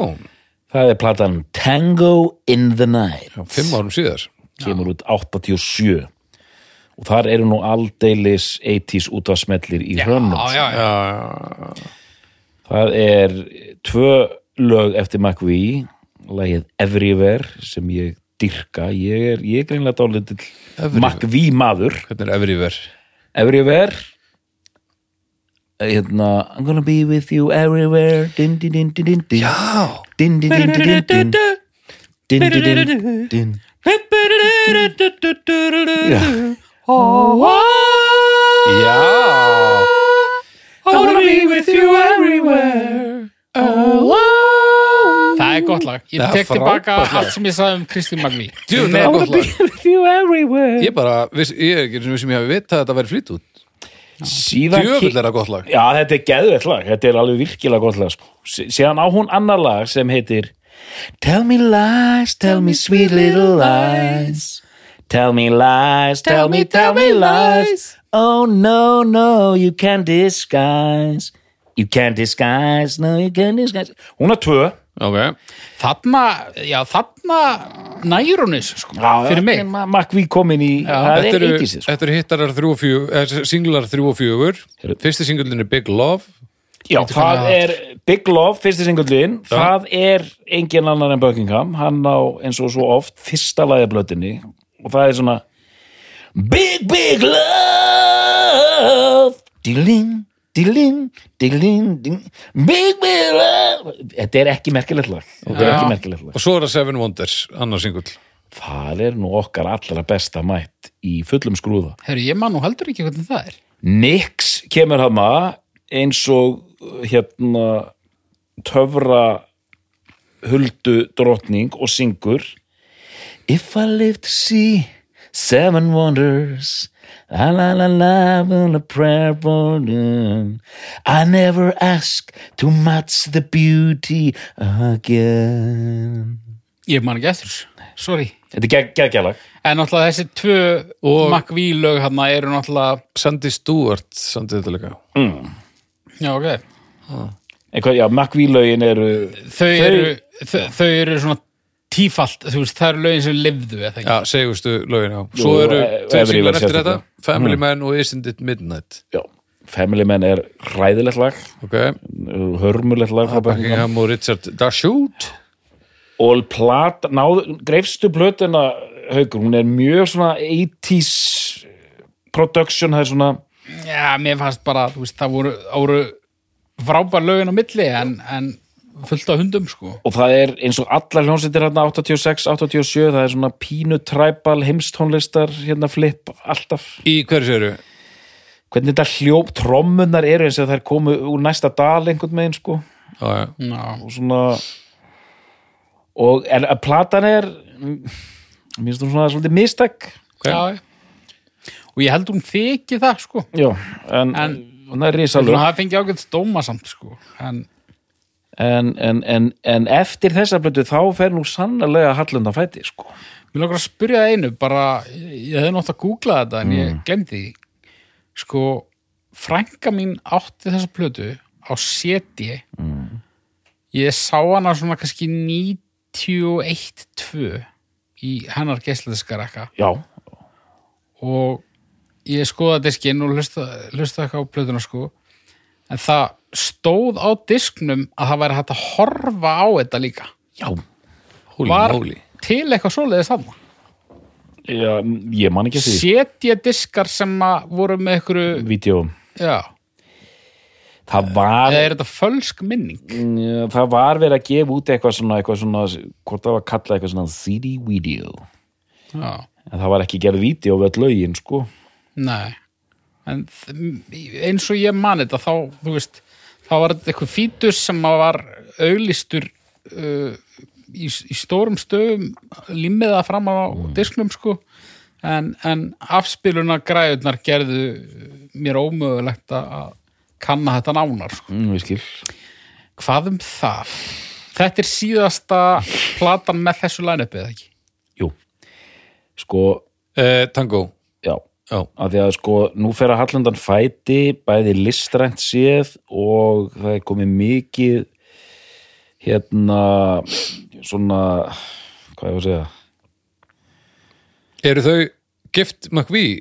[SPEAKER 3] það er platan Tango in the Night
[SPEAKER 2] já fimm árum síðar
[SPEAKER 3] kemur út 87 og þar eru nú aldeilis 80s útvarsmellir í hrönnum
[SPEAKER 4] Já, já, já
[SPEAKER 2] Já, já,
[SPEAKER 3] Það er tvö lög eftir McVie, lagið Everywhere sem ég dyrka, ég er, ég er greinlega dálítill McVie maður.
[SPEAKER 2] hvernig er everywhere
[SPEAKER 3] Everywhere, hérna, I'm gonna be with you everywhere, din din din din din din. Já! Din din din din din din. Din din din din. Já.
[SPEAKER 2] Já
[SPEAKER 4] Það er gott frábært lag Ég
[SPEAKER 2] Það er
[SPEAKER 4] tek tilbaka
[SPEAKER 2] frábært lag.
[SPEAKER 4] allt sem ég sagði um Kristín Magni
[SPEAKER 2] Djú, það
[SPEAKER 4] Nei,
[SPEAKER 2] er gott lag.
[SPEAKER 5] with you everywhere
[SPEAKER 2] Ég bara, viss, ég er ekki eins og sem ég hafi vitað að þetta væri flýt út
[SPEAKER 3] Síðan
[SPEAKER 2] Djöfull er það gott lag
[SPEAKER 3] Já, þetta er geðveitt lag, þetta er alveg virkilega gott lag sko. Sí- Síðan á hún annar lag sem heitir Tell me lies, tell me sweet little lies Tell me lies, tell me, tell me lies Oh no, no, you can't disguise You can't disguise, no, you can't disguise Hún er tvö
[SPEAKER 2] Ok,
[SPEAKER 4] Þarna, já, þarna nægur hún þessu, sko, fyrir mig
[SPEAKER 3] Makví komin í, það
[SPEAKER 2] þetta
[SPEAKER 3] er
[SPEAKER 2] eru,
[SPEAKER 3] ekki sér sko.
[SPEAKER 2] þetta eru hittarar þrjú og fjögur eh, singlar þrjú og fjögur Fyrsti singullin er Big Love
[SPEAKER 3] Já, það
[SPEAKER 4] að-
[SPEAKER 3] er Big Love, fyrsti singullin það er engin annar en Buckingham hann á eins og svo oft fyrsta lagið af blötinni og það er svona Big Big Love Dilling, dilling, dilling, dilling Big Big Love Þetta er ekki merkilegt lag Þetta er
[SPEAKER 4] Já.
[SPEAKER 3] ekki merkilegt lag
[SPEAKER 2] og svo er það Seven Wonders, annar singull
[SPEAKER 3] Það er nú okkar allra besta mætt í fullum skrúða
[SPEAKER 4] Herru, ég man nú heldur ekki hvernig það er
[SPEAKER 3] Nix kemur hana eins og hérna töfra huldu drottning og syngur If I live to see seven wonders la la la la on a prayer born I never ask to match the beauty again
[SPEAKER 4] Ég man ekki eftir, þessu. sorry
[SPEAKER 3] Þetta er gegg- geggjala
[SPEAKER 4] En náttúrulega þessi tvö
[SPEAKER 2] Og-
[SPEAKER 4] McVie lög þarna eru náttúrulega
[SPEAKER 2] Sandy Stewart, Sandy þetta líka
[SPEAKER 4] Já, ok
[SPEAKER 3] Eitthvað, já, McVie-lögin eru
[SPEAKER 4] Þau eru, þau, þau eru svona tífalt, þú veist, það eru lögin sem lifðu eða ekki.
[SPEAKER 2] Já, segustu lögin, já Svo
[SPEAKER 3] Jú,
[SPEAKER 2] eru
[SPEAKER 3] e-
[SPEAKER 2] tveir
[SPEAKER 3] Every
[SPEAKER 2] singlar
[SPEAKER 3] Verse
[SPEAKER 2] eftir
[SPEAKER 3] eftir
[SPEAKER 2] þetta Family Man og Isn't It Midnight
[SPEAKER 3] já, Family Man er hræðilegt lag
[SPEAKER 2] Ok,
[SPEAKER 3] hörmulegt lag frá Buckingham
[SPEAKER 2] Buckingham og Richard Dashoot
[SPEAKER 3] og plat, náðu, greifstu blötuna haukur, hún er mjög svona 80s production, það er svona
[SPEAKER 4] Já, mér fannst bara, þú veist, það voru, það voru frábær lögin á milli en, en fullt af hundum, sko.
[SPEAKER 3] og það er eins og allar hljónsettir hérna 86, 87, það er svona pínu træbal heimstónlistar hérna flip, alltaf
[SPEAKER 2] Í hverju séru?
[SPEAKER 3] hvernig þetta hljóp, trommunar eru eins og þær komu úr næsta dal einhvern veginn sko,
[SPEAKER 2] Já, já,
[SPEAKER 4] Já,
[SPEAKER 3] og svona og en að platan er mm, mér finnst hún svona svolítið mistak
[SPEAKER 4] já. Og ég held hún þyki það, sko.
[SPEAKER 3] já, en, en
[SPEAKER 4] En-
[SPEAKER 3] hún er risalög
[SPEAKER 4] Svona, það fengi ágætt stóma samt, sko. En,
[SPEAKER 3] en, en, en, en eftir þessa blötu þá fer nú sannlega hallundan fæti sko.
[SPEAKER 4] mér langar að spyrja það einu, bara, ég, ég hefði nátt að googla þetta en ég glemdi því. Sko, frænka mín átti þessa plötu á seti. Ég sá hana svona kannski 91-2 í hennar geisladiskarekka
[SPEAKER 3] já,
[SPEAKER 4] og ég skoða diskinn og hlusta, hlusta eitthvað á plötuna sko en það stóð á disknum að það væri hægt að horfa á þetta líka
[SPEAKER 3] já,
[SPEAKER 2] húli,
[SPEAKER 4] var
[SPEAKER 2] húli
[SPEAKER 4] til eitthvað svoleiðis þarna
[SPEAKER 3] já ég man ekki að því Mm.
[SPEAKER 4] setja diskar sem að voru með einhverju
[SPEAKER 3] Vídeó.
[SPEAKER 4] já,
[SPEAKER 3] það var
[SPEAKER 4] eða er þetta fölsk minning
[SPEAKER 3] mm, það var verið að gefa út eitthvað svona, eitthvað svona hvort það var að kalla eitthvað svona CD video
[SPEAKER 4] já,
[SPEAKER 3] en það var ekki gerð vídeo við öll lögin sko.
[SPEAKER 4] nei en þ- eins og ég man þetta þá, þú veist, þá var þetta eitthvað fítus sem að var auðlistur uh, í, í stórum stöðum limmiða fram á disknum sko en, en afspiluna græðunar gerðu mér ómögulegt að kanna þetta nánar sko.
[SPEAKER 3] mm, ég skil.
[SPEAKER 4] hvað um það? Þetta er síðasta platan með þessu line-upið ekki?
[SPEAKER 3] jú sko,
[SPEAKER 2] eh, Tango,
[SPEAKER 3] já
[SPEAKER 2] já
[SPEAKER 3] af því að sko, nú fer að Hallandan fæti bæði listrænt séð og það er komið mikið hérna svona hvað ég var að segja
[SPEAKER 2] Eru þau Gift McVie?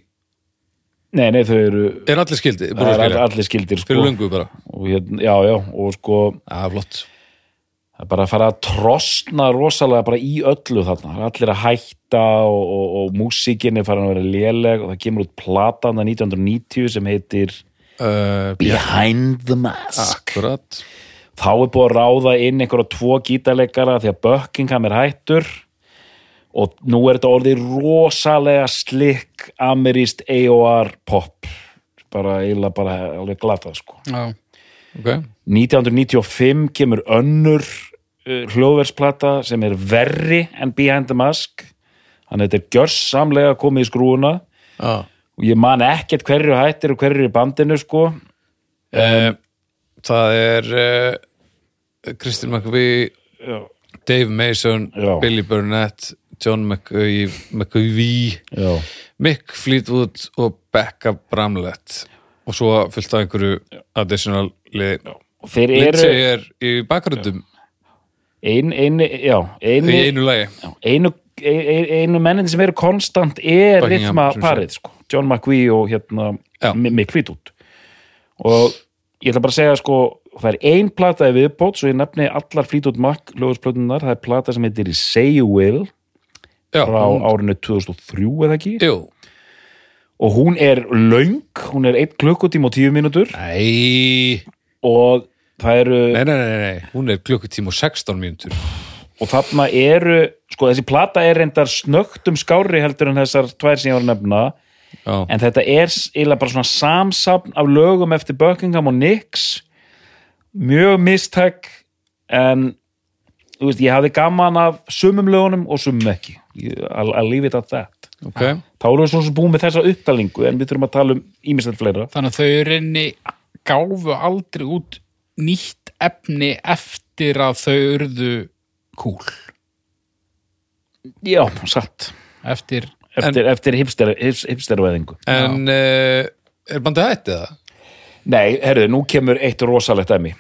[SPEAKER 3] nei, nei, þau eru
[SPEAKER 2] Er allir skildi?
[SPEAKER 3] það
[SPEAKER 2] Það
[SPEAKER 3] er allir skildir sko
[SPEAKER 2] Fyrir löngu bara,
[SPEAKER 3] og hérna, já, já, og sko
[SPEAKER 2] það er flott
[SPEAKER 3] það er bara að fara að trostna rosalega bara í öllu þarna, það er allir að hætta og, og, og músikin er farin að vera léleg og það kemur út platan það 1990 sem heitir
[SPEAKER 2] uh,
[SPEAKER 5] Behind the mask
[SPEAKER 2] Akkurat
[SPEAKER 3] þá er búið að ráða inn einhverja tvo gítarleikara því að Buckingham er hættur og nú er þetta orðið rosalega slikk ameríst AOR pop bara eiginlega bara alveg glata sko
[SPEAKER 4] Já,
[SPEAKER 2] okay.
[SPEAKER 3] 1995 kemur önnur uh, hljóðversplata sem er verri en Behind the Mask þannig að þetta er gjörsamlega komið í skrúuna
[SPEAKER 6] Já.
[SPEAKER 3] og ég man ekkert hverju hættir og hverju í bandinu sko
[SPEAKER 2] Eh, það er uh, Kristin McVie
[SPEAKER 3] Já.
[SPEAKER 2] Dave Mason,
[SPEAKER 3] Já.
[SPEAKER 2] Billy Burnett John McVie, McVie
[SPEAKER 3] Já.
[SPEAKER 2] Mick Fleetwood og Becca Bramlett og svo fullt af einhverju additional lið
[SPEAKER 3] og þeir eru
[SPEAKER 2] Lindsay er í bakgröndum
[SPEAKER 3] ein, ein, já,
[SPEAKER 2] í
[SPEAKER 3] einu,
[SPEAKER 2] einu lagi
[SPEAKER 3] já, einu, einu, einu mennin sem eru konstant er
[SPEAKER 2] Buckingham,
[SPEAKER 3] rithma
[SPEAKER 2] sem
[SPEAKER 3] parið sko. John McVie og hérna
[SPEAKER 2] Já.
[SPEAKER 3] Mi- Mick Fleetwood og ég ætla bara að segja sko það er ein plata í viðbót svo ég nefni allar Fleetwood Mac lögusplötunar það er plata sem heitir Say You Will
[SPEAKER 2] Já,
[SPEAKER 3] frá
[SPEAKER 2] hún-
[SPEAKER 3] árinu 2003 eða ekki
[SPEAKER 2] jú
[SPEAKER 3] og hún er löng, hún er 1 klukkutíma og 10 mínútur
[SPEAKER 2] Nei,
[SPEAKER 3] og það eru
[SPEAKER 2] nei, nei, nei, nei, hún er klukkutíma og 16 mínútur
[SPEAKER 3] og þarna eru, sko þessi plata er reyndar snögtum skári heldur en þessar tvær sem ég var að nefna
[SPEAKER 2] Já,
[SPEAKER 3] en þetta er eiginlega bara svona samsapn af lögum eftir Buckingham og Nix mjög mistæk en þú veist, ég hafði gaman af sumum lögunum og sumum ekki Ég- I'll I'll leave it at that
[SPEAKER 2] ok
[SPEAKER 3] þá erum við svona búin með þessa uppdalingu en við þurfum að tala um ímislegt fleira
[SPEAKER 4] þannig að þau í rauninni gáfu aldrei út nýtt efni eftir að þau urðu kúl
[SPEAKER 3] já, satt
[SPEAKER 4] eftir
[SPEAKER 3] eftir, eftir hipster, hips, hipstervæðingu
[SPEAKER 2] En uh, er bandið hættið það?
[SPEAKER 3] Nei, herðu, nú kemur eitt rosalegt emmi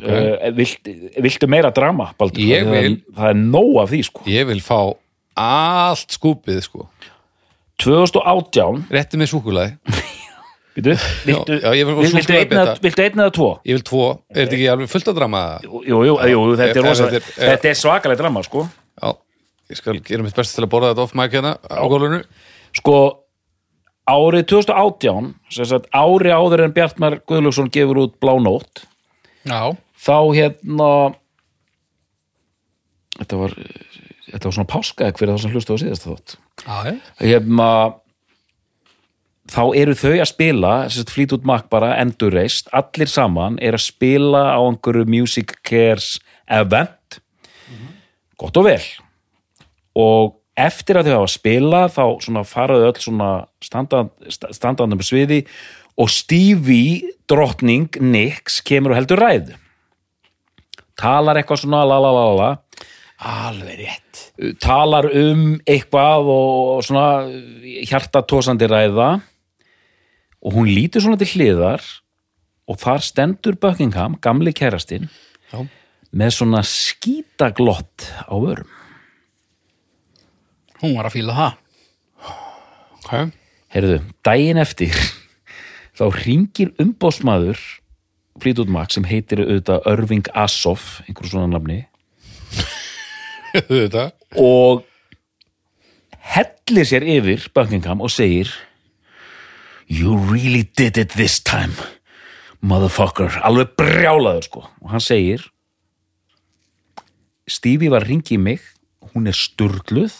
[SPEAKER 3] okay. vilt, Viltu meira drama, Baldur?
[SPEAKER 2] Ég
[SPEAKER 3] það, er-
[SPEAKER 2] vil.
[SPEAKER 3] Það er nóg af því, sko
[SPEAKER 2] Ég vil fá allt skúpið, sko
[SPEAKER 3] 2018
[SPEAKER 2] Rétti með súkulaði
[SPEAKER 3] Viltu, viltu,
[SPEAKER 2] já, ég vil-
[SPEAKER 3] vil-
[SPEAKER 2] svo
[SPEAKER 3] viltu,
[SPEAKER 2] skal ég
[SPEAKER 3] einn eða-
[SPEAKER 2] betta.
[SPEAKER 3] viltu einn eða tvo?
[SPEAKER 2] Ég vil tvo, er þetta ekki alveg fullt að drama það?
[SPEAKER 3] Jú, jú, jú, þetta
[SPEAKER 2] Ef-
[SPEAKER 3] er
[SPEAKER 2] ef
[SPEAKER 3] rosalegt
[SPEAKER 2] þetta er- ef-
[SPEAKER 3] Þetta er svakalegt drama, sko
[SPEAKER 2] Já, ég skal gera mitt best til að borða þetta off mic hérna á gólfinu
[SPEAKER 3] Sko, árið 2018 sem sagt, ári áður en Bjartmar Guðlaugsson gefur út Blánótt
[SPEAKER 4] já,
[SPEAKER 3] þá hérna Þetta var þetta var svona páska eða hver er það sem hlustu á síðast þátt
[SPEAKER 4] já,
[SPEAKER 3] hérna þá eru þau að spila sérst, flýt út makk bara endurreist allir saman er að spila á einhverju Music Cares event gott og vel og eftir að þau hafa að spila þá svona faraðu öll svona standand, sta- standandum sviði og Stevie drottning Nix kemur og heldur ræðu talar eitthvað svona la la la la la
[SPEAKER 4] alveg rétt
[SPEAKER 3] talar um eitthvað og svona hjartatósandi ræða og hún lítur svona til hliðar og þar stendur Buckingham, gamli kærastinn
[SPEAKER 2] Já.
[SPEAKER 3] með svona skítaglott á vörum
[SPEAKER 4] hún var að fíla það
[SPEAKER 2] okay.
[SPEAKER 3] Herðu, daginn eftir þá ringir umbóðsmaður Fleetwood Mac sem heitir auðvitað Irving Asoff, einhver svona nafni
[SPEAKER 2] Þetta
[SPEAKER 3] og hellir sér yfir Buckingham og segir You really did it this time motherfucker alveg brjálaður sko og hann segir Stevie var að ringi mig hún er sturgluð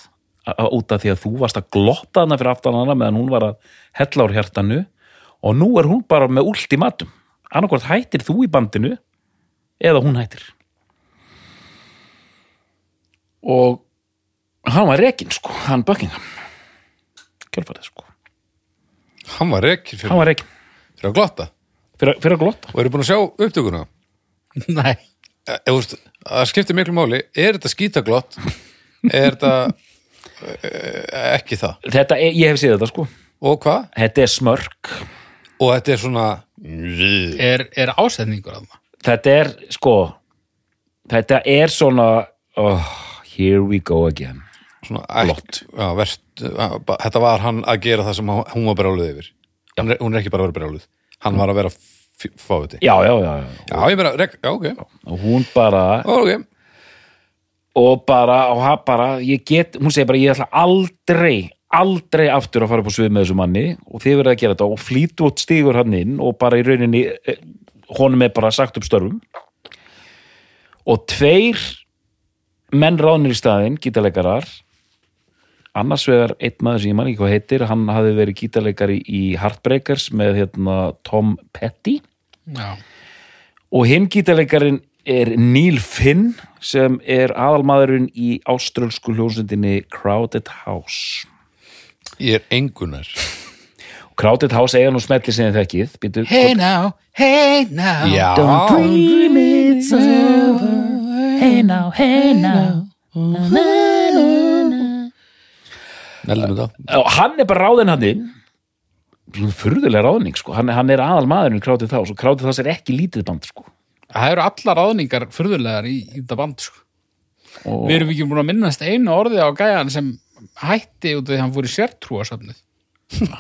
[SPEAKER 3] a- a- út af því að þú varst að glotta hana fyrir aftan hana meðan hún var að hella úr hjartanu og nú er hún bara með ultimatum annarkvort hættir þú í bandinu eða hún hættir og hann var rekinn sko, hann Buckingham kjálfarið sko,
[SPEAKER 2] Hann var rekkir fyrir,
[SPEAKER 3] hann var rekinn
[SPEAKER 2] fyrir að glotta
[SPEAKER 3] fyrir, fyrir að glotta
[SPEAKER 2] og eru búin að sjá upptökuna
[SPEAKER 4] nei,
[SPEAKER 2] Eh, þú veist, Það skiptir miklu máli Er þetta skítaglott? Er þetta eh, ekki það?
[SPEAKER 3] þetta, er, ég hef séð þetta sko
[SPEAKER 2] Og hvað?
[SPEAKER 3] þetta er smörk,
[SPEAKER 2] Og þetta er svona
[SPEAKER 4] er, er ásetningur að það
[SPEAKER 3] þetta er sko þetta er svona oh, here we go again
[SPEAKER 2] svona ætt, já, verst, já, ba- þetta var hann að gera það sem hann- hún var brjáluð yfir hún er, hún er ekki bara að vera brjáluð hann var að vera f- fáviti
[SPEAKER 3] já, já, já, já.
[SPEAKER 2] já, ég meina, rek, já, ok,
[SPEAKER 3] og hún bara
[SPEAKER 2] Ó, ok
[SPEAKER 3] og bara, og hann bara ég get, hún segir bara, ég ætla aldrei aldrei aftur að fara upp á svið með þessu manni og þið verða að gera þetta og flýtu út stígur hann inn og bara í rauninni eh, honum er bara sagt upp störfum og tveir menn ránir í staðinn, gítarleikarar annars vegar einn maður sem ég man ekki hvað heitir, hann hafði verið gítarleikari í Heartbreakers með hérna Tom Petty
[SPEAKER 4] já,
[SPEAKER 3] og hinn gítarleikarin er Neil Finn sem er aðalmaðurinn í áströlsku hljónsundinni Crowded House
[SPEAKER 2] Ég er engunar
[SPEAKER 3] Crowded House eiga nú smetli sem þið þekkið Býtu,
[SPEAKER 4] Hey now, hey now
[SPEAKER 2] Já
[SPEAKER 5] Dream it's over Hey now, hey now
[SPEAKER 2] Meldum þetta
[SPEAKER 3] og hann er bara ráðinn hann inn furðulega ráðning sko. hann, hann er aðal maðurinn í Crowded House og Crowded House er ekki lítið band sko.
[SPEAKER 4] Það eru allar ráðningar furðulegar í, í þetta band sko.
[SPEAKER 3] og
[SPEAKER 4] Við erum ekki búin að minnast einu orðið á gæjan sem hætti út af því að hann fór í sértrúasöfnið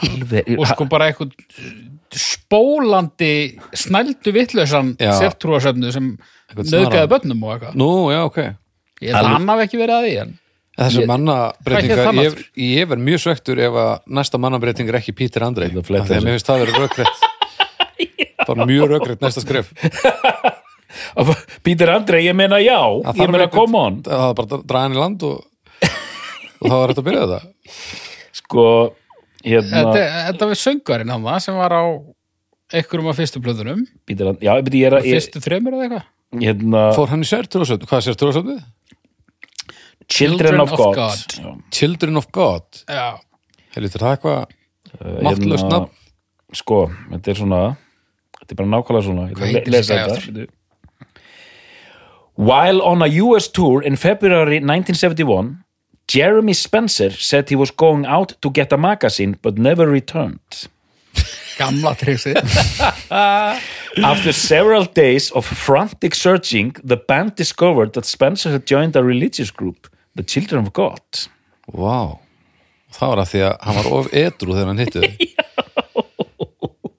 [SPEAKER 3] alveg
[SPEAKER 4] og sko bara eitthvað spólandi snældu vittlausan
[SPEAKER 2] Já.
[SPEAKER 4] sértrúasöfnu sem
[SPEAKER 2] Eitthvað
[SPEAKER 4] nöðgæði
[SPEAKER 2] snaran.
[SPEAKER 4] bönnum og eitthvað
[SPEAKER 2] Nú, já, ok
[SPEAKER 4] ég held að hann hafi ekki verið að því en
[SPEAKER 2] Þessi
[SPEAKER 3] Ég-
[SPEAKER 4] Hvað
[SPEAKER 2] mannabreitingar,
[SPEAKER 4] hét það
[SPEAKER 2] ég, ég verð mjög svektur ef að næsta mannabreiting er ekki Pítur Andrei
[SPEAKER 3] Þetta
[SPEAKER 2] af því
[SPEAKER 3] er flett
[SPEAKER 2] að
[SPEAKER 3] þessu.
[SPEAKER 2] mér finnst það verið rökrétt bara mjög rökrétt næsta skref
[SPEAKER 3] Pítur Andrei, ég meina já
[SPEAKER 2] Það
[SPEAKER 3] ég
[SPEAKER 2] þarf
[SPEAKER 3] meina
[SPEAKER 2] einhvern-
[SPEAKER 3] come on
[SPEAKER 2] það er bara að draga hann í land og, og það var rétt að byrja þetta
[SPEAKER 3] sko, hérna,
[SPEAKER 4] þetta, þetta var söngarinn hann það sem var á einhverjum af fyrstu blöðunum
[SPEAKER 3] Pítur Andrei já, beti, ég er að ég-
[SPEAKER 4] fyrstu þreymur eða eitthvað
[SPEAKER 3] hérna,
[SPEAKER 2] Fór hann í sértrúasöfn, hvað er sértrúasöfnið?
[SPEAKER 3] Children of God, Já,
[SPEAKER 2] Children of God
[SPEAKER 4] Já.
[SPEAKER 2] Helvítur, það er eitthvað
[SPEAKER 4] Eh,
[SPEAKER 2] máttlust
[SPEAKER 3] hérna,
[SPEAKER 2] nafn
[SPEAKER 3] sko, þetta er svona þetta er bara nákvæmlega svona Ég ætla
[SPEAKER 4] Hvað
[SPEAKER 3] að
[SPEAKER 4] heitir
[SPEAKER 3] le- lesa
[SPEAKER 4] þessi gæja
[SPEAKER 3] þetta. Bíddu. While on a US tour in February 1971 Jeremy Spencer said he was going out to get a magazine but never returned
[SPEAKER 4] gamla triksi
[SPEAKER 3] After several days of frantic searching the band discovered that Spencer had joined a religious group the Children of God
[SPEAKER 2] Vá, það var að því að hann var of edru þegar hann hittu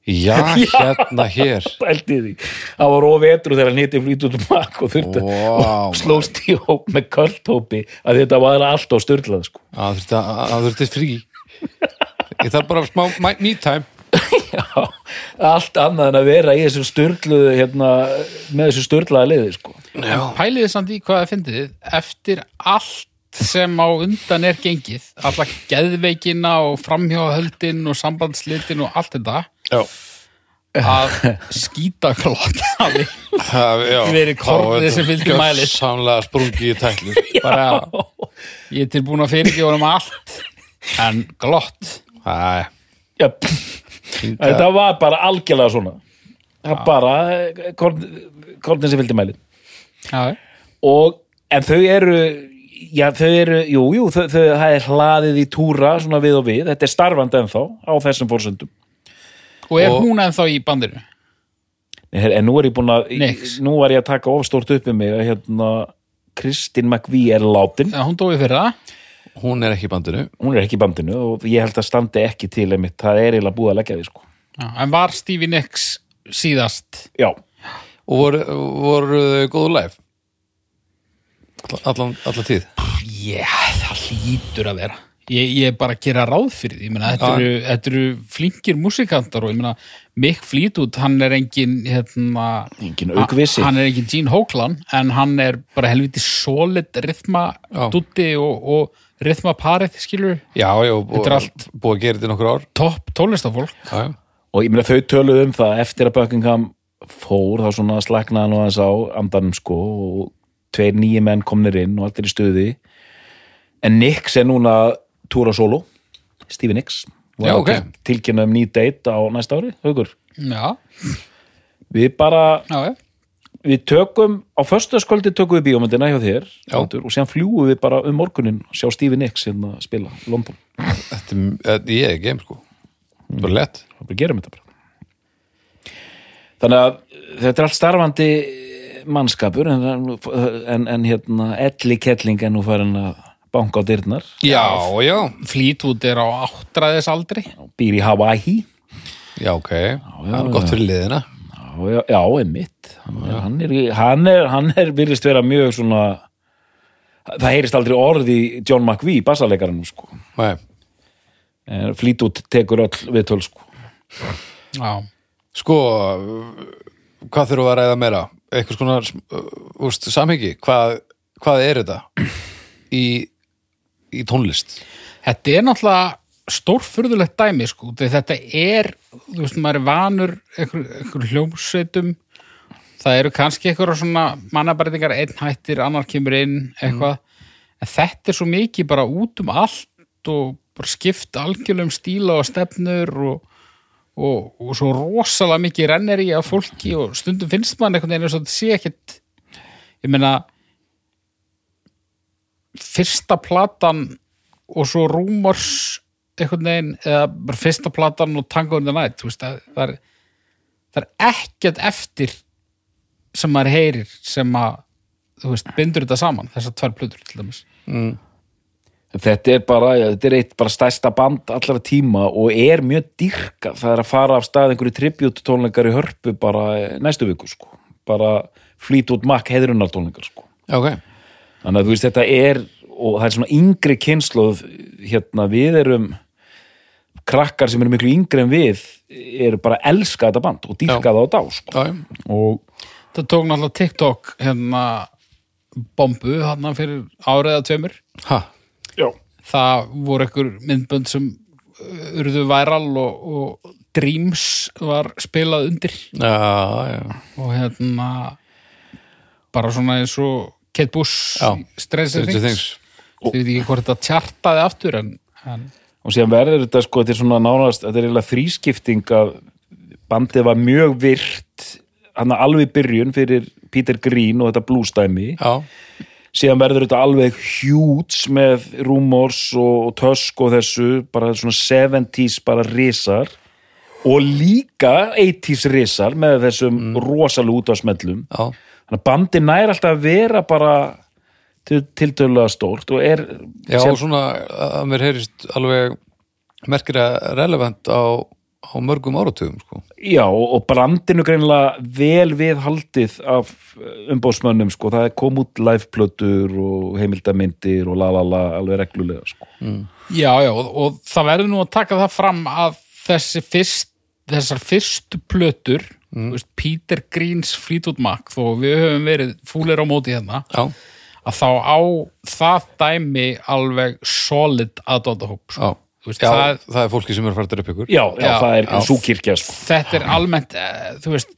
[SPEAKER 2] Já, hérna hér
[SPEAKER 3] pældi því, það var of etru þegar hann hitti frýt út um makk og þurfti
[SPEAKER 2] Vá,
[SPEAKER 3] og slóst í hóp með kvöldhópi að þetta var allt á styrlað sko.
[SPEAKER 2] að þurfti, að þurfti frí ég þarf bara smá my- me time
[SPEAKER 3] Já, allt annað en að vera í þessu styrluðu hérna, með þessu styrlaða liði sko.
[SPEAKER 4] pæliði samt í hvað það fyndið þið eftir allt sem á undan er gengið alla geðveikina og framhjóðhöldin og sambandslitin og allt þetta
[SPEAKER 2] já,
[SPEAKER 4] að skítaklott hafi
[SPEAKER 2] það, já
[SPEAKER 4] Verið kornið sem fylgdi mælið.
[SPEAKER 2] samlega sprungi í tæklu
[SPEAKER 4] bara ég er tilbúin að fyrirgefa um allt en glott
[SPEAKER 2] Æ,
[SPEAKER 3] Já, pff, þetta var bara algjörlega svona það bara eh, korn, kornin sem vildi mæli
[SPEAKER 4] já,
[SPEAKER 3] og, en þau eru já, þau eru, jú, jú þau, þau, það er hlaðið í túra svona við og við, þetta er starfandi ennþá á þessum fórsöndum
[SPEAKER 4] og er
[SPEAKER 2] Og-
[SPEAKER 4] hún ennþá í bandinu
[SPEAKER 3] Her, en nú er ég búin að
[SPEAKER 4] Nix.
[SPEAKER 3] nú var ég að taka ofstórt upp um mig að hérna Kristin McVie er látin
[SPEAKER 4] Já, hún dói fyrir það
[SPEAKER 2] hún er ekki í bandinu
[SPEAKER 3] hún er ekki í bandinu og ég held að standi ekki til einmitt, það er eiginlega búið að leggja því sko
[SPEAKER 4] já, en var Stevie Nicks síðast
[SPEAKER 3] já,
[SPEAKER 2] og voru, voru þau góðu live Alla- allan, allan tíð
[SPEAKER 4] já, það hlýtur að vera ég, ég er bara að gera ráð fyrir því ég meina, þetta,
[SPEAKER 2] Já.
[SPEAKER 4] eru, þetta eru flinkir músikantar og ég meina, Mick Fleetwood hann er engin hérna,
[SPEAKER 3] engin aukvisi
[SPEAKER 4] hann er engin Gene Hoagland en hann er bara helviti solid rithma
[SPEAKER 2] Já.
[SPEAKER 4] dutti og, og rithma parið skilur
[SPEAKER 2] já, já, búið,
[SPEAKER 4] Þetta er allt.
[SPEAKER 2] búið að gera þetta í nokkur ár
[SPEAKER 4] topp tólestafólk
[SPEAKER 2] já, já.
[SPEAKER 3] og ég meina þau töluðu um það eftir að Buckingham fór þá svona slagnaði hann og aðeins á andanum sko og tveir nýju menn komnir inn og allt er í stuði en Nix er núna að túra solo Stevie Nix
[SPEAKER 2] Já,
[SPEAKER 3] að
[SPEAKER 2] ok.
[SPEAKER 3] til- tilkynna um ný date á næsta ári haugur.
[SPEAKER 4] já,
[SPEAKER 3] við bara,
[SPEAKER 4] já, já
[SPEAKER 3] við tökum á föstaskvöldi tökum við bíómyndina hjá þér
[SPEAKER 2] Já.
[SPEAKER 3] Baldur, og séðan fljúum við bara um morgunin og sjá Stevie Nix hérna að spila London
[SPEAKER 2] Þetta, er- þetta- ég er game sko bara lett
[SPEAKER 3] og bara gerum þetta bara þannig að eh, þetta er allt starfandi mannskapur en, en, en hérna elli kettling en nú farin að banka á dyrnar
[SPEAKER 2] já, já,
[SPEAKER 4] Fleetwood er á áttræðisaldri
[SPEAKER 3] og býr í Hawaii
[SPEAKER 2] já, ok það er gott fyrir liðina
[SPEAKER 3] já, já, já einmitt hann er, hann er, hann er, hann er virðist vera mjög svona það heyrist aldrei orði John McVie bassaleikaranum sko
[SPEAKER 2] Nei.
[SPEAKER 3] en flýtút tekur öll við töl sko
[SPEAKER 4] já,
[SPEAKER 2] Sko, hvað þurfum við að ræða meira? Einhvers konar, uh, úst, samhengi, hvað, hvað er þetta í, í tónlist?
[SPEAKER 4] þetta er náttúrulega stórfurðulegt dæmi sko því þetta er, þú veist, maður er vanur einhver, einhver hljómsveitum það eru kannski eitthvað svona mannabæringar einn hættir, annar kemur inn eitthvað, en þetta er svo mikið bara út um allt og bara skipt algjörlega um stíla og stefnur og, og, og svo rosalega mikið rennir í af fólki og stundum finnst mann einhvern veginn eins og þetta sé ekkit ég meina fyrsta platan og svo Rúmors einhvern veginn, eða bara fyrsta platan og Tango in the Night, þú veist það, það, er, það er ekkert eftir sem maður heyrir sem að, þú veist, bindur þetta saman þessar tvær plötur til dæmis
[SPEAKER 3] Þetta er bara, já, þetta er eitt bara stærsta band allra tíma og er mjög dyrka það er að fara af stað einhverju tributtónleikar í hörpu bara eh, næstu viku sko. bara flýt út makk heiðrunartónleikar sko.
[SPEAKER 2] ok,
[SPEAKER 3] þannig að þú veist þetta er og það er svona yngri kynsluð hérna við erum krakkar sem eru miklu yngri en við eru bara að elska þetta band og dýrka það á dá sko.
[SPEAKER 2] já, já.
[SPEAKER 3] og
[SPEAKER 4] það tók náttúrulega TikTok hérna bombu hann fyrir áriða tveimur
[SPEAKER 2] ha,
[SPEAKER 4] það voru einhver myndbönd sem uh, urðu væral og, og Dreams var spilað undir
[SPEAKER 2] já, já
[SPEAKER 4] og hérna bara svona eins og Kate Bush
[SPEAKER 2] Já,
[SPEAKER 4] Stranger
[SPEAKER 2] Stranger
[SPEAKER 4] Things
[SPEAKER 2] Things.
[SPEAKER 4] þið veit ekki hvort þetta tjartaði aftur en, en
[SPEAKER 3] og síðan verður þetta sko, þetta er svona nánast þetta er eiginlega þrískipting að bandið var mjög virt hann alveg í byrjun fyrir Peter Green og þetta blústæmi
[SPEAKER 2] já,
[SPEAKER 3] síðan verður þetta alveg hjúts með Rumors og, og Tusk og þessu, bara svona 70s bara risar og líka 80s risar með þessum mm. rosalú út á smellum
[SPEAKER 2] já,
[SPEAKER 3] þannig að bandi nær alltaf að vera bara til, tiltölulega stórt og er
[SPEAKER 2] já
[SPEAKER 3] sem-
[SPEAKER 2] og svona að mér heyrist alveg merkir að relevant á, á mörgum áratugum sko.
[SPEAKER 3] Já, og og brandinu greinlega vel við haldið af umbóðsmönnum, sko, það kom út liveplötur og heimildamindir og lalala, alveg reglulega, sko.
[SPEAKER 4] Já, já, og, og það verður nú að taka það fram að þessi fyrst, þessar fyrstu plötur, mm. veist, Peter Greens Fleetwood Mac, þó við höfum verið fúlir á móti hérna,
[SPEAKER 2] já,
[SPEAKER 4] að þá á það dæmi alveg solid aðdóndahóp.
[SPEAKER 2] já,
[SPEAKER 4] Sko. Þú veist,
[SPEAKER 2] já
[SPEAKER 4] það-
[SPEAKER 2] það, er fólki sem er að fara að drepa ykkur
[SPEAKER 3] Já, já,
[SPEAKER 4] Já,
[SPEAKER 3] það er
[SPEAKER 2] já.
[SPEAKER 3] súkirkja, sko.
[SPEAKER 4] Þetta er almennt, eh, þú veist,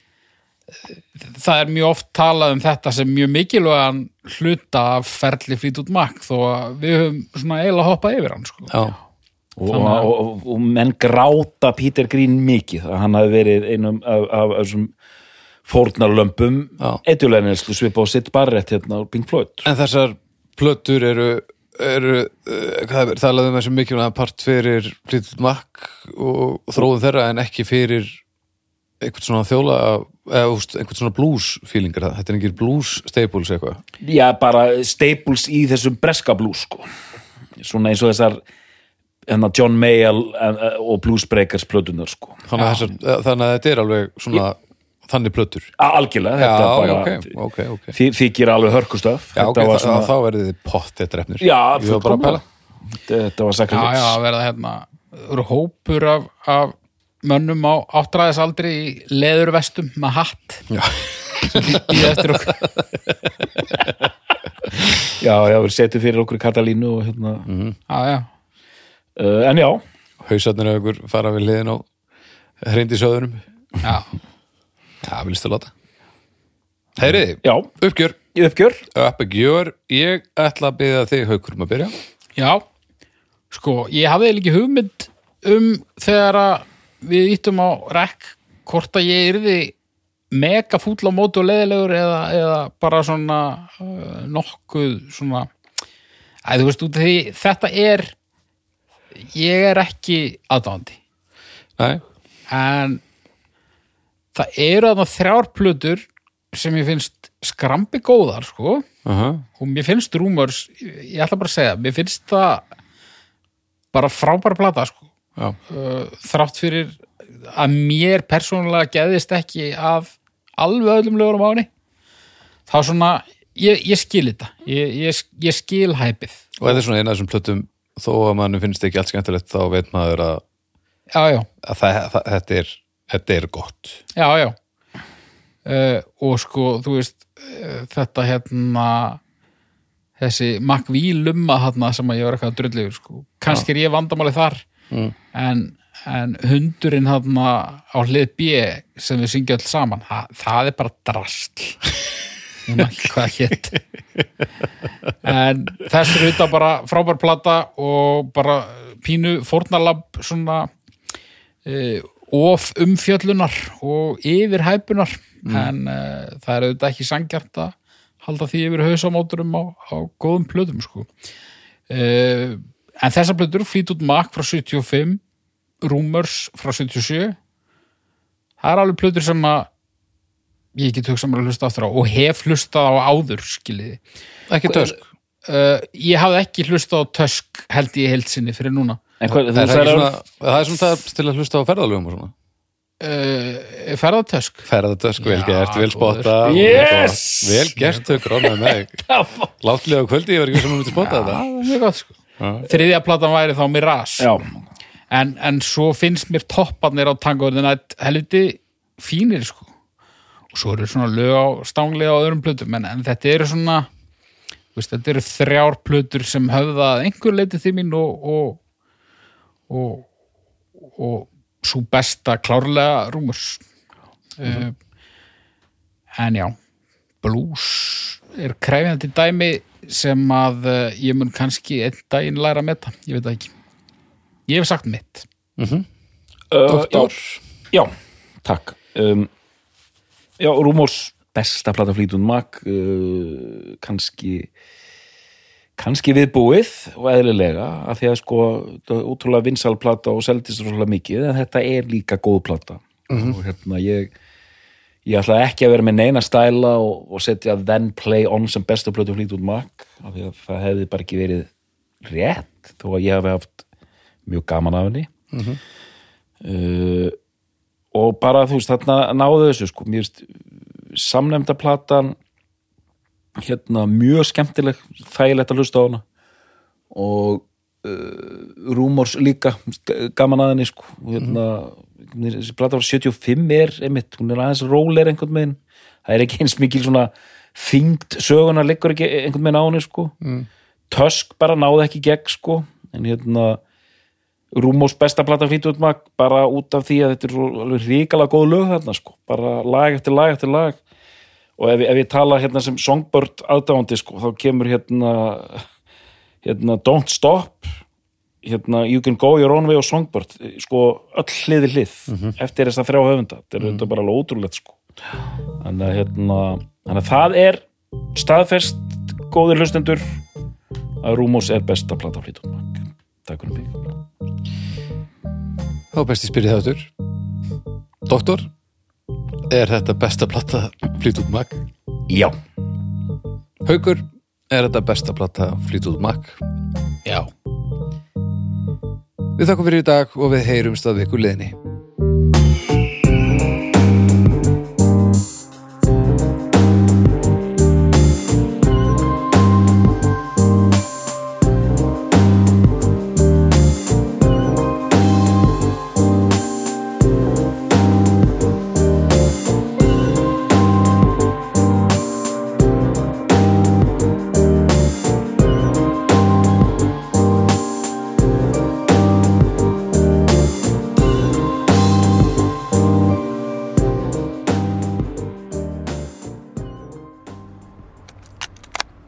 [SPEAKER 4] eh, það er mjög oft talað um þetta sem mjög mikilvægan hluta af ferli Fleetwood Mac, þó að við höfum svona eiginlega hoppað yfir hann, sko.
[SPEAKER 2] já,
[SPEAKER 3] og, og, og, og menn gráta Peter Green mikið að hann hafi verið einum af, af, af þessum fórnarlömpum
[SPEAKER 2] Já.
[SPEAKER 3] etjulegnislu svipa á sitt barrett hérna á Pink Floyd
[SPEAKER 2] en þessar plötur eru eru, uh, hvað er, það laðum þessum mikilvæg part fyrir lítið makk og, og þróðum þeirra en ekki fyrir einhvern svona þjóla eða úst, einhvern svona blues feelingar þetta er engir blues staples eitthvað
[SPEAKER 3] já bara staples í þessum breska blues sko svona eins og þessar hérna, John Mayall eh, og Blues Breakers plötunar sko
[SPEAKER 2] þannig, að þessar, eh, þannig að þetta er alveg svona þannig plötur
[SPEAKER 3] A- algjörlega,
[SPEAKER 2] Já,
[SPEAKER 3] þetta bara
[SPEAKER 2] ok, ok, ok
[SPEAKER 3] þy- þykir alveg hörkustöf
[SPEAKER 2] Já, ok,
[SPEAKER 3] þetta var
[SPEAKER 2] svona...
[SPEAKER 3] svona
[SPEAKER 2] þá verðið þið pott þetta refnir
[SPEAKER 3] já,
[SPEAKER 2] Ég var bara að pæla.
[SPEAKER 3] fullkomlega. þetta var
[SPEAKER 4] Já, já,
[SPEAKER 3] sakalits
[SPEAKER 4] að verða hérna það eru hópur af, af mönnum á áttræðisaldri í leðurvestum með hatt
[SPEAKER 2] Já.
[SPEAKER 4] í eftir okkur
[SPEAKER 3] já, já, við setjum fyrir okkur Katalínu og hérna
[SPEAKER 2] Mhm.
[SPEAKER 4] já, já.
[SPEAKER 3] uh, en já,
[SPEAKER 2] Hausarnir af ykkur fara við liðin á hreindi söðunum
[SPEAKER 4] Já.
[SPEAKER 2] Já, við listu að láta Heyriði,
[SPEAKER 3] já,
[SPEAKER 2] uppgjör
[SPEAKER 3] uppgjör
[SPEAKER 2] Uppgjör, ég ætla að byggja þig haukur um að byrja
[SPEAKER 4] já, sko ég hafði eiginlega ekki hugmynd um þegar að við íttum á rekk hvort að ég yrði mega fúll á móti og leðilegur eða, eða bara svona uh, nokkuð svona Æ, þú veist, út af því, þetta er ég er ekki aðdáandi
[SPEAKER 2] Nei,
[SPEAKER 4] en það eru þarna þrjár plötur sem ég finnst skrambi góðar sko
[SPEAKER 2] uh
[SPEAKER 4] og mér finnst Rúmörs, ég ætla bara að segja mér finnst það bara frábæra plata sko
[SPEAKER 2] já,
[SPEAKER 4] Uh, þrátt fyrir að mér persónulega geðist ekki af alveg öllum lögurum á henni þá svona, ég, ég skil þetta ég, ég, ég skil hæpið
[SPEAKER 2] og þetta er svona eina af þessum plötum þó að mann finnst ekki allt skemmtilegt þá veit maður að,
[SPEAKER 4] já, já,
[SPEAKER 2] að það, það, þetta, er, þetta er gott
[SPEAKER 4] Já, já. Uh, og sko, þú veist, uh, þetta hérna, þessi McVie lumma hérna sem að ég var eitthvað að drullu yfir, sko. Kannski er ég vandamálið þar, mm. en, en hundurinn hann á hlið B sem við syngja öll saman það, það er bara drastl ég man ekki hvað það hétt en þess er auðvitað bara frábær plata og bara pínu fórnalab svona uh, of umfjöllunar og yfirhæpunar en uh, það er auðvitað ekki sangjart að halda því yfir hausamóturum á, á góðum plöðum sko uh, en þessar plöður flýt út Mac frá 75 Rumors frá 77 það er alveg plöður sem að ég get hugsa mér að hlusta aftur á og hef hlustað á áður skiljiði
[SPEAKER 2] ekki tösk
[SPEAKER 4] uh, ég hafði ekki hlustað á Tusk held ég í heild sinni fyrir núna
[SPEAKER 3] En hvað,
[SPEAKER 2] það
[SPEAKER 3] þú
[SPEAKER 2] er, það
[SPEAKER 3] sagðir
[SPEAKER 2] svona,
[SPEAKER 3] að-
[SPEAKER 2] það er svona það til að hlusta á ferðalögum og svona
[SPEAKER 4] uh, ferða Tusk
[SPEAKER 2] ferðatösk, vel
[SPEAKER 4] Já,
[SPEAKER 2] gert, vel spotta
[SPEAKER 4] góður.
[SPEAKER 3] Yes!
[SPEAKER 2] vel gert, þau gránaði meg látlega á kvöldi, ég var ekki sem að myndi spotta þetta
[SPEAKER 4] það er mjög gott sko þriðja platan væri þá Mirage
[SPEAKER 3] Já,
[SPEAKER 4] en, en svo finnst mér topparnir á tangoðin að helviti fínir sko og svo eru svona lög á stanglega á öðrum plötum en, en þetta eru svona þú veist, þetta eru þrjár plötur sem höfða að einhver leiti því mín og og, og, og svo besta klárlega rúmurs uh, en já blues er krefjandi dæmi sem að eh, ég mun kannski einn daginn læra að meta, ég veit það ekki ég hef sagt mitt
[SPEAKER 3] uh,
[SPEAKER 2] Doktor.
[SPEAKER 3] já, já, takk um, Já, Rúmors besta plata flýtun mak uh, kannski kannski viðbúið og eðlilega af því að sko þetta er ótrúlega vinsal plata og seldist rosalega mikið en þetta er líka góð plata og hérna ég ég ætla ekki að vera með neina stæla og, og setja then play on sem bestu plötu flýtun mak af því að það hefði bara ekki verið rétt þó að ég hafi haft mjög gaman af henni uh, og bara þú veist þarna náðu þessu sko mér veist samnefnda platan hérna mjög skemmtileg þægilegt að hlusta á hana og uh, Rúmors líka þú veist, g- gaman að henni sko og hérna mm -hmm. þessi plata var 75 er einmitt, hún er aðeins róler einhvern veginn það er ekki eins mikil svona þyngd söguna liggur ekki einhvern veginn á henni sko mm. Tösk bara náði ekki í gegn sko en hérna Rúmós besta plata Fleetwood Mac bara út af því að þetta er svo alveg ríkala góð lög þarna sko, bara lag eftir lag eftir lag og ef, ég- ef ég tala hérna sem songbird aðdáandi sko, þá kemur hérna hérna Don't Stop hérna You Can Go Your Own Way og songbird sko öll hliði hlið eftir þess að þrjá höfunda, þetta er mm bara alveg ótrúlegt sko þannig að hérna þannig að það er staðfest góðir hlustendur að Rúmós er besta plata Fleetwood Mac Takk fyrir mig
[SPEAKER 2] þá er best ég spyrja það áttur Doktor, er þetta besta platta flýtúð mag?
[SPEAKER 3] Já
[SPEAKER 2] Haukur, er þetta besta platta flýtúð mag?
[SPEAKER 4] já
[SPEAKER 2] Við þakkum fyrir í dag og við heyrumst að viku liðni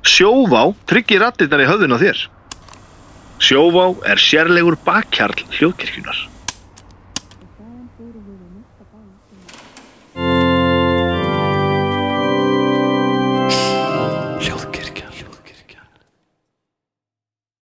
[SPEAKER 1] Sjóvá tryggir rattirnar í höfðun á þér. Sjóvá er sérlegur bakkjarl hljóðkirkjunar.